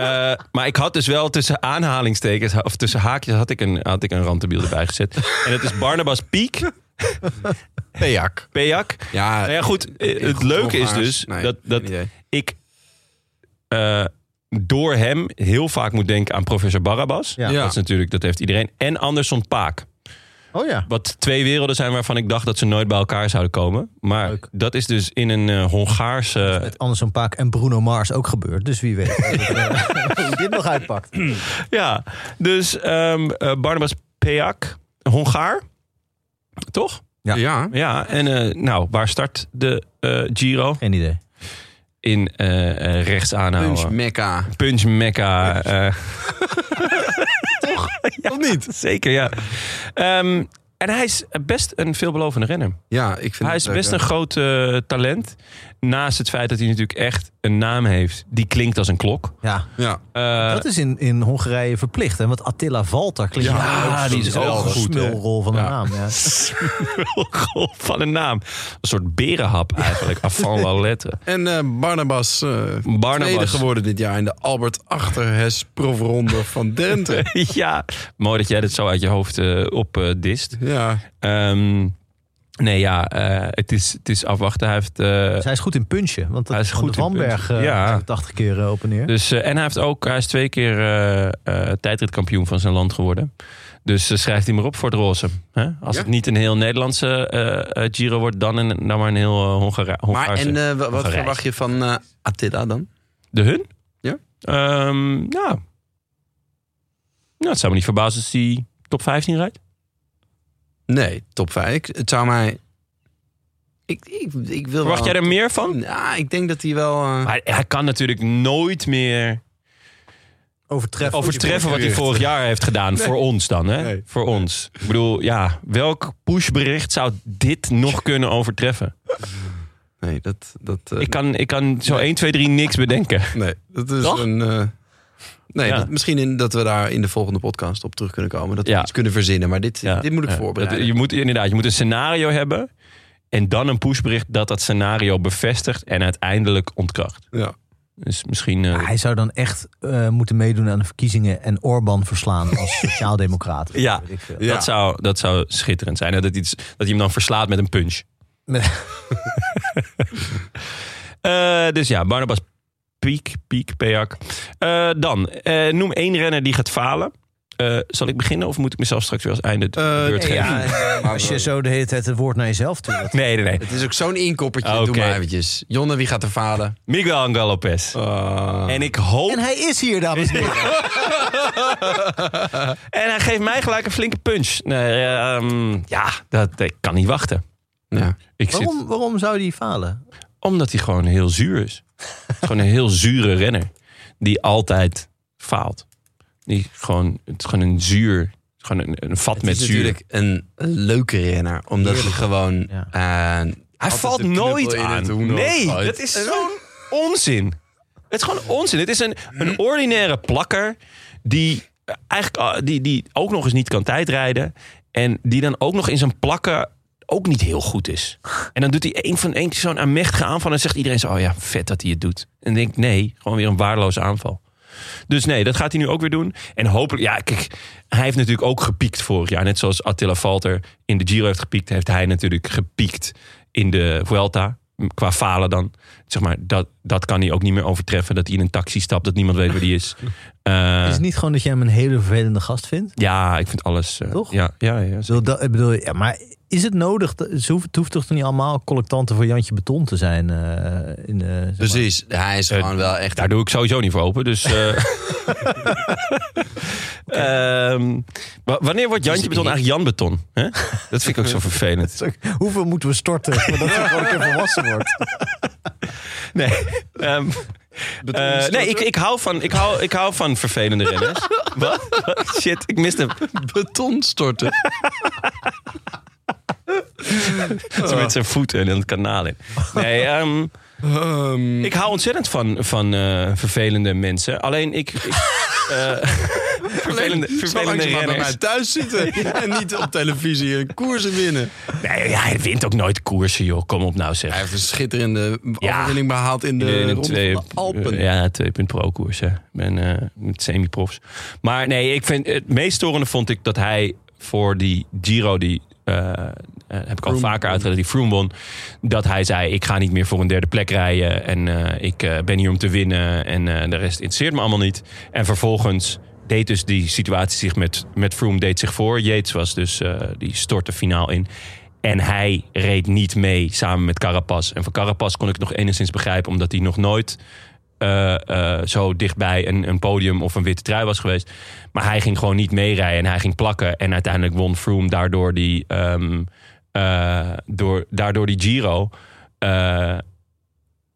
maar ik had dus wel tussen aanhalingstekens, of tussen haakjes, had ik een, had ik een rantebiel erbij gezet. En dat is Barnabas Piek, Pejak. Pejak. Ja, Nou ja, goed. eh, Het leuke is dus Nee, dat, dat geen idee. ik eh, door hem heel vaak moet denken aan professor Barabbas. Ja. Ja. Dat is natuurlijk, dat heeft iedereen. En Anderson Paak. Oh ja. Wat twee werelden zijn waarvan ik dacht dat ze nooit bij elkaar zouden komen. Maar Leuk. dat is dus in een eh, Hongaarse. Met Anderson Paak en Bruno Mars ook gebeurd. Dus wie weet hoe dit nog uitpakt. Ja, dus ehm eh, Barnabas Peak, Hongaar. Toch? Ja. Ja. Ja, en eh, nou, waar start de eh, Giro? Geen idee. in eh, eh, rechts aanhouden. Punch Mecca. Punch Mecca. eh. Toch? of niet? Zeker, ja. Ehm, en hij is best een veelbelovende renner. Ja, ik vind Hij het is leuk, best hè. een groot eh, talent. Naast het feit dat hij natuurlijk echt een naam heeft. Die klinkt als een klok. Ja, Ja, Eh, dat is in, in Hongarije verplicht. Hè? Want Attila Valta klinkt Ja, nou ook die is zo'n wel goed, hè? smulrol van de Ja. naam. Ja. Oh, Smulrol van een naam. Een soort berenhap eigenlijk. Afan la lettre. en eh Barnabas, eh tweede Barnabas. geworden dit jaar in de Albert Achterhes proefronde van Drenthe. ja, mooi dat jij dit zo uit je hoofd eh op eh, dist. Ja, Ehm, nee, ja, eh, het, is, het is afwachten. Hij heeft, eh, Dus hij is goed in punchen. Want dat, Hij is goed in Vanberg punchen. Ja. 80 keer eh, op en neer. dus, eh, en hij, heeft ook, hij is twee keer eh, eh, tijdritkampioen van zijn land geworden. Dus eh, schrijft hij maar op voor het roze. Hè? Als Ja. het niet een heel Nederlandse eh, eh, Giro wordt, dan, een, dan maar een heel eh, Hongara- maar Hongaarse. en eh, wa- wat Hongaarse. verwacht je van eh, Attila dan? De hun? Ja. Ehm, nou. nou, het zou me niet verbazen als hij top 15 rijdt. Nee, top 5. Het zou mij... Ik, ik, ik wil Verwacht wel... jij er meer van? Ja, ik denk dat hij wel... eh, Maar hij kan natuurlijk nooit meer Overtreffen. overtreffen wat hij vorig jaar heeft gedaan. Voor ons dan, hè? Nee. Voor ons. Ik bedoel, ja, welk pushbericht zou dit nog kunnen overtreffen? Nee, dat... dat eh, Ik kan, ik kan zo 1, 2, 3 niks bedenken. Nee, dat is Toch? een... eh, nee, Ja. dat- misschien in, dat we daar in de volgende podcast op terug kunnen komen. Dat we Ja. iets kunnen verzinnen. Maar dit, Ja. dit moet ik Ja. voorbereiden. Dat- je moet, inderdaad, je moet een scenario hebben. En dan een pushbericht dat dat scenario bevestigt en uiteindelijk ontkracht. Ja. Dus misschien... eh, Maar Hij zou dan echt eh, moeten meedoen aan de verkiezingen en Orbán verslaan als sociaaldemocraat. Ja. Weet ik veel. Ja. Dat, zou, dat zou schitterend zijn. Hè? Dat, iets, dat hij hem dan verslaat met een punch. Eh, dus ja, Barnabas Piek, Piek, Peak. Eh, dan, eh, noem één renner die gaat falen. Eh, zal ik beginnen of moet ik mezelf straks weer als einde de Eh, beurt geven? Ja, eh, als je zo de hele tijd het woord naar jezelf toe. dat- Nee, nee, nee. Het is ook zo'n inkoppertje. Doe Oké. maar eventjes. Jonne, wie gaat er falen? Eh, Miguel Angel Lopez. Oh. En ik hoop... En hij is hier, dames en heren. En hij geeft mij gelijk een flinke punch. Nee, ehm, ja, dat, ik kan niet wachten. Ja. Ik zit, Waarom, waarom zou die falen? Omdat hij gewoon heel zuur is. gewoon een heel zure renner. Die altijd faalt. Die gewoon, het is gewoon een zuur. Gewoon een, een vat Het met is zuur. natuurlijk een leuke renner. Omdat hij gewoon... Ja. eh, Hij altijd valt de knuppel nooit in het aan. hoenderhoofd Nee, gooit. dat is zo'n onzin. Het is gewoon onzin. Het is een, een ordinaire plakker die eh, eigenlijk ah, die, die ook nog eens niet kan tijdrijden. En die dan ook nog in zijn plakken ook niet heel goed is. En dan doet hij één van één zo'n aanmechtige aanval. En zegt iedereen zo, oh ja, vet dat hij het doet. En dan denk ik, nee, gewoon weer een waardeloze aanval. Dus nee, dat gaat hij nu ook weer doen. En hopelijk, ja, kijk, hij heeft natuurlijk ook gepiekt vorig jaar. Net zoals Attila Valter in de Giro heeft gepiekt, heeft hij natuurlijk gepiekt in de Vuelta. Qua falen dan. Zeg maar, dat, dat kan hij ook niet meer overtreffen. Dat hij in een taxi stapt, dat niemand weet waar die is. Eh, Is het niet gewoon dat jij hem een hele vervelende gast vindt? ja, ik vind alles. eh, Toch? Ja, ja, ja. Ik bedoel, dat, ik bedoel, ja, maar is het nodig? dat- Ze hoeft, het hoeft toch niet allemaal collectanten voor Jantje Beton te zijn? eh, in, eh, zeg maar. Precies. Hij is Eh, gewoon wel echt... Daar doe ik sowieso niet voor open. Dus. eh, Ehm, wa- wanneer wordt Jantje Beton eigenlijk Jan Beton? Hè? Dat vind ik ook zo vervelend. Hoeveel moeten we storten voordat hij gewoon een keer volwassen wordt? Nee. Ehm, eh, nee, ik, ik, hou van, ik, hou, ik hou van vervelende renners. Wat? Shit, ik miste hem. beton storten. Oh. Zo met zijn voeten en het kanaal in. Nee, ehm, Ehm, ik hou ontzettend van, van eh, vervelende mensen. Alleen ik... ik eh, vervelende Zolang vervelende ze maar bij renners. mij thuis zitten en niet op televisie en koersen winnen. Nee, ja, hij wint ook nooit koersen, joh. Kom op nou, Hij zeg. heeft een schitterende Ja. overwinning behaald in de, In een Ronde twee- van de Alpen. eh, Ja, twee punt pro koers. hè. Ik ben eh, met semi-profs. Maar nee, ik vind het meest storende vond ik dat hij voor die Giro, die eh, eh, heb ik al vaker uitgelegd, die Froome won, dat hij zei: ik ga niet meer voor een derde plek rijden en eh, ik eh, ben hier om te winnen en eh, de rest interesseert me allemaal niet. En vervolgens deed dus die situatie zich met, met Froome deed zich voor. Yates was dus eh, die stortte finaal in. En hij reed niet mee samen met Carapaz. En van Carapaz kon ik het nog enigszins begrijpen, omdat hij nog nooit eh, eh, zo dichtbij een, een podium of een witte trui was geweest. Maar hij ging gewoon niet meerijden en hij ging plakken. En uiteindelijk won Froome daardoor die, ehm, eh, door, daardoor die Giro. Eh,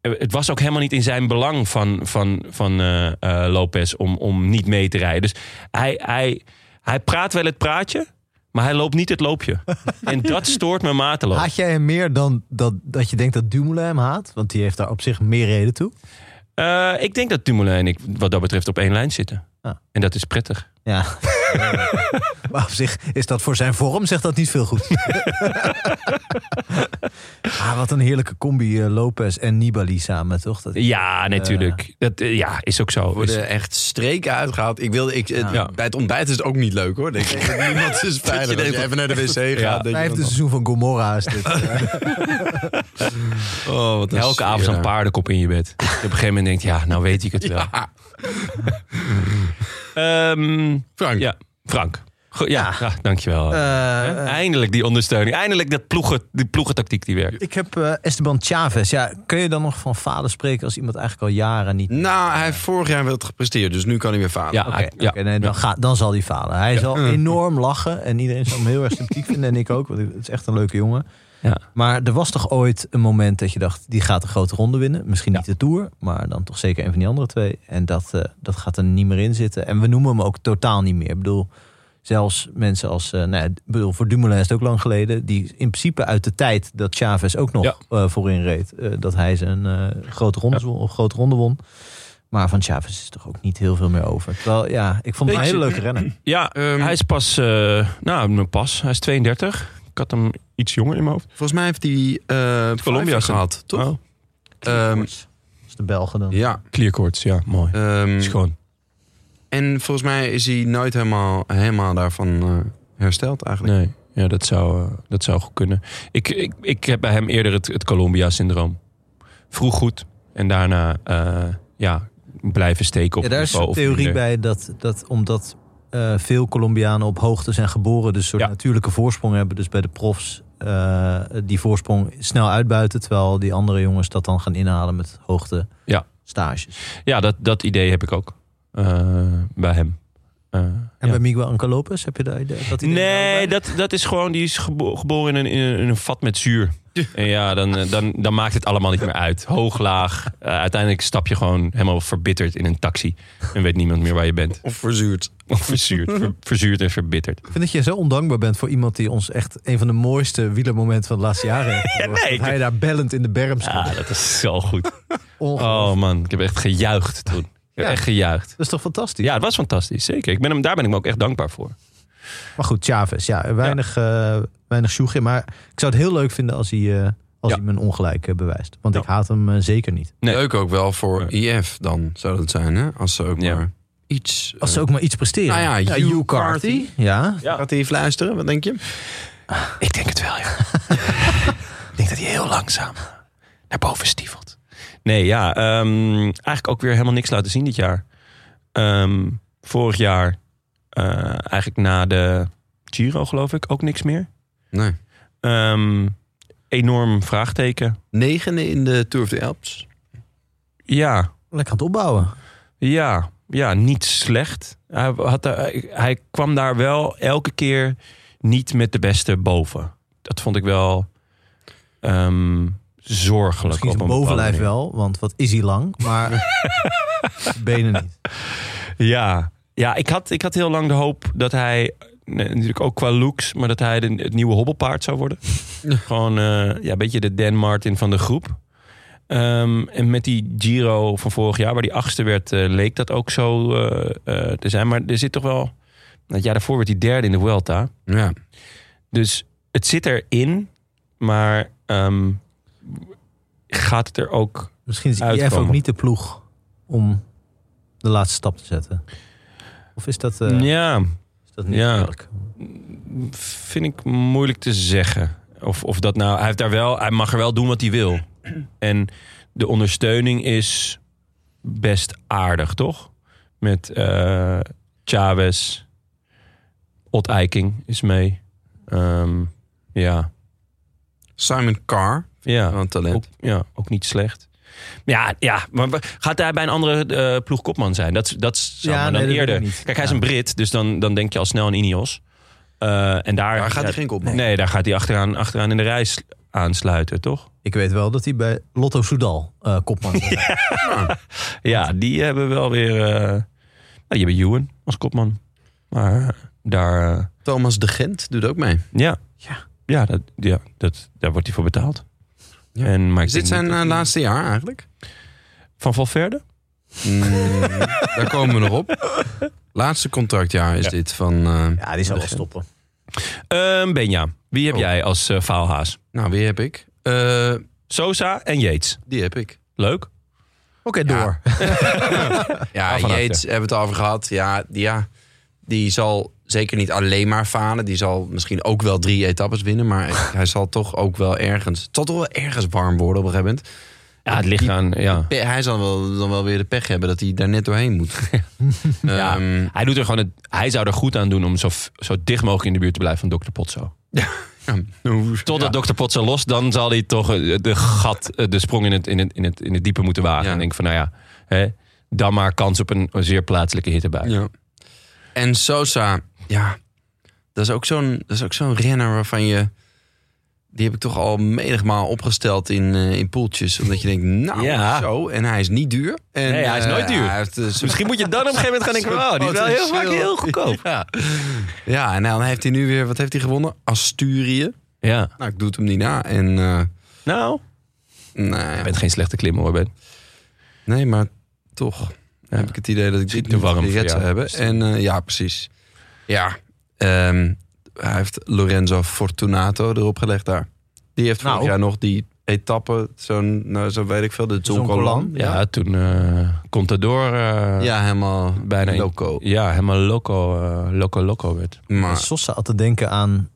het was ook helemaal niet in zijn belang van, van, van eh, eh, Lopez om, om niet mee te rijden. Dus hij, hij, hij praat wel het praatje, maar hij loopt niet het loopje. en dat stoort me mateloos. Haat jij hem meer dan dat, dat je denkt dat Dumoulin hem haat? Want die heeft daar op zich meer reden toe. Eh, ik denk dat Dumoulin en ik wat dat betreft op één lijn zitten. Ah. En dat is prettig. Ja. maar op zich is dat voor zijn vorm, zegt dat niet veel goed. ah, wat een heerlijke combi, eh, Lopez en Nibali samen, toch? Dat, Ja, natuurlijk. dat, eh, ja, is ook zo. Is- worden echt streken uitgehaald. Ik wilde, ik, het- Ja. Bij het ontbijt is het ook niet leuk hoor. Denk ik. Niemand is veilig. Als je even naar de wc gaat. Ja. denk je vijfde van, seizoen van Gomorra is dit. oh, wat een dus Elke sfeer avond een daar. paardenkop in je bed. Op een gegeven moment denk je, ja, nou weet ik het wel. Ja. Ehm, Frank, ja, Frank. Go- ja, ja, dankjewel. Eh, Hè? Eindelijk die ondersteuning. Eindelijk dat ploegen, die ploegentactiek die werkt. ik heb eh, Esteban Chavez. Ja, kun je dan nog van falen spreken als iemand eigenlijk al jaren niet... nou, hij heeft vorig jaar wel het gepresteerd, dus nu kan hij weer falen. Ja, Oké, hij- Nou, ja. oké, nee, dan, ga, dan zal hij falen. Hij zal enorm lachen en iedereen zal hem heel erg sympathiek vinden. En ik ook, want het is echt een leuke jongen. Ja. Maar er was toch ooit een moment dat je dacht, die gaat een grote ronde winnen. Misschien niet de Tour, maar dan toch zeker een van die andere twee. En dat, eh, dat gaat er niet meer in zitten. En we noemen hem ook totaal niet meer. Ik bedoel, zelfs mensen als, eh, nou, ja, ik bedoel, voor Dumoulin is het ook lang geleden. Die in principe uit de tijd dat Chavez ook nog Ja. eh, voorin reed. eh, dat hij zijn eh, grote, ronde, won- of grote ronde won. Maar van Chavez is toch ook niet heel veel meer over. Terwijl, ja, ik vond het een Weet hele je- leuke renner. Ja, Ehm, hij is pas, eh nou, mijn pas. Hij is 32. Ik had hem iets jonger in mijn hoofd. Volgens mij heeft hij eh Colombia Colombia gehad, toch? Oh, Ehm, Als de Belgen dan. ja. clearcourts, ja, mooi. ehm, Schoon. en volgens mij is hij nooit helemaal, helemaal daarvan eh, hersteld eigenlijk. Nee, ja, dat, zou, eh, dat zou goed kunnen. Ik, ik, ik heb bij hem eerder het, het Colombia-syndroom. Vroeg goed en daarna eh, ja, blijven steken op Ja, daar is niveau een of theorie minder. bij dat, dat omdat eh, veel Colombianen op hoogte zijn geboren, dus een soort Ja. natuurlijke voorsprong hebben, dus bij de profs eh, die voorsprong snel uitbuiten, terwijl die andere jongens dat dan gaan inhalen met hoogte Ja. stages. Ja, dat, dat idee heb ik ook eh, bij hem. Eh, En ja. bij Miguel Anca Lopez heb je daar idee- dat idee? Nee, wel bij? dat, dat is gewoon, die is gebo- geboren in een, in, een, in een vat met zuur. En ja, dan, eh, dan, dan maakt het allemaal niet meer uit. Hoog, laag. Eh, uiteindelijk stap je gewoon helemaal verbitterd in een taxi. En weet niemand meer waar je bent. Of verzuurd. Of verzuurd. ver- verzuurd en verbitterd. Ik vind dat je zo ondankbaar bent voor iemand die ons echt een van de mooiste wielermomenten van de laatste jaren heeft. gebracht. nee, Dat ik- hij daar bellend in de berm staat. Ah, dat is zo goed. Ongelooflijk. Oh man, ik heb echt gejuicht toen. Ik heb Ja. echt gejuicht. Dat is toch fantastisch? Ja, het was fantastisch, zeker. Ik ben hem, daar ben ik me ook echt dankbaar voor. Maar goed, Chavez, ja, weinig, eh weinig sjoeg in. Maar ik zou het heel leuk vinden als hij, eh, als Ja. hij mijn ongelijk eh, bewijst. Want Ja. ik haat hem eh, zeker niet. Nee. Leuk ook wel voor IF dan, zou dat zijn, hè? Als ze ook Ja. maar iets... Als ze ook maar iets presteren. Nou ja, Hugh Hugh Carthy. Ja, eh, Gaat hij fluisteren, wat denk je? Ik denk het wel, ja. ik denk dat hij heel langzaam eh, naar boven stiefelt. Nee, ja. ehm, eigenlijk ook weer helemaal niks laten zien dit jaar. Ehm, vorig jaar, eh, eigenlijk na de Giro geloof ik, ook niks meer. Nee. Ehm, enorm vraagteken. Negende in de Tour of the Alps. Ja, lekker aan het opbouwen. Ja, ja niet slecht. Hij, had, daar- hij kwam daar wel elke keer niet met de beste boven. Dat vond ik wel ehm, zorgelijk. Misschien op zijn een bepaalde bovenlijf manier. wel, want wat is hij lang. Maar benen niet. Ja, ja ik, had, ik had heel lang de hoop dat hij, nee, natuurlijk ook qua looks, maar dat hij de- het nieuwe hobbelpaard zou worden. Gewoon eh, ja, een beetje de Dan Martin van de groep. Ehm, en met die Giro van vorig jaar, waar die achtste werd, eh, leek dat ook zo eh, eh, te zijn. Maar er zit toch wel. nou, Het jaar daarvoor werd hij derde in de Vuelta. Ja. Dus het zit erin, maar ehm, gaat het er ook. Misschien is IF Uitkomen. ook niet de ploeg om de laatste stap te zetten. Of is dat, eh, ja, is dat niet ja. eerlijk? vind ik moeilijk te zeggen. Of, of dat nou, hij, heeft daar wel, hij mag er wel doen wat hij wil. En de ondersteuning is best aardig, toch? Met eh Chavez, Ot Eiking is mee. Ehm, ja, Simon Carr, ja. wat talent. Ook, ja, ook niet slecht. Maar Ja, ja, maar wa- gaat hij bij een andere eh, ploeg kopman zijn? Dat, dat zou Ja, me dan nee, dat weet eerder. ik niet. Kijk, hij is Ja. een Brit, dus dan, dan denk je al snel aan Ineos. Eh, en daar, Daar gaat ja, hij geen kopman. Nee, daar gaat hij achteraan, achteraan in de reis aansluiten, toch? Ik weet wel dat hij bij Lotto Soudal eh, kopman is. Ja, die hebben wel weer... eh, nou, die hebben Ewan als kopman. Maar daar... eh, Thomas de Gent doet ook mee. ja. Ja. Ja, dat, ja dat, daar wordt hij voor betaald. Ja. En, maar ik Is dit denk zijn niet dat eh, hij- laatste jaar eigenlijk? Van Valverde? Mm, daar komen we nog op. Laatste contractjaar is Ja. dit van... eh, Ja, die zal wel stoppen. Ehm Benja, wie heb Oh. jij als eh, faalhaas? nou, wie heb ik? Eh, Sosa en Yates. die heb ik. Leuk. Oké, door. Ja, Waarvan Yates hebben we het over gehad. Ja die, ja, die zal zeker niet alleen maar falen. Die zal misschien ook wel drie etappes winnen. Maar hij zal toch ook wel ergens... Het zal toch wel ergens warm worden op een gegeven moment. Ja, het ligt aan. Ja. Pe- Hij zal wel, dan wel weer de pech hebben dat hij daar net doorheen moet. Ja. Ehm, Hij, doet er gewoon het, hij zou er goed aan doen om zo, f- zo dicht mogelijk in de buurt te blijven van Dr. Potso. Totdat Dr. Potso los, dan zal hij toch eh, de gat, eh, de sprong in het, in het, in het, in het diepe moeten wagen. Ja. En denk van, nou ja, hè, dan maar kans op een, een zeer plaatselijke hittebui. Ja. En Sosa, ja, dat is ook zo'n dat is ook zo'n renner waarvan je. Die heb ik toch al menigmaal opgesteld in, eh, in poeltjes. Omdat je denkt, nou Ja. zo. En hij is niet duur. En, Nee, hij is eh, nooit duur. hij heeft, eh, zo'n- Dus Misschien moet je dan op een gegeven moment gaan denken, wow, die is wel heel vaak heel goedkoop. ja. ja, en dan heeft hij nu weer, wat heeft hij gewonnen? Asturië. Ja, Nou, ik doe het hem niet na. En, eh, nou, nou je ja, bent geen slechte klimmer hoor, Ben. nee, maar toch heb ik het idee dat ik Schiet dit te niet warm voor gered zou jou. hebben. En eh, ja, precies. Ja, ehm, hij heeft Lorenzo Fortunato erop gelegd daar. Die heeft vorig Nou. jaar nog die etappe, zo'n, nou, zo weet ik veel, de Zonkolan. Ja, toen eh Contador eh, Ja, helemaal bijna in- loco. ja, helemaal loco, eh, loco, loco werd. Maar Sosa had te denken aan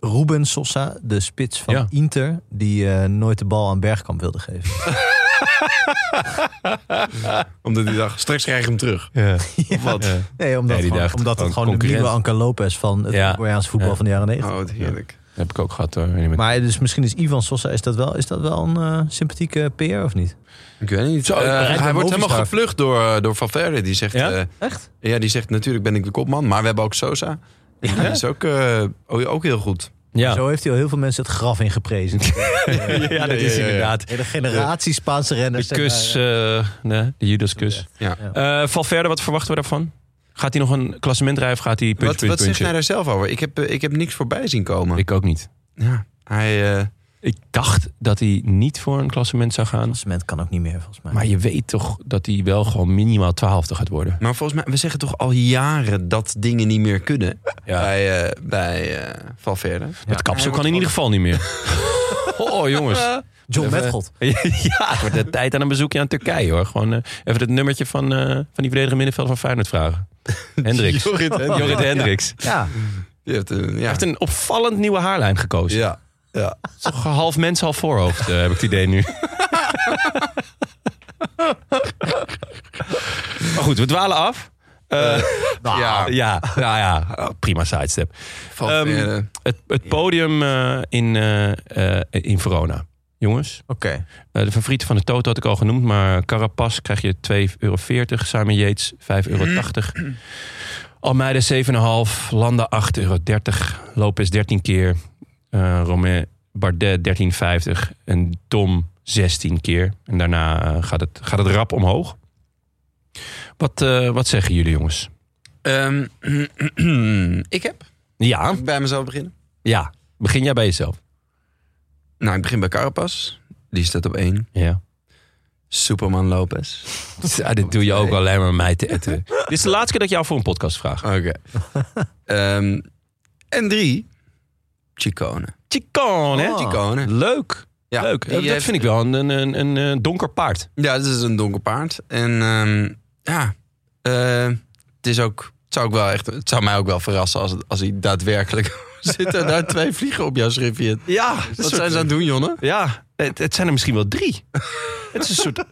Ruben Sosa, de spits van Ja. Inter, die eh, nooit de bal aan Bergkamp wilde geven. omdat hij dacht, straks krijg ik hem terug. Of wat? Nee, omdat, Nee, die gewoon- dacht omdat het gewoon gewoon de nieuwe concurrent. Anker Lopez van het Ja. Koreaanse voetbal Ja. van de jaren 90. Oh, wat heerlijk. heb ik ook gehad hoor. Met- Maar dus misschien is Ivan Sosa, is dat wel, is dat wel een eh, sympathieke PR of niet? Ik weet niet. Zo, Eh, ik begrijp hij hem wordt helemaal overschuiven. gevlucht door, eh, door Valverde. Die zegt, Ja? eh, Echt? ja, die zegt natuurlijk ben ik de kopman, maar we hebben ook Sosa. En Die is ook, eh, oh, ook heel goed. Ja. Zo heeft hij al heel veel mensen het graf in geprezen. ja, dat ja, is ja, ja. inderdaad. Hele generatie Spaanse renners. De kus, eh, nee, de Judas-kus. Ja. Eh, Valverde, wat verwachten we daarvan? Gaat hij nog een klassement rijden of gaat hij punch, Wat, punch, wat zegt punchen? hij daar zelf over? Ik heb, eh, ik heb niks voorbij zien komen. Ik ook niet. ja, hij, eh, Ik dacht dat hij niet voor een klassement zou gaan. Klassement kan ook niet meer volgens mij. Maar je weet toch dat hij wel gewoon minimaal twaalfde gaat worden. maar volgens mij, we zeggen toch al jaren dat dingen niet meer kunnen bij, eh, bij eh Valverde. Het kapsel Hij kan wordt in ieder geval niet meer. Oh jongens. John Even- Metgold. ja, het wordt de tijd aan een bezoekje aan Turkije hoor. Gewoon eh, even het nummertje van, eh, van die verdedigende middenveld van Feyenoord vragen. Hendricks. Jorrit Hendricks. Jorrit Hendricks. Ja, Die heeft een, eh, ja. Hij heeft een opvallend nieuwe haarlijn gekozen. ja. Ja. Toch half mens, half voorhoofd, eh, heb ik het idee nu. maar goed, we dwalen af. Eh, ja. ja, ja, ja, prima sidestep. Valverde. Het, het podium eh, in, eh, eh, in Verona. Jongens, oké. eh, de favorieten van de Toto had ik al genoemd, maar Carapaz krijg je 2,40 euro. Simon Yates 5,80 euro. Almeida 7,5. Landa 8,30 euro. Lopez 13 keer. eh Romain Bardet 13,50. En Dom 16 keer. En daarna eh, gaat, het, gaat het rap omhoog. Wat, eh, wat zeggen jullie jongens? Ehm, ik heb. Ja, Mag ik bij mezelf beginnen? ja. Begin jij bij jezelf. Nou, ik begin bij Carapas. Die staat op één. Ja. Superman Lopez. Ja, dit doe je ook alleen maar om mij te Ah. etteren. Dit is de laatste keer dat ik jou voor een podcast vraag. Oké. Ehm, en drie. Chicone. Chicone, hè? Chicone. Ah, Leuk. Ja, Leuk. die Dat heeft- vind ik wel een, een, een, een, eh, donker paard. Ja, dit is een donker paard. En ehm, ja, eh, het is ook. Het zou, ook wel echt, het zou mij ook wel verrassen als, het- als hij daadwerkelijk. Zitten daar twee vliegen op jouw schriftje? Ja, Wat zijn ze aan het doen, Jonne? Ja, het, het zijn er misschien wel drie. het is een soort...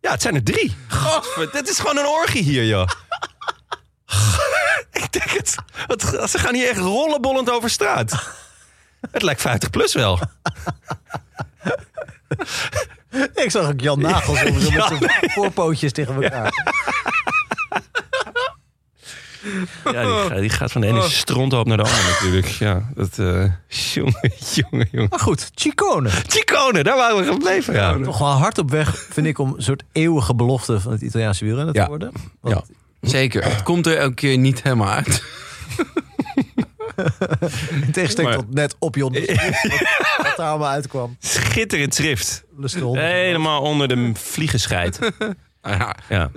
Ja, het zijn er drie. Godver, dit is gewoon een orgie hier, joh. ik denk het. Wat- Ze gaan hier echt rollenbollend over straat. Het lijkt 50 plus wel. Ik zag ook Jan Nagels over zo met zijn voorpootjes tegen elkaar. Ja, die, ga- die gaat van de ene stronthoop naar de andere natuurlijk. Ja, dat... eh jongen, jongen, jongen. Maar goed, Chicone. Nou, Chicone, daar waren we gebleven. Ja. Toch wel hard op weg, vind ik, om een soort eeuwige belofte van het Italiaanse wielrennen Ja. te worden. Zeker. Het komt er elke keer niet helemaal uit. In tegenstelling Maar- tot net op Jon. Wat daar allemaal uitkwam. Schitterend schrift. Lustel. Helemaal onder de vliegenscheid. Nou ja, Ja,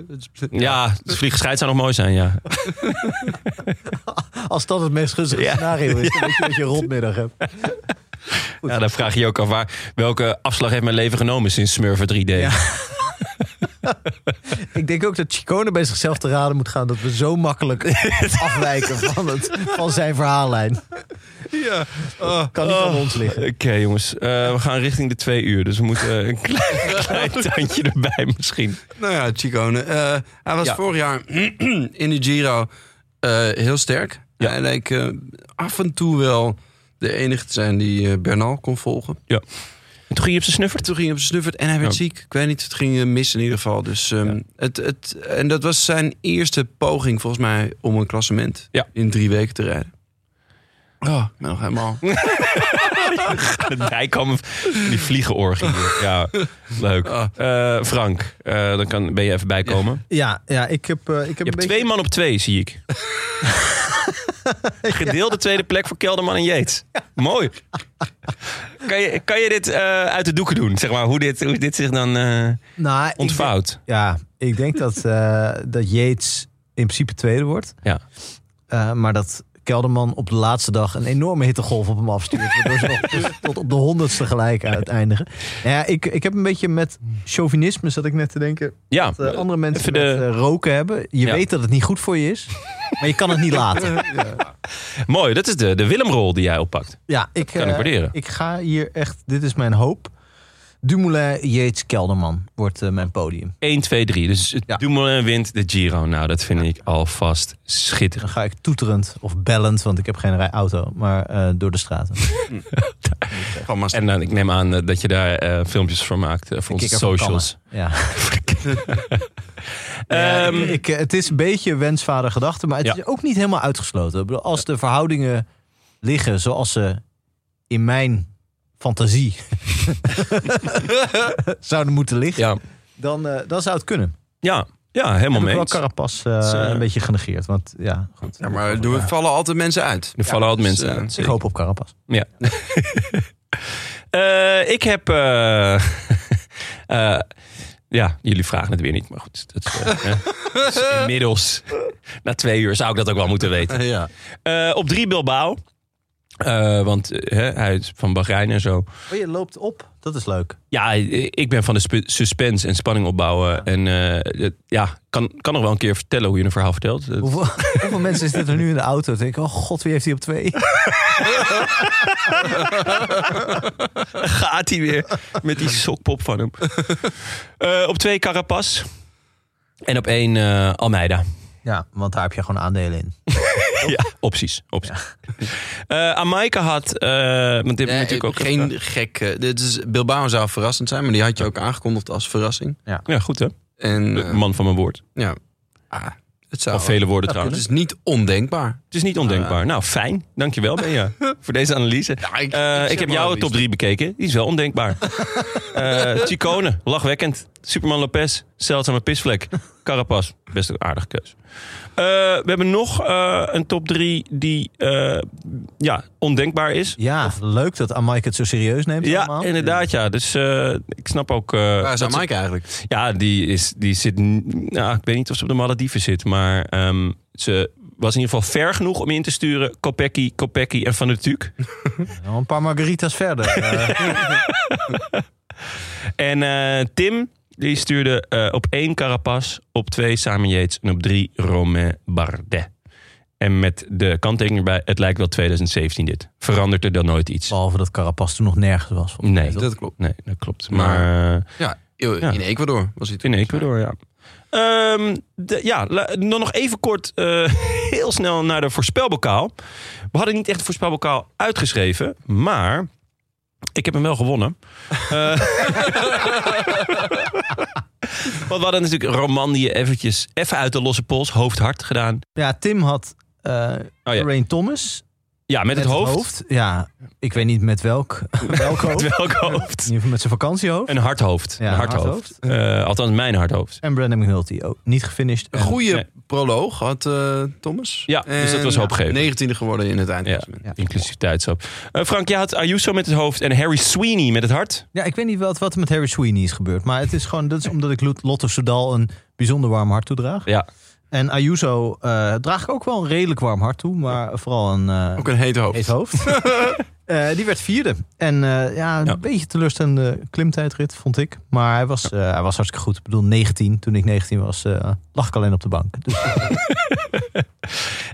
ja de vliegenscheid zou nog mooi zijn, ja. Als dat het meest gunstige Ja. scenario is, dan weet je dat je een rotmiddag hebt. Ja, dan vraag je je ook af waar, welke afslag heeft mijn leven genomen sinds Smurfer 3D. Ja. Ik denk ook dat Chicone bij zichzelf te raden moet gaan dat we zo makkelijk afwijken van, het, van zijn verhaallijn. Kan niet aan ons liggen. Oh. Oké jongens, Eh, we gaan richting de twee uur. Dus we moeten een klein, klein tandje erbij misschien. nou ja Chicone. eh, hij was Ja. vorig jaar in de Giro eh, heel sterk. Ja. Hij leek eh, af en toe wel de enige te zijn die eh, Bernal kon volgen. En toen ging je op zijn snuffert. Toen ging hij op zijn snuffert en hij werd Ja. ziek. Ik weet niet, het ging eh, mis in ieder geval. Dus, ehm, Oh. Ja. het, het, en dat was zijn eerste poging volgens mij om een klassement Ja. in drie weken te rijden. Oh, ik ben nog helemaal... De dijk kwam die vliegenorgie. hier. Ja, leuk. Eh, Frank, eh, dan kan, ben je even bijkomen. Ja, ja ik heb, eh, ik heb Je een hebt beetje... twee man op twee, zie ik. Gedeelde tweede plek voor Kelderman en Jeets. Mooi. Kan je, kan je dit eh, uit de doeken doen? Zeg maar, hoe dit, hoe dit zich dan eh, Nou, ik denk- ontvouwt. Ja, ik denk dat, eh dat Yates in principe tweede wordt. Ja. Eh, maar dat Kelderman op de laatste dag een enorme hittegolf op hem afstuurt. Waardoor ze nog dus tot- tot op de honderdste gelijk uiteindigen. Nou Ja, ik, ik heb een beetje met chauvinisme, zat ik net te denken. Ja, Dat eh, andere mensen even de- met, eh, roken hebben. Je Ja. weet dat het niet goed voor je is. Maar je kan het niet laten. mooi. Dat is de, de Willemrol die jij oppakt. Ja, ik, kan ik eh, waarderen. ik ga hier echt, dit is mijn hoop. Dumoulin, Yates, Kelderman wordt eh, mijn podium. 1, 2, 3. Dus Ja. Dumoulin wint de Giro. Nou, dat vind ik alvast schitterend. Dus Dan ga ik toeterend of bellend, want ik heb geen rij- auto, maar eh, door de straten. Van Maastricht. En dan, ik neem aan eh, dat je daar eh, filmpjes voor maakt. eh, voor onze kikker van socials. Ja. Ja, Ehm, ik, ik, eh, het is een beetje wensvader gedachte, maar het Ja. is ook niet helemaal uitgesloten. Ik bedoel, Als de verhoudingen liggen zoals ze in mijn fantasie zouden moeten liggen, ja. dan, eh, dan zou het kunnen. Ja, ja, helemaal Heb ik mee. wel eens. Carapas eh, is, eh, een beetje genegeerd, want ja, goed. Ja, maar er vallen altijd mensen uit. Er vallen altijd dus, mensen eh, aan. Ik hoop op Carapas. Eh, ik heb. eh, eh, ja, jullie vragen het weer niet, maar goed. Dat, is, eh, hè. Dus inmiddels, na twee uur, zou ik dat ook wel moeten weten. Ja. Eh, op drie Bilbao. Eh, want eh, hè, hij is van Bahrein en zo. Oh, je loopt op. Dat is leuk. Ja, ik ben van de spe- suspense en spanning opbouwen. En eh, het- ja, kan, kan nog wel een keer vertellen hoe je een verhaal vertelt. Dat- Hoeveel, hoeveel mensen zitten er nu in de auto? Denk ik, oh god, wie heeft hij op twee? gaat hij weer met die sokpop van hem. Eh, op twee Carapaz. En op één eh, Almeida. Ja, want daar heb je gewoon aandelen in. Ja, opties. opties. Eh, Amaika had... eh, want dit heb ik natuurlijk ook... geen gek. eh, dit is, Bilbao zou verrassend zijn, maar die had je ook aangekondigd als verrassing. Ja, goed hè? En De eh, man van mijn woord. ja, ah, het zou. Van vele woorden het trouwens. is niet ondenkbaar. Het is niet ondenkbaar. Nou, fijn. Dankjewel, Benja, voor deze analyse. ik- Eh, ik ik, zeg heb maar jouw analyse. top 3 bekeken. Die is wel ondenkbaar. Eh Chicone, lachwekkend. Superman Lopez, zeldzame pisvlek. Carapaz, best een aardige keus. Eh, we hebben nog eh, een top 3 die eh, ja, ondenkbaar is. Ja, leuk dat Amaike het zo serieus neemt Ja, allemaal. inderdaad, ja. Dus eh, ik snap ook... eh, Waar is dat ze- Mike eigenlijk? ja, die, is, die zit. n- Nou, ik weet niet of ze op de Malediven zit. Maar ehm, ze was in ieder geval ver genoeg om in te sturen. Kopecky, Kopecky en Van der Tuuk. Nog een paar margaritas verder. Eh, En eh, Tim, die stuurde eh, op één Carapaz. Op twee Samen Yates. En op drie Romain Bardet. En met de kanttekening erbij. Het lijkt wel 2017 dit. Verandert er dan nooit iets? behalve dat Carapaz toen nog nergens was. volgens mij, Nee, toch? Oh, Dat klopt. Nee, dat klopt. Maar- Maar. eh, Ja, in Ja. Ecuador was hij toen. In Ecuador, ja. Ehm, de- ja, la- dan nog even kort eh, heel snel naar de voorspelbokaal. We hadden niet echt de voorspelbokaal uitgeschreven, maar Ik heb hem wel gewonnen. Eh, Want we hadden natuurlijk Romandie eventjes even uit de losse pols, hoofd hard gedaan. Ja, Tim had eh Oh ja. Rain Thomas. Ja, met, het, hoofd. Ja, ik weet niet met welk. welk hoofd. In Met welk hoofd? ieder geval met zijn vakantiehoofd. Een hard hoofd. Ja, een hard, hard hoofd. Eh, althans, mijn hard hoofd. En Brandon McNulty ook. Niet gefinished. Een goede Nee. proloog had eh, Thomas. Ja, dus dat was En hoopgevend. 19e geworden in het eindklassement. Ja. Inclusiviteitshoop. Eh, Frank, jij had Ayuso met het hoofd en Harry Sweeney met het hart. Ja, ik weet niet wat, wat er met Harry Sweeney is gebeurd. Maar het is gewoon, dat is omdat ik Lot- Lotte Soudal een bijzonder warm hart toedraag. Ja. En Ayuso eh, draag ik ook wel een redelijk warm hart toe. Maar vooral een eh, Ook een heet hoofd. heet hoofd. Eh, die werd vierde. En eh, ja, een Ja. beetje teleurstellende klimtijdrit, vond ik. Maar hij was, eh, hij was hartstikke goed. Ik bedoel, 19. Toen ik 19 was, eh, lag ik alleen op de bank. Dus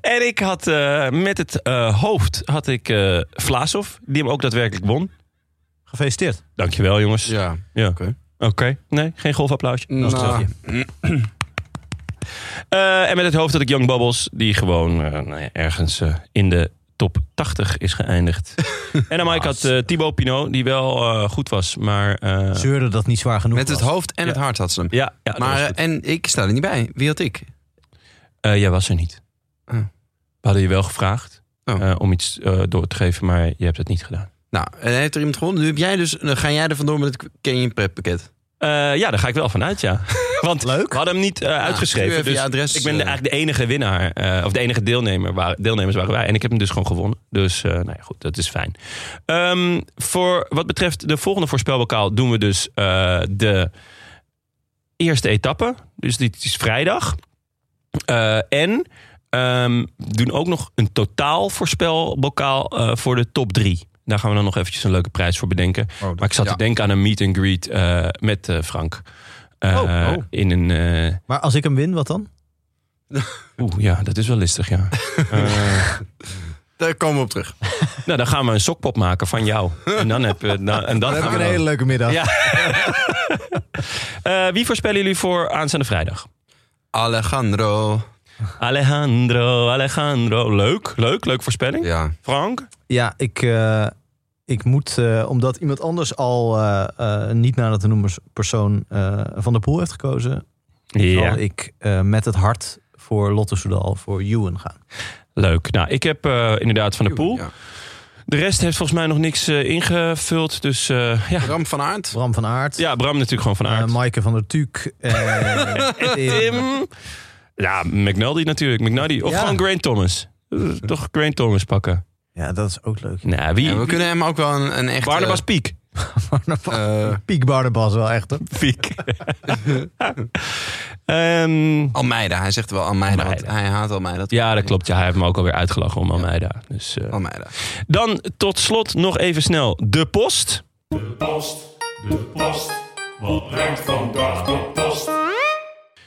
En ik had eh, met het eh, hoofd had ik eh Vlaasov, die hem ook daadwerkelijk won. gefeliciteerd. Dankjewel, jongens. Ja. Oké. Nee, geen golfapplausje. Nou, zelfje. Eh, en met het hoofd had ik Young Bubbles, die gewoon eh, nou ja, ergens eh, in de top 80 is geëindigd. en dan Mike had eh Thibaut Pinot, die wel eh, goed was, maar... eh, Zeurde dat niet zwaar genoeg Met het was. hoofd en Ja. het hart had ze hem. ja, ja dat was maar, goed. eh, en ik sta er niet bij. Wie had ik? Eh, jij was er niet. Ah. We hadden je wel gevraagd Oh. eh, om iets eh, door te geven, maar je hebt het niet gedaan. Nou, en heeft er iemand gewonnen. Nu heb jij dus, dan ga jij er vandoor met het Canyon Prep pakket. Eh, ja, daar ga ik wel vanuit, ja. Want Leuk. we hadden hem niet eh, stuur uitgeschreven. even Dus je adres, ik ben de, eh. eigenlijk de enige winnaar, eh, of de enige deelnemer, waren, deelnemers waren wij. En ik heb hem dus gewoon gewonnen. Dus eh, nou ja, goed, dat is fijn. Ehm, voor wat betreft de volgende voorspelbokaal doen we dus eh, de eerste etappe. Dus dit is vrijdag. Eh, en ehm, we doen ook nog een totaal voorspelbokaal eh, voor de top drie. Daar gaan we dan nog eventjes een leuke prijs voor bedenken. Maar ik zat te denken aan een meet and greet eh, met eh, Frank. Eh, Oh, oh. In een. eh, Maar als ik hem win, wat dan? Oeh, ja, dat is wel listig, ja. Eh, Daar komen we op terug. nou, dan gaan we een sokpop maken van jou. En dan heb je. dan- en dan Dan heb gaan ik we een hele dan- leuke middag. Ja. Eh, wie voorspellen jullie voor aanstaande vrijdag? Alejandro. Alejandro, Alejandro. Leuk, leuk, leuk voorspelling. Ja. Frank? Ja, ik, eh, ik moet, eh, omdat iemand anders al eh, eh, niet naar de noemers persoon eh, van de pool heeft gekozen, zal ik eh, met het hart voor Lotte Soudal, voor Ewan gaan. Leuk. Nou, ik heb eh, inderdaad van de pool. Ja. De rest heeft volgens mij nog niks eh, ingevuld. Dus eh, ja. Ram van Aert. Bram van Aert, ja, Bram natuurlijk gewoon van aard. eh, Maaike van der Tuuk, eh, Tim. Tim. Ja, McNulty natuurlijk. McNulty. Of eh, Ja. gewoon Grant Thomas. Eh, Toch Grant Thomas pakken. Ja, dat is ook eh, leuk. Nou, wie? Ja, we kunnen hem ook wel een, een echte... Barnabas Piek. Barnabas. eh, Piek Barnabas wel echt. Hè? Piek. Ehm, Almeida. Hij zegt wel Almeida. want Almeida. hij haat Almeida. ja, dat klopt. Ja, hij heeft me ook alweer uitgelachen om Almeida. Dus, Oh. eh. Almeida. Dan tot slot nog even snel de post.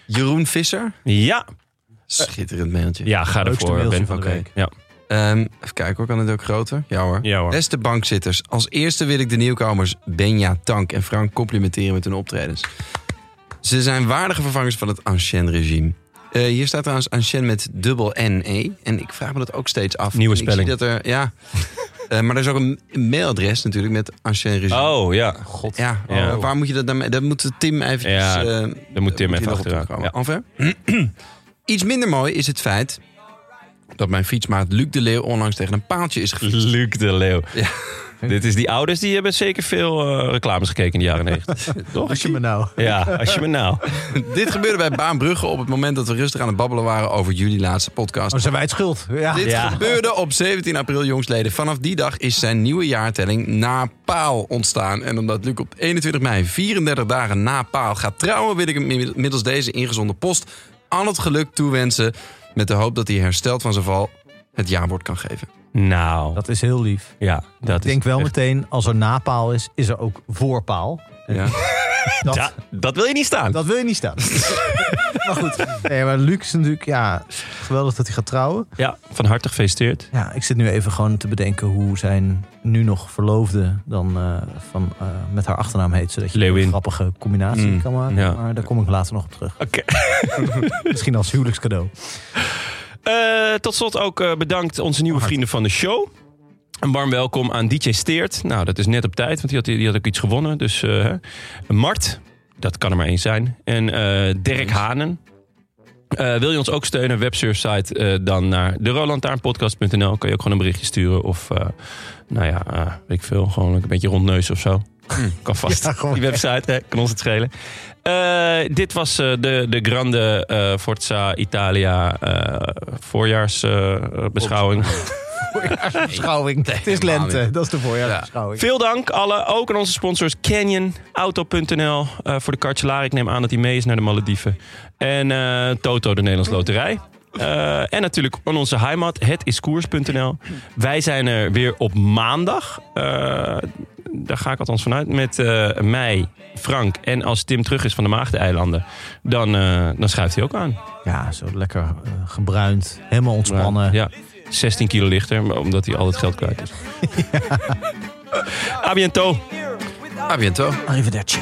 Jeroen Visser. Ja, Eh. Schitterend mailtje. ja ga Leukste ervoor. mailtje Ben. van de Oké. week. Ja. Ehm, even kijken hoor, kan het ook groter? Ja hoor. Ja, hoor. Beste bankzitters, als eerste wil ik de nieuwkomers Benja, Tank en Frank complimenteren met hun optredens. Ze zijn waardige vervangers van het ancien regime. Eh, hier staat trouwens ancien met dubbel N-E. En ik vraag me dat ook steeds af. Nieuwe En ik zie spelling. dat er, ja. Eh, maar er is ook een mailadres natuurlijk met ancien regime. Oh ja, Ja, Oh, Ja. waar moet je dat dan mee? Dat moet Tim eventjes... Ja, eh, daar moet Tim hij even nog op achteraan. terugkomen. Ja. Enfin, Iets minder mooi is het feit dat mijn fietsmaat Luc de Leeuw onlangs tegen een paaltje is gefietst. Luc de Leeuw. Ja. Dit is die ouders, die hebben zeker veel eh, reclames gekeken in de jaren 90. Toch? Als je me nou. Ja, als je me nou. Dit gebeurde bij Baanbrugge op het moment dat we rustig aan het babbelen waren over jullie laatste podcast. Oh, zijn wij het schuld? Ja. Dit Ja. gebeurde op 17 april jongsleden. Vanaf die dag is zijn nieuwe jaartelling na paal ontstaan. En omdat Luc op 21 mei 34 dagen na paal gaat trouwen... wil ik hem middels deze ingezonde post al het geluk toewensen... met de hoop dat hij hersteld van zijn val het jaarwoord kan geven. Nou, Dat is heel lief. ja, dat Ik denk is wel echt- meteen, als er napaal is, is er ook voorpaal. Ja. Dat, Ja, dat wil je niet staan. Dat wil je niet staan. maar goed. Nee, maar Luc is natuurlijk, ja, geweldig dat hij gaat trouwen. Ja, van harte gefeliciteerd. Ja, ik zit nu even gewoon te bedenken hoe zijn nu nog verloofde dan eh, van, eh, met haar achternaam heet. Zodat je Leeuwin. een grappige combinatie Mm, kan maken. ja. Maar daar kom ik later nog op terug. Oké. Misschien als huwelijkscadeau. eh, tot slot ook eh, bedankt onze nieuwe vrienden van de show. Een warm welkom aan DJ Steert. Nou, dat is net op tijd, want die had, die had ook iets gewonnen. Dus eh, Mart, dat kan er maar één zijn. En eh, Dirk Hanen. Eh, wil je ons ook steunen, websurfsite, eh dan naar derolantaarnpodcast.nl. Kan je ook gewoon een berichtje sturen of, eh, nou ja, eh, weet ik veel, gewoon een beetje rondneus of zo. Kan vast. Hmm. Ja, gewoon Die website, hè, kan ons het schelen. Eh, dit was eh, de, de Grande eh, Forza Italia eh, voorjaarsbeschouwing. Voorjaarsbeschouwing. het is lente, dat is de voorjaarsbeschouwing. Veel dank alle, ook aan onze sponsors Canyon, Auto.nl eh, voor de kartselaar. Ik neem aan dat hij mee is naar de Malediven. En eh, Toto, de Nederlands Loterij. Eh, en natuurlijk aan onze heimat, hetiskoers.nl. Wij zijn er weer op maandag. Eh, daar ga ik althans vanuit. Met eh, mij, Frank en als Tim terug is van de Maagdeilanden, dan, eh, dan schuift hij ook aan. Ja, zo lekker eh, gebruind, helemaal ontspannen. Ja, 16 kilo lichter, maar omdat hij al het geld kwijt is. A bientôt. A bientôt. Arrivederci.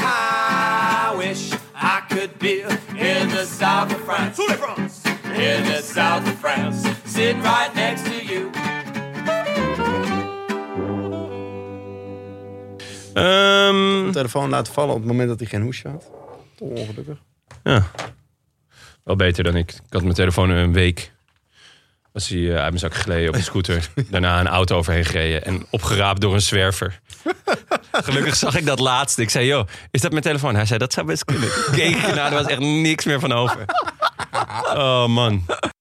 I wish I could be in the south of France. In the south of France. Sitting right next to you. Ehm, Telefoon laten vallen op het moment dat hij geen hoesje had. Ongelukkig. Ja. Wel beter dan ik. Ik had mijn telefoon een week. Was hij eh, uit mijn zak geleden op een scooter. Daarna een auto overheen gereden. En opgeraapt door een zwerver. Gelukkig zag ik dat laatste. Ik zei, joh, is dat mijn telefoon? Hij zei, dat zou best kunnen. Ik Keek ernaar, er was echt niks meer van over. Oh man.